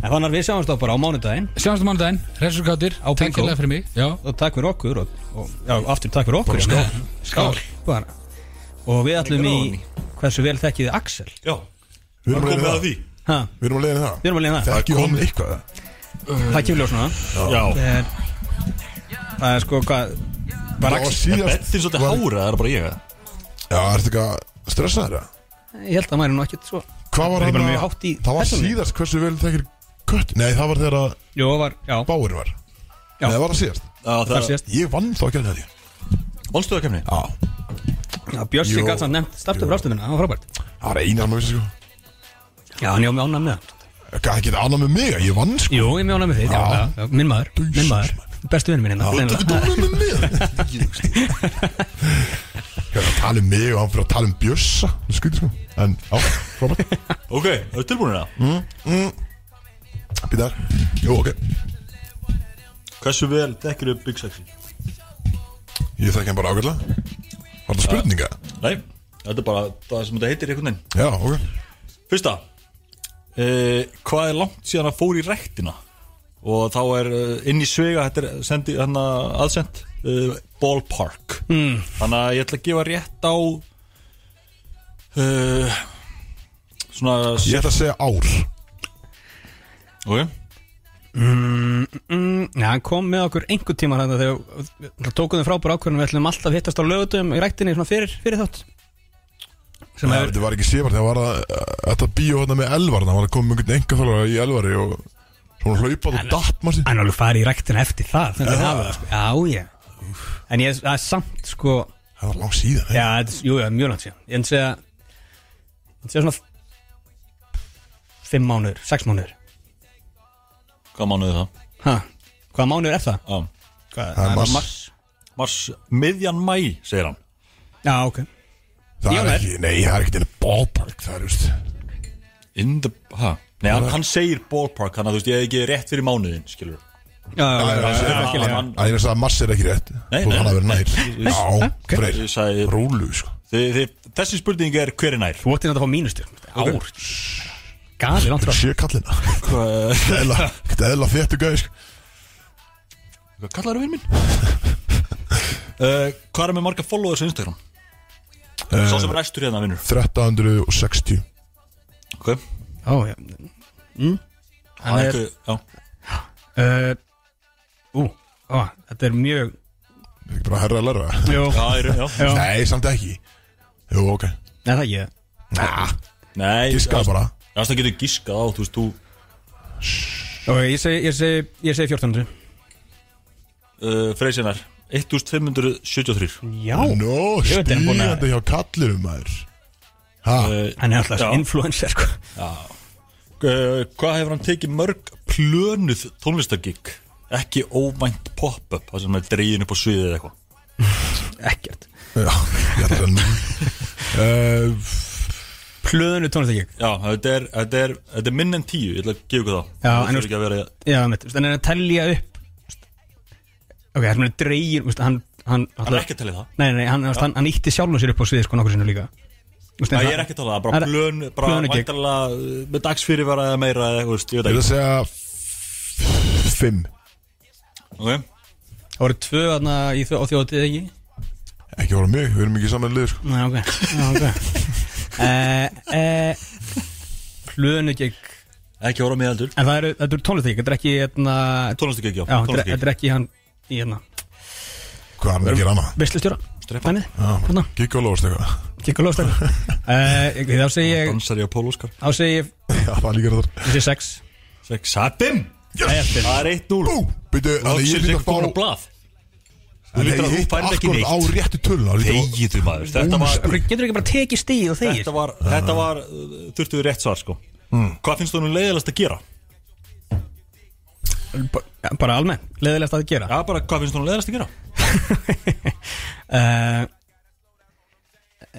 Speaker 2: En fannar við sjáumst þá bara á mánudaginn
Speaker 4: Sjáumstu mánudaginn, Hressur Kátur
Speaker 2: Á
Speaker 4: Takk
Speaker 2: bingo.
Speaker 4: hérlega fyrir mig Já,
Speaker 2: og takk fyrir okkur og, og já, aftur takk fyrir okkur skál, skál. Bara. og við ætlum í hversu vel þekkið þið Axel
Speaker 1: Já,
Speaker 3: Við erum að leiðin
Speaker 1: komið
Speaker 3: það
Speaker 1: að því
Speaker 2: ha,
Speaker 3: Við erum að leiðin það
Speaker 2: við erum að leiða það
Speaker 3: Þekki hún eitthvað
Speaker 2: það kemur ljós núna
Speaker 1: Já,
Speaker 2: Eh, það er sko hvað var
Speaker 3: Það var
Speaker 2: Axel
Speaker 1: en
Speaker 3: síðast
Speaker 1: bettin svolítið hára, það er bara ég eða?
Speaker 3: Já, ertu ekki að stressa þér það?
Speaker 2: ég held að maður er nú ekkert svo
Speaker 3: Hvað var
Speaker 2: Ég er bara
Speaker 3: að-
Speaker 2: mjög hátt í
Speaker 3: Það var
Speaker 2: persónu.
Speaker 3: síðast hversu vel þekkir kött Nei, það var þegar að
Speaker 2: Jó, var, já,
Speaker 3: báir var Nei,
Speaker 2: Já.
Speaker 3: það var að síðast
Speaker 1: Já,
Speaker 2: þar
Speaker 1: það
Speaker 2: sést
Speaker 3: Ég vann þá ekki að þetta
Speaker 1: Volstuðakefni?
Speaker 3: Já
Speaker 2: Já, Björnsi
Speaker 3: Jó.
Speaker 2: gæt samt nefnt startu fyrir ástöfuna, það var frábært
Speaker 3: Það var einar maður vissi sko
Speaker 2: Já, hann er mjög ánægð með það
Speaker 3: Það geta annað með mig að ég vann sko
Speaker 2: Jú, ég er mjög ánægð með þið, já,
Speaker 3: Já.
Speaker 2: já, já, minn maður, minn maður Bestu vinnu minn hérna,
Speaker 3: Þetta getur
Speaker 2: greinilega.
Speaker 3: annað með mig Ég er að tala um mig og hann fyrir að tala um bjössa Það skýtir sko En á, frábært
Speaker 1: Ok, það er tilbúin það
Speaker 3: Býtar mm. Jú, ok
Speaker 1: Hversu vel dekkir upp Big Sexy?
Speaker 3: Ég þekki hann bara ágætlega Var þetta spurninga?
Speaker 1: Nei, þetta er bara það sem þetta heitir einhvern veginn
Speaker 3: Já, ok
Speaker 1: Fyrsta eh, Hvað er langt síðan að fór í rektina Og þá er eh, inn í svega Þetta er sendi, hana, aðsend eh, Ballpark mm. Þannig að ég ætla að gefa rétt á eh, Svona
Speaker 3: Ég ætla að segja ár
Speaker 1: Ok
Speaker 2: Mm, Já, hann kom með okkur einhvern tíma hérna þegar það tókum við frábæra ákvörðunum við ætlum alltaf að hittast á lögutum í ræktinni svona fyrir, fyrir þátt sem
Speaker 3: Nei,
Speaker 2: hefur,
Speaker 3: Þetta var ekki séfart Það var að Þetta bíó hérna með Elvar Það var að koma með einhvern enga þálega í Elvari og Svona hlaupað og datt maður sér
Speaker 2: hann er alveg farið í ræktina eftir það þannig að hafa það sko, já, já en ég, það er samt sko já,
Speaker 3: Það var langt síðan ekki?
Speaker 2: þetta er- jú, já, mjög langt síðan ég en segja ég en segja svona fimm mánuður, sex mánuður
Speaker 1: Hvað mánuði það?
Speaker 2: ha, hvaða mánuður er það?
Speaker 1: Já.
Speaker 2: Hvað,
Speaker 3: Það er mars.
Speaker 1: Mars, miðjan mæ, segir hann
Speaker 2: já, ok,
Speaker 3: Það
Speaker 2: Ég
Speaker 3: er
Speaker 2: var-
Speaker 3: ekki Nei, það er ekki til ballpark Það er, veist
Speaker 1: In the, ha? Nei, hann, hann segir ballpark Þannig að þú veist, ég hef ekki rétt fyrir mánuðin, skilur
Speaker 2: já, já, já, já, já, já, já.
Speaker 1: Hann-
Speaker 3: Það er að segja að Mars er ekki rétt
Speaker 1: Nei,
Speaker 3: Þú
Speaker 1: nei.
Speaker 3: hann að vera nær Já,
Speaker 1: Ég
Speaker 3: freyr
Speaker 1: sagði-
Speaker 3: Rúlu, sko
Speaker 1: þið- þið- Þessi spurning er hver er nær?
Speaker 2: þú ætti þetta að fá mínustu ár, gali langt frá
Speaker 3: Sjö kallina Eðla Eðla fjettu gæði, sko
Speaker 1: Hvað kallar þú vinn minn? uh, hvað er með marga followers á Instagram? Eh, Sá sem er æstur hérna vinnur
Speaker 3: 1360
Speaker 1: okay.
Speaker 2: Ó, já, mm.
Speaker 1: Hann er- Ah, já.
Speaker 2: uh, Ú, á, þetta er mjög
Speaker 3: Ekki bara herra að læra
Speaker 2: Jú. Já, í raun, já. Já.
Speaker 3: Nei, samt ekki Jú, ok
Speaker 2: Nei, það ekki
Speaker 3: Næ,
Speaker 1: Nei
Speaker 3: Giskaðu bara.
Speaker 1: Það getur giskað á, þú veist, þú
Speaker 2: Ok, ég segi, ég segi, ég segi 1400
Speaker 1: uh, Freysinar 1573
Speaker 2: Já
Speaker 3: Nó,
Speaker 2: Ég veit, hann er búinn að- Eh.
Speaker 3: spýjandi hjá kallirum maður Ha?
Speaker 2: Hann er alltaf
Speaker 1: Já.
Speaker 2: þessi influencer sko.
Speaker 1: uh, Hvað hefur hann tekið mörg plönuð tónlistargig? Ekki óvænt pop-up Það sem er dregin upp á sviðið eða eitthvað
Speaker 2: Ekkert
Speaker 3: Já, ég ætla að um- segja nú. uh,
Speaker 2: Plöðinu tónlistakjökk
Speaker 1: Já, þetta er, þetta er, þetta er minn en tíu Ég ætla að gefa ykkur það
Speaker 2: Já,
Speaker 1: Það
Speaker 2: en
Speaker 1: þarf ekki að vera
Speaker 2: Já, mitt, hann er að telja upp veist, Ok, hann er dreigir veist, Hann, hann,
Speaker 1: Hann er ekki að telja það.
Speaker 2: Nei, nei, hann, hann, hann ítti sjálfum sér upp á svið sko nokkur sinnum líka Veist,
Speaker 1: Það
Speaker 2: en
Speaker 1: ég er ekki að tala, um það er bara plön, bara
Speaker 2: plön ekki
Speaker 1: væntanlega uh, með dagsfyrirvara eða meira eða eitthvað, veist, ég
Speaker 3: Ég ætla
Speaker 1: veit
Speaker 3: að
Speaker 1: ekki.
Speaker 3: segja f- Fimm
Speaker 1: Ok,
Speaker 2: Það voru tvö aðna í þjó, á þjóðatíð ekki
Speaker 3: Ekki voru mjög, við erum ekki saman liður sko.
Speaker 2: Nei, ok, Já, ok eh, eh, Plönu gegn
Speaker 1: ekki voru á mig heldur
Speaker 2: En það eru, þetta eru tónlistakjökk Þetta er ekki hérna
Speaker 1: Tónlistargig, já,
Speaker 2: Já, þetta er-
Speaker 1: tónlistargig.
Speaker 2: þetta er ekki hann í hérna
Speaker 3: Hvað er hann að gera annað?
Speaker 2: Veslustjóra
Speaker 1: Strepa.
Speaker 2: Þannig, hérna
Speaker 3: Gikk og lofast eitthvað
Speaker 2: Kikku lofstak Þá segi Eh, ég
Speaker 1: Dansar ég á Pólóskar
Speaker 2: Þá segi ég
Speaker 3: Já, það líka þar
Speaker 2: Þessi 6
Speaker 1: Satim
Speaker 2: Yes
Speaker 1: Það er 1-0
Speaker 3: Bú, byrju, þannig ég
Speaker 1: Loksins
Speaker 3: líka
Speaker 1: ykkur
Speaker 3: að fá
Speaker 1: komin á blað Þú
Speaker 3: Þannig
Speaker 1: lítur
Speaker 3: ég
Speaker 1: að þú
Speaker 3: hitt
Speaker 1: færð ekki
Speaker 3: akkurat á
Speaker 1: neitt
Speaker 3: réttu tölna
Speaker 1: Þegiðu maður, þetta var,
Speaker 2: Getur ekki bara tekið stíð og þegir
Speaker 1: þetta var, þetta var uh, Þurftu við rétt svar sko Hvað finnst þú nú leiðilegast að gera?
Speaker 2: Ba- ja, Bara almenn, leðilegast að gera
Speaker 1: Já bara, hvað finnst þú nú leiðilegast að gera?
Speaker 2: uh,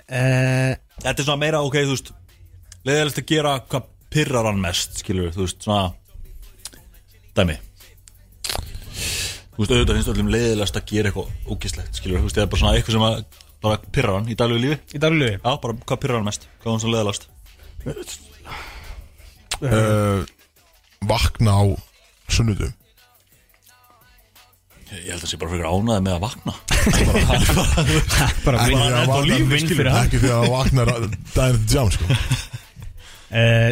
Speaker 2: uh,
Speaker 1: Þetta er svona meira, ok, þú veist Leiðilegast að gera, hvað pirrar hann mest Skilur, þú veist, svona Dæmi Þú veist, auðvitað finnst öllum leiðilegast að gera eitthvað ógislegt Skilur, þú veist, eða bara svona eitthvað sem að Bara pirrar hann í daglegu lífi
Speaker 2: Í daglegu
Speaker 1: Já, bara, hvað pirrar hann mest? Hvað er hann svona leiðilegast?
Speaker 3: uh, Vakna á sunnudum
Speaker 1: Ég held að sé bara fyrir ánaði með að vakna Það er bara, þú veist,
Speaker 2: Bara
Speaker 3: Ekki fyrir
Speaker 2: vinn
Speaker 3: að
Speaker 1: ennþá á
Speaker 3: vakna-
Speaker 1: lífi,
Speaker 2: vinn
Speaker 1: skilur.
Speaker 2: fyrir hann
Speaker 3: Ekki fyrir að vakna daginn til jam sko.
Speaker 2: uh,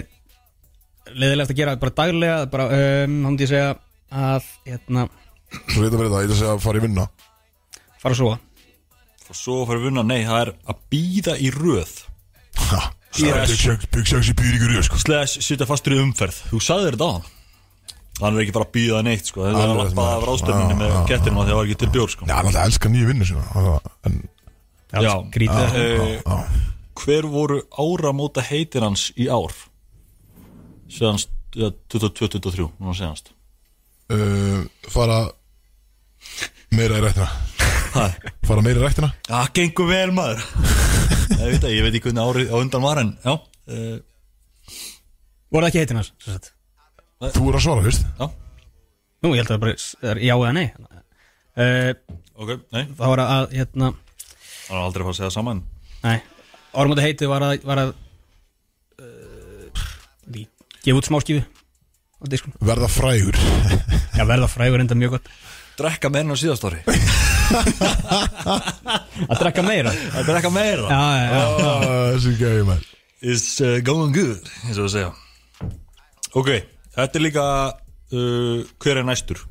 Speaker 2: Leðilegast að gera bara daglega bara, um, Hann myndi ég segja að hérna,
Speaker 3: Svo reyta verið það, ég ætla að segja að fara í vinna
Speaker 2: fara að sofa
Speaker 1: Og svo fyrir vunna, nei, það er að býða í röð
Speaker 3: Ha,
Speaker 1: sko-
Speaker 3: Byggsjöks í býri ykkur sko.
Speaker 1: Slash, sitja fastur í umferð Þú sagði þetta á hann Hann er ekki bara að býða það neitt, sko Það er
Speaker 3: Alveg,
Speaker 1: lappað af
Speaker 3: maður.
Speaker 1: ráðstöfninni með
Speaker 3: Já, já,
Speaker 1: kettinum af Því að það var ekki til bjór, sko
Speaker 3: Já, hann alltaf elskar nýju vinnu sína það- En
Speaker 1: Já,
Speaker 2: Grítið
Speaker 1: Eh,
Speaker 3: já.
Speaker 1: Hver voru áramóta heitir hans í ár? Seðanst, 22-23 Núna seðanst
Speaker 3: uh, fara meira í rættina
Speaker 1: Það
Speaker 3: Fara meira í rættina
Speaker 1: gengur vel, maður Ég veit það, ég veit ekki hvernig árið á undan var en Já, eh,
Speaker 2: Voru það ekki heitin hans? sem sagt?
Speaker 3: Þú er að svara, veist
Speaker 2: Nú, ég held að það bara það er já eða nei uh,
Speaker 1: ok, nei
Speaker 2: Það var að hérna,
Speaker 1: Það var aldrei að fara að segja saman
Speaker 2: Nei, ormóta heiti var að, var að uh, gefa út smáskífu á diskum
Speaker 3: Verða frægur
Speaker 2: Já, verða frægur enda mjög gott
Speaker 1: Drekka meira en á síðast ári
Speaker 2: Að drekka meira
Speaker 1: Að drekka meira
Speaker 2: Já, já, já
Speaker 3: Ah, Þessi gæði maður
Speaker 1: It's uh, going good eins og að segja Ok, þetta er líka uh, hver er næstur?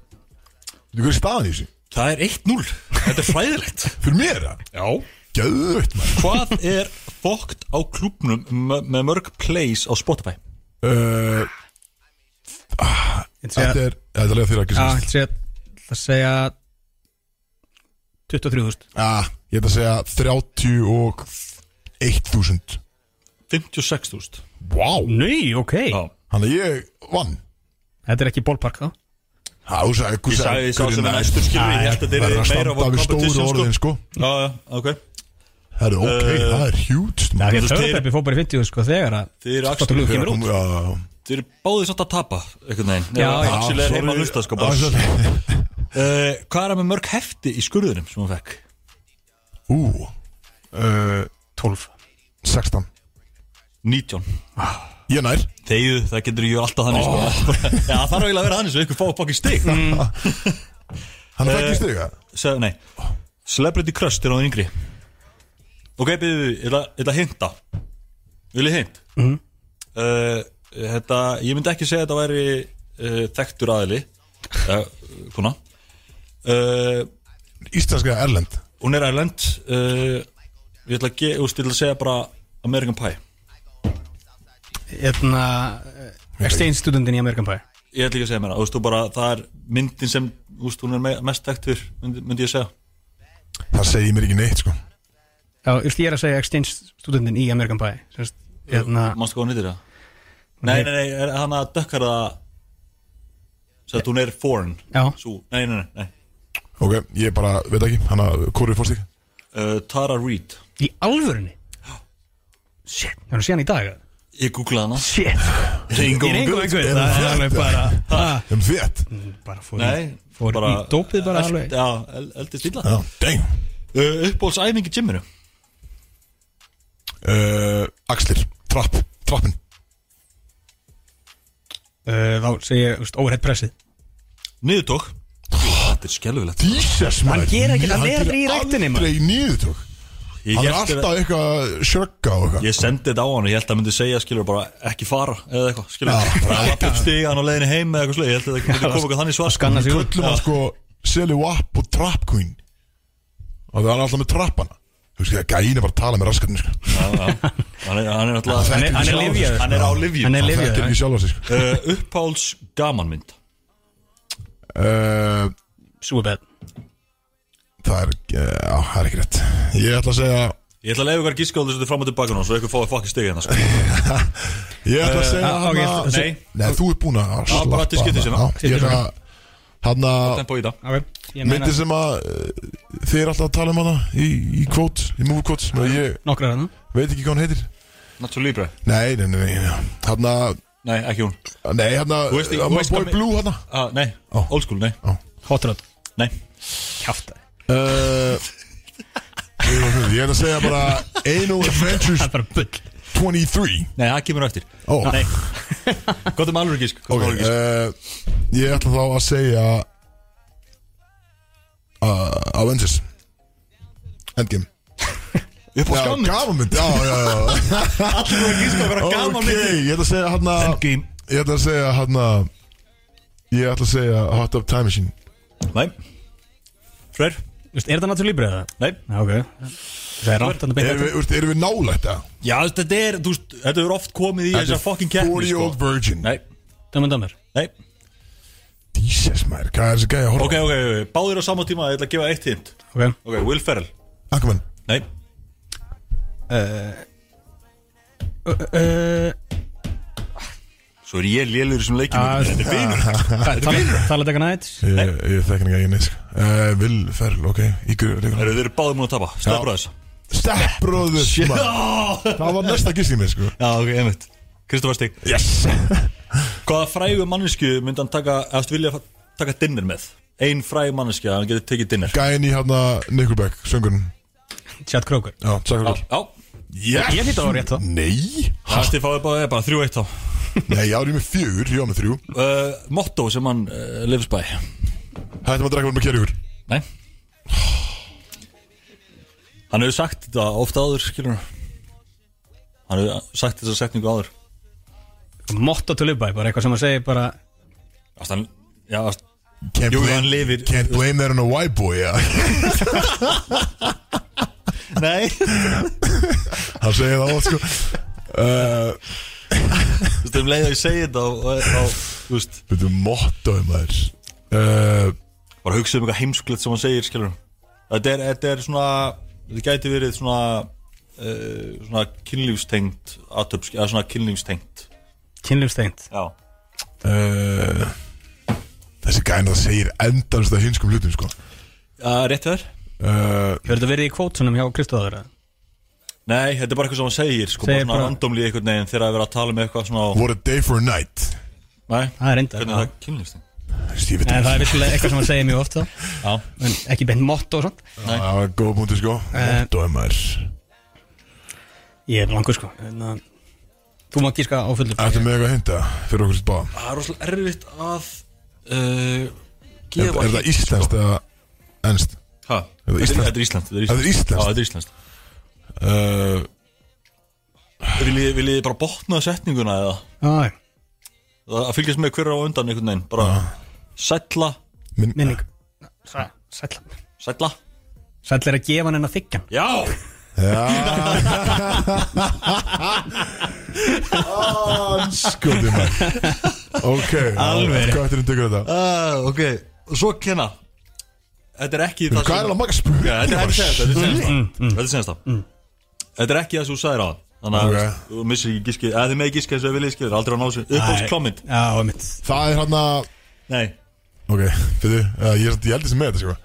Speaker 3: Þú veist staðan í þessu
Speaker 1: Það er 1-0, þetta er fræðilegt
Speaker 3: Fyrir mér það?
Speaker 1: Já
Speaker 3: Gæðvögt maður
Speaker 1: Hvað er fókt á klúbnum me- með mörg plays á Spotify?
Speaker 3: uh,
Speaker 2: Ég ætla að
Speaker 3: Þetta
Speaker 2: segja-
Speaker 3: er Þetta er lega þér ekki
Speaker 2: Já, ég
Speaker 3: sérst
Speaker 2: ætla að segja Það segja 23.000
Speaker 3: ah, Ég ætla að segja 30 og 1000
Speaker 1: 56.000
Speaker 3: Vá wow.
Speaker 2: Nei, ok
Speaker 1: Já,
Speaker 3: Þannig að ég vann
Speaker 2: Þetta er ekki bólpark þá
Speaker 3: Há, þú sagði
Speaker 1: ég
Speaker 3: Ég
Speaker 1: sagði sá sem er næstur skilur Ég held að þetta
Speaker 3: Verður
Speaker 1: er
Speaker 3: að
Speaker 1: meira
Speaker 3: standa
Speaker 1: á
Speaker 3: við stóru
Speaker 1: competition
Speaker 3: orðin
Speaker 1: sko
Speaker 3: sko
Speaker 1: Já, já, ok
Speaker 3: Það er ok,
Speaker 1: Eh,
Speaker 3: það er hjúts
Speaker 2: Það er
Speaker 1: veist,
Speaker 2: törðarpeppi fór bara í 50 sko þegar að
Speaker 1: Þið eru
Speaker 2: Dr. Luke kemur út
Speaker 1: Þið eru báðið samt að tapa einhvern veginn
Speaker 2: Já,
Speaker 1: Ef
Speaker 2: já.
Speaker 3: Ah,
Speaker 1: Axel er heima að hlusta sko bara uh, Hvað er það með mörg hefti í skurðunum sem hún fekk?
Speaker 3: Ú uh, 12 16
Speaker 1: 19
Speaker 3: Ég nær
Speaker 1: Þegið, það getur ég alltaf þannig sko. Já, það þarf eiginlega að vera þannig svo ykkur fá fokkin stig
Speaker 3: Hann
Speaker 1: Eh,
Speaker 3: fætti stiga
Speaker 1: Se, Nei, Celebrity Crush til á það yngri Ok, byrðu, ég ætla ég ætla að hinta Vil ég hint? Mm. Uh, þetta, ég myndi ekki segja að þetta væri uh, þekktur aðili uh, svona uh,
Speaker 3: Íslenska Erlend
Speaker 1: hún er Erlend uh, ég ætla að, ge, úst, ég ætla að segja bara American Pie
Speaker 2: Hérna Exchange studentin í American Pie
Speaker 1: ég ætla ekki að segja mér það, þú veist, þú bara það er myndin sem, þú veist, hún er me- mest þekktur myndi, myndi ég segja
Speaker 3: Það segir mér ekki neitt sko
Speaker 2: Já, just, ég er að segja exchange studentin í American Pie Sérst, hérna,
Speaker 1: Mástu hvað hún heitir það? Nei, nei, nei, er hann að dökkar það Sætt hún er foreign
Speaker 2: Já.
Speaker 1: Sú, Nei, nei, nei, nei.
Speaker 3: Ok, ég bara, veit ekki, hann að Kóri fórstík
Speaker 1: Uh, Tara Reid
Speaker 2: Í alvörunni? Shit, ég hann sé hann í dag eða?
Speaker 1: Ég googlaði hana
Speaker 2: Shit
Speaker 1: Ringo
Speaker 2: Í Ringo
Speaker 1: Guðs,
Speaker 2: Guðs,
Speaker 1: er
Speaker 2: það
Speaker 1: hún
Speaker 2: er alveg
Speaker 1: þetta?
Speaker 2: bara ah,
Speaker 3: Um þétt
Speaker 2: Bara fór í
Speaker 1: Nei,
Speaker 2: fór í dópið bara
Speaker 1: eld-
Speaker 2: alveg.
Speaker 1: Já, el- eldist illa
Speaker 3: Já, dang
Speaker 1: uh, Uppbólsæfing í gymminu
Speaker 3: uh, Axlir, trapp, trappin
Speaker 2: uh, Þá segi ég, veist, overhead pressið
Speaker 1: Niðurtók Þetta er skelvilegt
Speaker 3: Jesus maður
Speaker 2: Hann gerir ekkert, hann er aldrei í ræktinni,
Speaker 3: maður
Speaker 2: maður.
Speaker 3: Aldrei nýðutök
Speaker 1: Ég,
Speaker 3: Hann er
Speaker 1: hélt-
Speaker 3: alltaf eitthvað sjörga og eitthvað
Speaker 1: ég sendi þetta á hann og ég held að hann myndi segja skilur bara ekki fara eða eitthvað skilur
Speaker 3: Já.
Speaker 1: bara lappa upp stígan og leiðin heim eða eitthvað slið ég held að þetta myndi koma eitthvað þannig svar
Speaker 2: skanna sig út
Speaker 3: Köllum hann sko Seli Wap og Trap Queen Og það er alltaf með trappana Þú veist, gæin er bara að tala með raskarnir sko
Speaker 1: hann er, hann er alltaf
Speaker 2: Hann er- hann er lyfjaður.
Speaker 1: hann er á livju
Speaker 2: Hann er
Speaker 3: Það
Speaker 2: lifið
Speaker 3: er ekki sjálf að sig sko
Speaker 1: uh, uppháls gamanmynd
Speaker 3: Uh,
Speaker 2: Súbet
Speaker 3: Það er, já, það er ekki rétt Ég ætla að segja
Speaker 1: ég ætla að leiða ykkur að gíska á þessu fram og tilbaka nú svo ykkur fáið fokki stig hérna sko.
Speaker 3: Ég ætla að segja
Speaker 2: ah, ok,
Speaker 3: hana-
Speaker 1: Eh,
Speaker 2: þú-
Speaker 1: nei.
Speaker 3: Nei, þú ert búin að
Speaker 1: bara
Speaker 3: slappa
Speaker 1: til hérna. skipti sinna.
Speaker 3: hana. Já, Ég
Speaker 1: um
Speaker 3: ætla að Hanna
Speaker 1: tempo í það
Speaker 2: okay. Ég meina
Speaker 3: Myndir sem að uh, Þið er alltaf að tala um hana Í, í kvót, í movie kvót sem að Ég
Speaker 2: nokkrar hann
Speaker 3: veit ekki hvað hann heitir
Speaker 1: Nacho Libre
Speaker 3: Nei, nei, nei, nei Hanna
Speaker 1: nei ekki hún
Speaker 3: Nei, hanna
Speaker 1: Þú veist ekki- þú
Speaker 3: My
Speaker 1: veist
Speaker 3: Boy
Speaker 1: hvað-
Speaker 3: Blue hérna. hanna
Speaker 1: ah, nei
Speaker 3: Ó.
Speaker 1: old school nei
Speaker 2: Hot Rod
Speaker 1: nei
Speaker 2: Kjafta
Speaker 3: Uh, Ég ætla að segja bara Anal Adventures
Speaker 2: Það er bara bull
Speaker 3: 23
Speaker 1: nei það kemur á eftir
Speaker 3: Ó.
Speaker 1: nei gott um alveg gísk gott
Speaker 3: Ok,
Speaker 1: um alvöru gísk.
Speaker 3: uh, ég ætla þá að segja uh, Avengers Endgame
Speaker 1: uppháls
Speaker 3: Já,
Speaker 1: gamanmynd
Speaker 3: gamanmynd, já, já, já
Speaker 1: allir voru að gíska á
Speaker 3: Ok,
Speaker 1: hverja gamanmynd
Speaker 3: ég ætla að segja hann að
Speaker 1: Endgame.
Speaker 3: Ég ætla að segja hann að Ég ætla að segja Hot Up Time Machine
Speaker 1: nei Freyr
Speaker 2: Vist, Er þetta náttúrulega líbrið það?
Speaker 1: nei
Speaker 2: Já, ok Það er rámt hann að beina
Speaker 3: Erum
Speaker 2: þetta
Speaker 3: við, úrst, erum við nálægt það?
Speaker 1: já þetta er þú veist þetta er oft komið í
Speaker 3: Þetta
Speaker 1: þessar
Speaker 3: er
Speaker 1: fucking keppni
Speaker 3: 40
Speaker 1: sko.
Speaker 3: old virgin
Speaker 1: nei
Speaker 2: Dömmen dömmer
Speaker 1: nei
Speaker 3: Jesus maður, hvað er þessi gæja að horfa?
Speaker 1: ok ok ok. báðir á sama tíma ég ætla að gefa eitt hint
Speaker 2: Ok
Speaker 1: ok Will Ferrell
Speaker 3: Aquaman
Speaker 1: nei
Speaker 2: uh,
Speaker 1: svo er ég lélur sem leikjum
Speaker 2: Ah,
Speaker 1: þetta er vinur
Speaker 2: Talat eitthvað nætt
Speaker 3: Ég, ég þekki hann ekki einu uh, Will Ferrell, ok Ígur,
Speaker 1: Eru þeir eru báðir múin að tapa, stefnur aðeins
Speaker 3: Steppbróður Það var næsta gissing mér, sko
Speaker 1: Já, ok, einmitt Kristofar Stig
Speaker 3: Yes
Speaker 1: Hvaða frægu mannesku myndi hann taka, eftir vilja fa- taka dinner með? Ein fræg manneskja, hann getur tekið dinner
Speaker 3: Gæin í hérna Nickelback, söngurinn
Speaker 2: Chad Kroger
Speaker 3: Já, sagði
Speaker 1: Já,
Speaker 3: Yes
Speaker 2: Ég hlýt að það var rétt þá.
Speaker 3: Nei
Speaker 1: hætti fáið bara, bara þrjú eitt þá
Speaker 3: Nei, ég árið með fjögur, ég var með þrjú
Speaker 1: uh, Motto sem hann uh, lifs bæ
Speaker 3: Hættum að drekka vel með kerjúr
Speaker 1: Nei Hann hefur sagt þetta ofta áður, skilur Hann hefur sagt þessa setningu áður
Speaker 2: Motto to live by Bara eitthvað sem að segja bara
Speaker 1: Ást hann, já, ást
Speaker 3: Can't
Speaker 1: Jú,
Speaker 3: blame-
Speaker 1: hann lifir.
Speaker 3: Can't blame that on a white boy, já
Speaker 1: Nei
Speaker 3: Hann segir það átt, sko Uh,
Speaker 1: Þú veist, um leið að ég segi þetta og, og, og, þú veist
Speaker 3: Þetta er mottói maður uh,
Speaker 1: bara hugsa um eitthvað heimsklegt sem hann segir skilur þetta er, þetta er svona þetta gæti verið svona uh, svona kynlífstengt atöp, eða svona kynlífstengt
Speaker 2: Kynlumsteint
Speaker 1: já
Speaker 3: uh, Þessi gæna það segir endanst að hinskum hlutum sko
Speaker 1: uh, rétt þér?
Speaker 3: uh,
Speaker 2: Hefur þetta verið í kvótsunum hjá Kristofður? eða?
Speaker 1: Nei, þetta er bara eitthvað sem hann segir sko,
Speaker 2: Segir
Speaker 1: bara svona
Speaker 2: bara-
Speaker 1: randomli einhvern veginn þegar að vera að tala með eitthvað svona
Speaker 3: What a day for a night
Speaker 1: nei,
Speaker 2: Það er reyndar
Speaker 1: hvernig er það kynlífstengt
Speaker 3: Þú veist, Ég veit ekki
Speaker 2: En Eh, það er vissulega eitthvað sem að segja mjög ofta
Speaker 1: já,
Speaker 2: En ekki beint motto og svona
Speaker 3: Það var góð punktu sko
Speaker 2: Eh.
Speaker 3: Mottói maður
Speaker 2: Ég er langur sko en, uh, Þú má gíska á fullu
Speaker 3: Ertu með eitthvað að hinta fyrir okkur sitt báðum?
Speaker 1: það er rosalega erfitt að uh,
Speaker 3: Er,
Speaker 1: gefa sko.
Speaker 3: er það íslenskt eða ennst?
Speaker 1: Ha,
Speaker 3: Er það
Speaker 1: þetta er-
Speaker 3: íslenskt?
Speaker 1: þetta er
Speaker 3: Er það íslenskt?
Speaker 1: Ísland Já, þetta er Ísland
Speaker 3: Uh, Eh,
Speaker 1: Viljið viljið þið bara botna setninguna eða?
Speaker 2: Já, já.
Speaker 1: að fylgjast með hverja á undan einhvern veginn bara sætla
Speaker 3: Min
Speaker 2: minning Sætla
Speaker 1: Sætla
Speaker 2: Sætla er að gefa hann en að þykja hann
Speaker 1: Já
Speaker 3: Skoði maður Sko, Ok,
Speaker 1: Alveg.
Speaker 3: hvað eftir hún tekur þetta?
Speaker 1: uh, ok, og svo kenna þetta er ekki það
Speaker 3: Hvað er alveg marga spurning?
Speaker 1: Já, þetta er senast þetta er senast þetta er senast þetta er ekki það sem þú sagðir á þannig að
Speaker 3: Ok.
Speaker 1: okay. þú missir ekki gískið eða þið með gískið þess að vilja skilja aldrei að ná sér uppáhalds komment
Speaker 2: Já, mitt
Speaker 3: Það er hann að
Speaker 1: nei
Speaker 3: Ok, fyrir, uh, ég, er- ég held þessi með þetta sko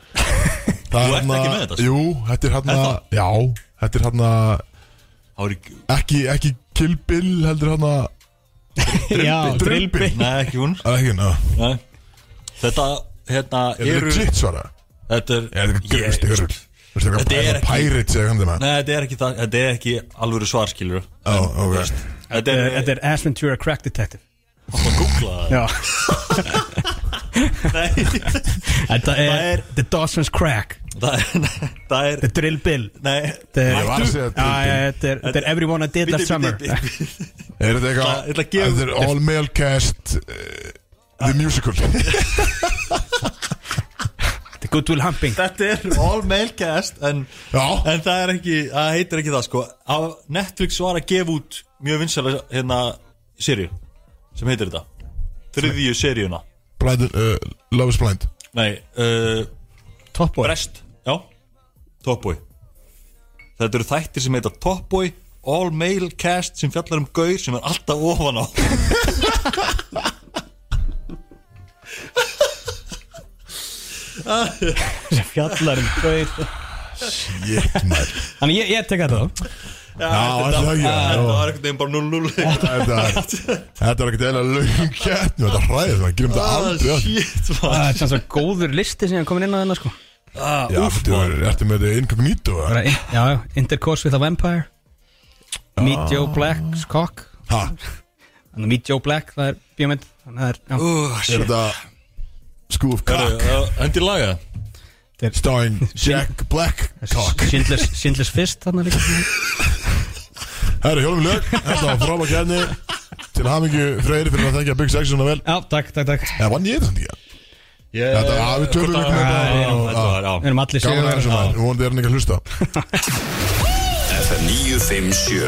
Speaker 3: Það
Speaker 1: Þú ert
Speaker 3: þarna-
Speaker 1: ekki með þetta, sko?
Speaker 3: Jú, þetta er hann að
Speaker 1: Er það?
Speaker 3: Já, þetta er hann að
Speaker 1: það var ekki
Speaker 3: Ekki, ekki Kill Bill heldur hérna- hann að
Speaker 2: Já,
Speaker 3: Drillbill.
Speaker 2: drillbi
Speaker 1: nei ekki hún
Speaker 3: Það er ekki, ná
Speaker 1: nei þetta hérna
Speaker 3: Er þetta
Speaker 1: eru
Speaker 3: klitt svara?
Speaker 1: þetta er
Speaker 3: Er þetta
Speaker 1: Ég-
Speaker 3: gröst ykkur? Þetta er
Speaker 1: Þetta er
Speaker 3: eitthvað pirates eða hann þeim
Speaker 1: nei þetta er ekki það þetta er ekki alvöru svar skilur
Speaker 3: Já, ok
Speaker 1: þetta er
Speaker 2: eh, Þetta er Ash Ventura Crack Detective
Speaker 1: þetta er googla það
Speaker 2: Já
Speaker 1: nei
Speaker 2: Þetta
Speaker 1: Það er-
Speaker 2: er The Dawson's Crack
Speaker 1: það er það er
Speaker 2: The Drill Bill
Speaker 1: nei
Speaker 2: Þetta er-
Speaker 3: Ég var að segja
Speaker 2: Já,
Speaker 3: Kill
Speaker 2: já,
Speaker 3: Bill.
Speaker 2: Þetta er- þetta er Everyone I Did
Speaker 1: Bíddu,
Speaker 2: Last Summer
Speaker 1: bíddu, bíddu.
Speaker 3: Er þetta
Speaker 1: Ég ætla
Speaker 3: eitthvað
Speaker 1: að gefa-
Speaker 3: Þetta er all male cast eh, The musical
Speaker 2: Þetta er Good Will Humping
Speaker 1: þetta er all male cast en
Speaker 3: Já,
Speaker 1: En það er ekki, það heitir ekki það sko á Netflix var að gefa út mjög vinsæla hérna serju sem heitir þetta þriðju seríuna
Speaker 3: Blind, uh, Love is Blind
Speaker 1: Nei, uh,
Speaker 2: Top Boy
Speaker 1: Brest Já, Top Boy Þetta eru þættir sem heita Top Boy All Male Cast sem fjallar um gaur sem er alltaf ofan á
Speaker 2: Fjallar um gaur
Speaker 3: Jétt maður
Speaker 2: Þannig ég, ég tek þetta þá
Speaker 1: Já,
Speaker 3: þetta er ekki, já.
Speaker 1: Það var ekkert einn bara 0-0
Speaker 3: Þetta þetta var ekkert eða lögum kettni Þetta ræðir það, gerum þetta
Speaker 1: Ah,
Speaker 3: aldrei aftur.
Speaker 1: Shit,
Speaker 2: Það
Speaker 1: man
Speaker 2: er sem sagt góður listi sem ég er komin inn á þennan sko
Speaker 1: Ah,
Speaker 3: Já,
Speaker 1: úff,
Speaker 3: þú
Speaker 1: man.
Speaker 3: er- ertu með þetta incognito eða?
Speaker 2: Bara, in- Já, já, Intercourse with a Vampire Meet Joe Black's Cock
Speaker 3: Ha,
Speaker 1: Ah,
Speaker 2: Þannig að Meet Joe Black, það er bíómynd Þannig að það er, já,
Speaker 1: Úh,
Speaker 3: er
Speaker 1: shit
Speaker 3: þetta School of
Speaker 1: Herru,
Speaker 3: Cock
Speaker 1: uh, Hendi laga
Speaker 3: Starring Jack Black Cock
Speaker 2: Schindler's, Schindler's Fist Þannig líka
Speaker 3: Herru, hjálpum lög, þetta var frábæk kettni Til hamingju Freyri fyrir að þengja Big Sex svona vel
Speaker 2: Já, takk, takk, takk
Speaker 3: Eða vann ég þetta samt ekki? Þetta, já, við tökum ykkur með þetta og-
Speaker 1: Þetta var, Eh, já hérna.
Speaker 2: Við erum allir
Speaker 3: Gaman að
Speaker 2: sigur
Speaker 3: þessu maður, vonandi er hann ekki að hlusta
Speaker 9: FM 957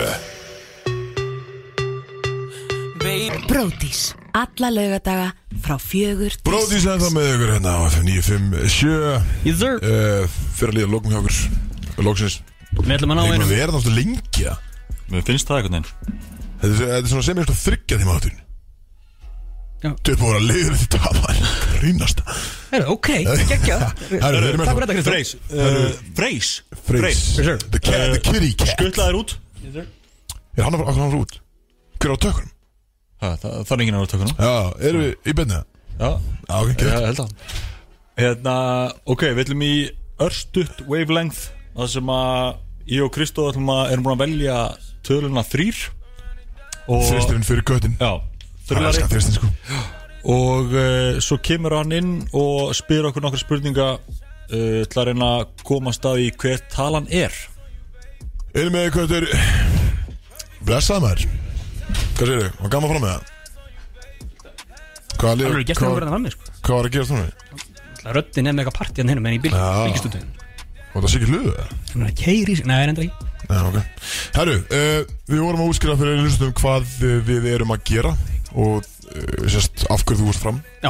Speaker 5: Bródís. Alla laugadaga frá fjögur til
Speaker 3: Bróðís er það með ykkur hérna á F957
Speaker 2: Yes, sir.
Speaker 3: uh, Fyrir að líða lokum hjá okkur Lóksins
Speaker 2: Við ætlum að ná
Speaker 3: Við erum
Speaker 2: einum
Speaker 3: að vera náttúrulega lengi ja.
Speaker 1: Mér finnst það einhvern veginn
Speaker 3: Þetta er, þetta er svona sem ég sko þryggja tíma áttur
Speaker 2: Já.
Speaker 3: Þau er búin að vera leiður þetta Það er grínast
Speaker 2: Heyrðu, Ok, geggja
Speaker 3: Herru, við erum hérna.
Speaker 2: Takk
Speaker 3: með
Speaker 2: fyrir þetta, Kristó
Speaker 1: Freys uh, Freys
Speaker 3: Freys
Speaker 2: sir.
Speaker 3: The cat, the kitty cat
Speaker 1: Gullaður Eh, út
Speaker 3: Er hann að fara hann út? Hver er á tökunum?
Speaker 1: ha, Það það er enginn að tökuna
Speaker 3: Já, erum við í beinni það?
Speaker 1: Já,
Speaker 3: Já, ok,
Speaker 1: ég
Speaker 3: gett
Speaker 1: held að Hérna, ok, við ætlum í Örstutt Wavelength Það sem að ég og Kristó ætlum að erum búin að velja töluna þrýr og,
Speaker 3: Þristurinn fyrir köttin
Speaker 1: Já,
Speaker 3: Það
Speaker 1: þrjulari
Speaker 3: er þristin sko
Speaker 1: Og uh, svo kemur hann inn og spyr okkur nokkra spurninga uh, til að reyna að komast að í hver talan er
Speaker 3: Erum við köttur Blessað maður Hvað segir þau? Var gaman fram með það? Hvað,
Speaker 2: Það
Speaker 3: lið-
Speaker 2: eru gert
Speaker 3: hvað,
Speaker 2: það frammi sko
Speaker 3: hvað var að gera þannig?
Speaker 2: Það er röddinn er mega partí hann hinum en í bíl
Speaker 3: Já.
Speaker 2: Bílgistundin
Speaker 3: Var það sikið hluðu það?
Speaker 2: Hann er að keiri sig Nei, reyndar ekki
Speaker 3: Já, ok. Herru, uh, við vorum að útskýra fyrir hlustum hvað eh, við erum að gera og uh, sérst, af hverju þú vorst fram.
Speaker 2: Já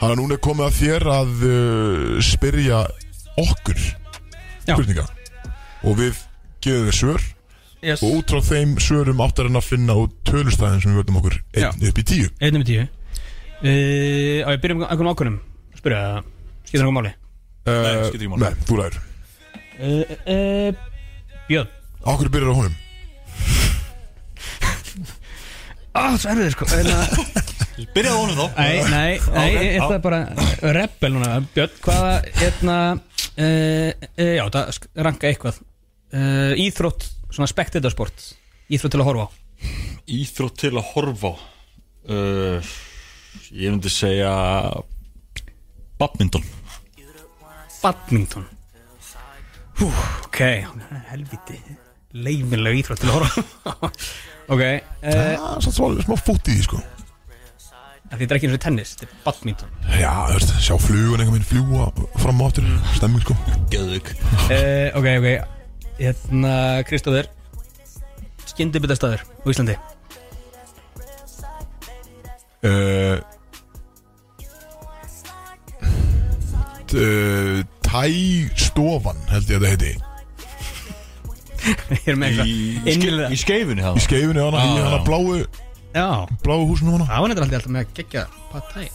Speaker 3: Þannig að núna er komið að þér að uh, spyrja okkur
Speaker 2: Já.
Speaker 3: spurninga og við gefum þér svör
Speaker 2: Yes
Speaker 3: og út frá þeim svörum áttar en að finna út tölustæðin sem við völdum okkur
Speaker 2: Já.
Speaker 3: einn upp í tíu.
Speaker 2: Einn um tíu Uh, á ég byrjum einhvern ákvörnum Spyrja það Skiptir einhvern
Speaker 1: Nei,
Speaker 2: máli
Speaker 3: Uh,
Speaker 1: skiptir ekki máli.
Speaker 3: nei, þú ræður.
Speaker 2: uh, uh, Björn
Speaker 3: Af hverju byrjar á honum?
Speaker 2: Ah, það er þið sko Nei,
Speaker 1: Byrjaðu honum þá
Speaker 2: nei, nei,
Speaker 1: Ok,
Speaker 2: þetta
Speaker 1: já.
Speaker 2: er bara Rebel núna, Björn Hvaða, hérna uh, uh, Já, það sk- ranka eitthvað uh, Íþrótt, svona spektatorsport Íþrótt til að horfa á
Speaker 1: Íþrótt til að horfa á uh, Ég myndi segja Badminton
Speaker 2: Badminton Hú, ok Helviti, leifinlega íþrótt til að horfa á. Ok uh,
Speaker 3: Eh. Ah, Það er samt svolítið smá fótt í því sko
Speaker 2: Þetta er ekki eins og tennis, þetta er badminton
Speaker 3: Já, þú veist, sjá flugun einhvern veginn fljúa fram og aftur Stemming sko
Speaker 1: Gjöðug
Speaker 2: uh, Ok, ok Hérna, Kristóður Skyndibitastaður á Íslandi
Speaker 3: uh, t- Eh, Tæstofan held ég að þetta heiti
Speaker 2: Ég er með eitthvað innlega
Speaker 1: Í skeifunni
Speaker 3: Í skeifinu hana, í
Speaker 2: Já,
Speaker 3: hana
Speaker 2: já.
Speaker 3: bláu
Speaker 2: Já
Speaker 3: Bláu húsinu hana
Speaker 2: Það var neitt alltaf með að gegja pad thai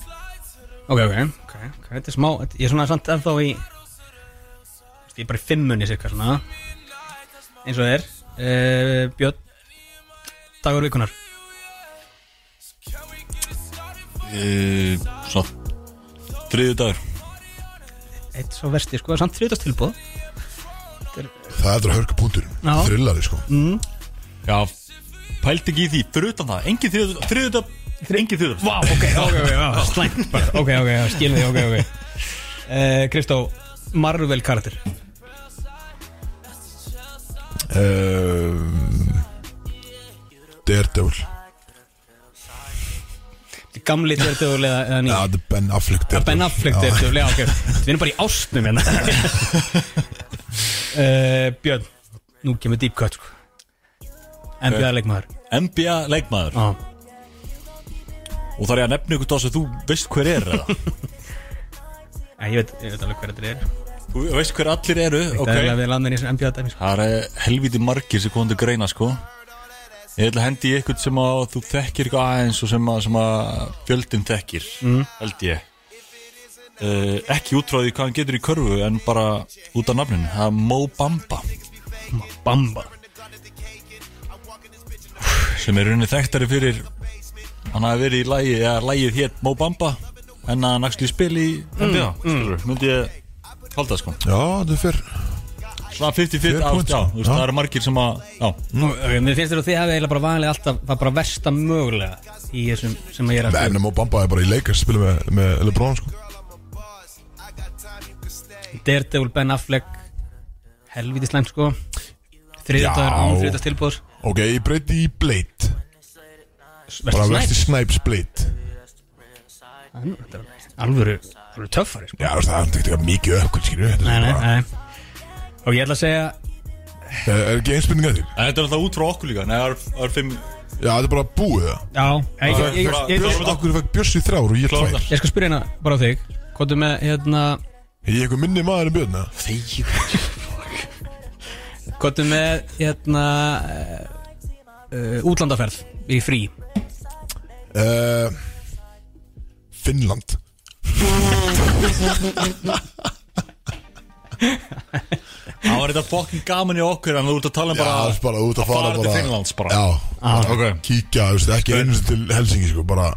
Speaker 2: Ok, ok, ok, ok, þetta er smá Ég er svona samt ennþá í Ég er bara í fimmunni sér svona Eins og það er uh, Björn Dagur vikunar
Speaker 1: uh, Svona Þriði dagur
Speaker 2: Eitt svo versti, sko, samt þrjóðast tilbúð
Speaker 3: Það er þetta hörku punkturinn
Speaker 2: Já.
Speaker 3: Thrillari sko
Speaker 2: mm.
Speaker 1: Já Pælt ekki í því Fyrir utan það Engin þriði Þriði dag Engin þriði dag
Speaker 2: Vá, ok, ok, ok, já, slæmt bara Ok, ok, já, skilum því, ok, ok Eh, Kristó, Marvel karakter
Speaker 3: uh, Daredevil
Speaker 2: Gamli Daredevil eða, eða ný
Speaker 3: Já, þetta er Ah, Ben Affleck Daredevil Ah.
Speaker 2: Ben Affleck
Speaker 3: Já.
Speaker 2: Daredevil, já, ok Við erum bara í ástnum hérna uh, Björn, nú kemur deep cut sko. NBA leikmaður
Speaker 1: NBA leikmaður
Speaker 2: Já.
Speaker 1: Og þarf ég að nefna ykkur þá sem þú veist hver er eða?
Speaker 2: Æ, ég, veit, ég veit alveg hver þetta er
Speaker 1: Þú veist hver allir eru
Speaker 2: Það er alveg að
Speaker 1: ok.
Speaker 2: við landin í þessu NBA dæmi sko.
Speaker 1: Það er helviti margir sem komum til greina sko Ég ætla að hendi í eitthvað sem að þú þekkir eitthvað aðeins og sem að, sem að fjöldin þekkir
Speaker 2: Mm.
Speaker 1: held ég uh, Ekki útráði hvað hann getur í körfu en bara út af nafninu Það er Mo Bamba
Speaker 2: Bamba
Speaker 1: sem er rauninni þekktari fyrir hann hafi verið í lægi eða lægið hétt Mo Bamba en að hann axli spil í NBA mm, myndi ég halda sko
Speaker 3: Já, þetta er fyrr
Speaker 1: svona 50-50
Speaker 3: Fair
Speaker 1: á,
Speaker 3: point,
Speaker 1: já,
Speaker 3: sko.
Speaker 1: þú veist,
Speaker 3: Já.
Speaker 1: það eru margir sem að já,
Speaker 2: Nú, ok, Mér finnst þetta að þið hafi eiginlega bara vanlega alltaf Það bara versta mögulega í þessum sem ég er að
Speaker 3: Ennum og Bamba er bara í leikast spila með, með Lebron sko
Speaker 2: Daredevil, Ben Affleck Helviti slæmt sko Þriðdagar
Speaker 3: Já.
Speaker 2: án þriðdags tilbúður
Speaker 3: Ok, ég breyti í Blade Bara
Speaker 2: Versta
Speaker 3: vesti
Speaker 2: slæmt
Speaker 3: Snipes Blade
Speaker 2: Þetta er Alvöru, alvöru töffari sko
Speaker 3: Já, þú veist, það er ekki eitthvað mikið ökkun skilju Þetta
Speaker 2: Nei,
Speaker 3: er
Speaker 2: nei,
Speaker 3: bara
Speaker 2: nei Og ég ætla að segja
Speaker 3: Er er ekki einspurning að þér?
Speaker 1: En þetta er alltaf út frá okkur líka Nei, það er- það er fimm
Speaker 3: Já, þetta er bara búið það
Speaker 2: Já, ég, ég, ég, ég, ég,
Speaker 3: Akkur fekk Bjössi þrjár og ég
Speaker 1: Klára
Speaker 3: tvær
Speaker 1: þetta.
Speaker 2: ég skal spyrja hérna bara á þig Hvað er með hérna
Speaker 3: Er Ég eitthvað minni maður en Björn eða?
Speaker 2: Hvað er með hérna uh, Útlandaferð í frí
Speaker 3: uh, Finnland
Speaker 1: Það var þetta fokkin gaman í okkur En þú ert að tala um
Speaker 3: Já,
Speaker 1: bara
Speaker 3: þú veist, bara út að fara
Speaker 1: fara til
Speaker 3: bara
Speaker 1: Finnlands bara.
Speaker 3: Já, bara
Speaker 1: ok.
Speaker 3: kíkja, þú veist, ekki einu sinni til Helsingi sko Bara,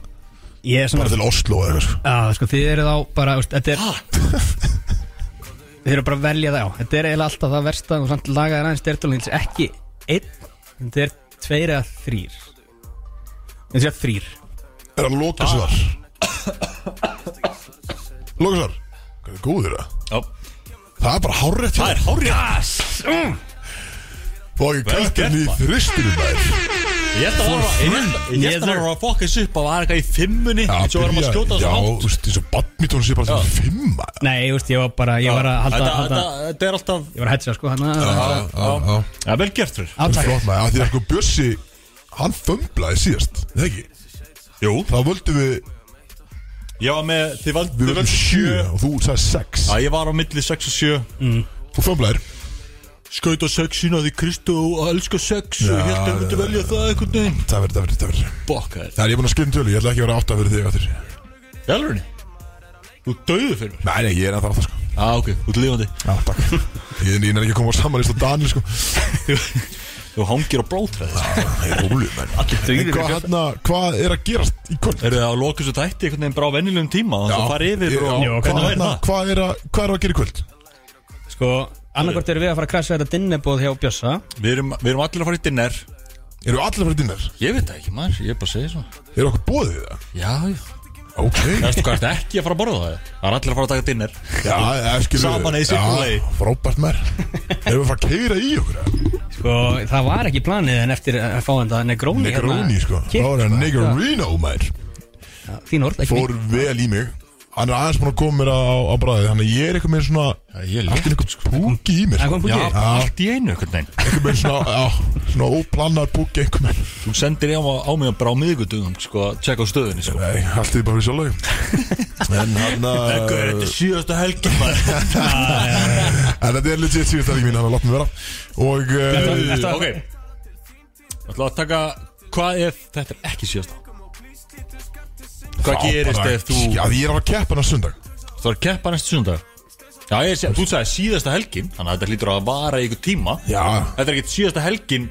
Speaker 2: Ég er
Speaker 3: bara
Speaker 2: svona
Speaker 3: til Oslo eða eitthvað sko
Speaker 2: Já, sko, þið eru þá bara þú veist, Þetta er Þið eru bara að velja það, já Þetta er eiginlega alltaf það versta og samt lagaðir aðeins Daredevil Þetta er ekki einn Þetta er tveir eða þrýr Þetta er þrýr
Speaker 3: Er hann lokasvar?
Speaker 1: Ah.
Speaker 3: lokasvar? Hvað er góður það?
Speaker 1: Já.
Speaker 3: Það er bara hárrétt hjá
Speaker 1: Það er
Speaker 3: þér.
Speaker 1: hárið
Speaker 2: mm.
Speaker 3: Þú var ekki
Speaker 1: Vel
Speaker 3: kætt
Speaker 1: gert,
Speaker 3: henni í
Speaker 1: maður.
Speaker 3: þristunum þær
Speaker 1: Ég held að það var Ég held að það var að fokka þessu upp Það var eitthvað í fimmunni Svo varum að skjóta
Speaker 3: Já,
Speaker 1: þessu hátt
Speaker 3: þú veist, eins og badmítón sé bara til fimma
Speaker 2: Nei, ég veist, ég var bara, ég var að halda,
Speaker 1: Þetta-
Speaker 2: halda
Speaker 1: þetta- Þetta er alltaf
Speaker 2: Ég var að hetsa, sko, hann
Speaker 3: Já, já, já
Speaker 1: Það er vel gert fyrir
Speaker 3: Það er
Speaker 2: Átak
Speaker 3: flott maður, af því að sko Bjössi Hann fömblaði síðast, eða ekki?
Speaker 1: Jú
Speaker 3: Þá völdum við,
Speaker 1: Ég var með Þið vald
Speaker 3: við völdum sjö og þú sagði sex
Speaker 1: Já, ég var á milli 6 og 7
Speaker 3: Þú fömblaðir
Speaker 1: Skaut á sexina því Kristó elskar sex og
Speaker 3: Já,
Speaker 1: held að myndi
Speaker 3: já,
Speaker 1: velja það einhvern veginn
Speaker 3: Það verður, það verður, það verður
Speaker 1: Bokka þér
Speaker 3: Það er ég búin að skilja um tölu, ég ætla ekki að vera átta fyrir þig aftur
Speaker 1: Jálfurinni Þú döðu fyrir mér
Speaker 3: Nei, nei, ég er ennþá átta sko
Speaker 1: Já, ok, þú ert lifandi
Speaker 3: Já, takk Ég, ég er ekki að koma á saman eins og Daniel sko
Speaker 1: Þú hangir á blótræði
Speaker 3: Það er rúlu, menn En hvað, hérna, hvað er að gerast í kvöld?
Speaker 1: Eru þið að loka þessu tætti einhvern veginn bara á vennilegum tíma og það fara yfir
Speaker 3: Já,
Speaker 1: og
Speaker 3: hvað,
Speaker 1: hvernig væri
Speaker 3: hérna,
Speaker 1: það?
Speaker 3: hvað, er að, hvað er að gera í kvöld?
Speaker 2: Sko, annarkvort erum við að fara að krasa þetta dinnebóð hjá Bjössa
Speaker 1: Við erum, við erum allir að fara í dinner
Speaker 3: Eru allir fyrir dinnar?
Speaker 1: Ég veit það ekki maður, ég er bara að segja svona
Speaker 3: Eru okkur bóðið það?
Speaker 1: Já, já
Speaker 3: Ok
Speaker 1: Veistu hvað ertu ekki að fara að borða það? Það er allir að fara að taka dinner
Speaker 3: Já, það skilur
Speaker 1: Saman í sirkulegi.
Speaker 3: Frábært mér Erum við að fara að keira í okkur? eða?
Speaker 2: Sko, það var ekki planið en eftir að fá þetta hérna. Negróni
Speaker 3: Negroni, sko
Speaker 2: Kitt,
Speaker 3: Það var að Negrino, mær
Speaker 2: Þín orð, ekki
Speaker 3: fór vel í mig Hann er aðeins búin að koma mér á, á bræði Þannig að ég er eitthvað með svona Allt er eitthvað púki í mér sko.
Speaker 1: sko. Það kom púki? Já, allt
Speaker 3: í einu eitthvað neinn Eitthvað með svona, já, svona óplanar púki eitthvað með
Speaker 1: Þú sendir ég á, á mig að brá miðgutugum sko, að tjekka á stöðunni sko.
Speaker 3: Nei, allt er bara fyrir sjálf En hann uh, að
Speaker 1: Ekkur, þetta er síðasta helgi maður.
Speaker 3: En þetta er legit síðust helgi mín, hann að láta mig vera Og eh,
Speaker 1: Þetta- Ok Það ætla að taka Hvað ef Þetta er ekki síðasta Hvað
Speaker 3: þá
Speaker 1: gerist
Speaker 3: bara-
Speaker 1: ef þú
Speaker 3: Já, ég er að keppa hann á sundag
Speaker 1: Þú þarf að keppa næstu sundag Já, ég sé, þú sagði síðasta helgin Þannig að þetta hlýtur að vara í ykkur tíma
Speaker 3: Já.
Speaker 1: Þetta er ekkert síðasta helgin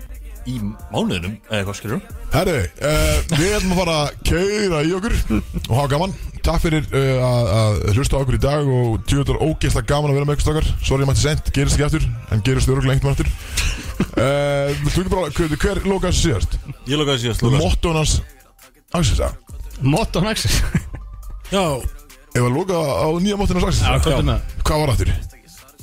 Speaker 1: í mánuðinum Eða hvað skilur
Speaker 3: Herri, uh, við ætlum að fara að keira í okkur og hafa gaman Takk fyrir uh, að- að hlusta á okkur í dag og tjóður ógeðslega gaman að vera með ykkur stakar Sorry, ég mætti sent, gerist ekki aftur, en gerist öruglega einhvern veginn aftur uh, Viltu ekki bara, hver, hver lókast síðast?
Speaker 1: Ég lokaði síðast lokaði.
Speaker 3: Mottón hans, Axis það
Speaker 2: Motto Nexus
Speaker 1: Já
Speaker 3: Ef að lóka á nýja mottón hans Axis
Speaker 2: Já, hvað er með
Speaker 3: Hvað var aftur?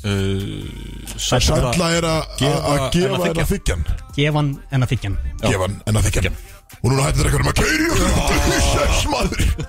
Speaker 1: uh,
Speaker 3: Sætla er að- að
Speaker 1: Gefa
Speaker 3: að
Speaker 1: en að
Speaker 3: gefa þér
Speaker 1: þiggja.
Speaker 3: að þykja hann
Speaker 2: Gefan en að þykja hann
Speaker 3: Gefa hann en að þykja hann Og núna hættir eitthvað um að keira í okkur Þetta er sess maður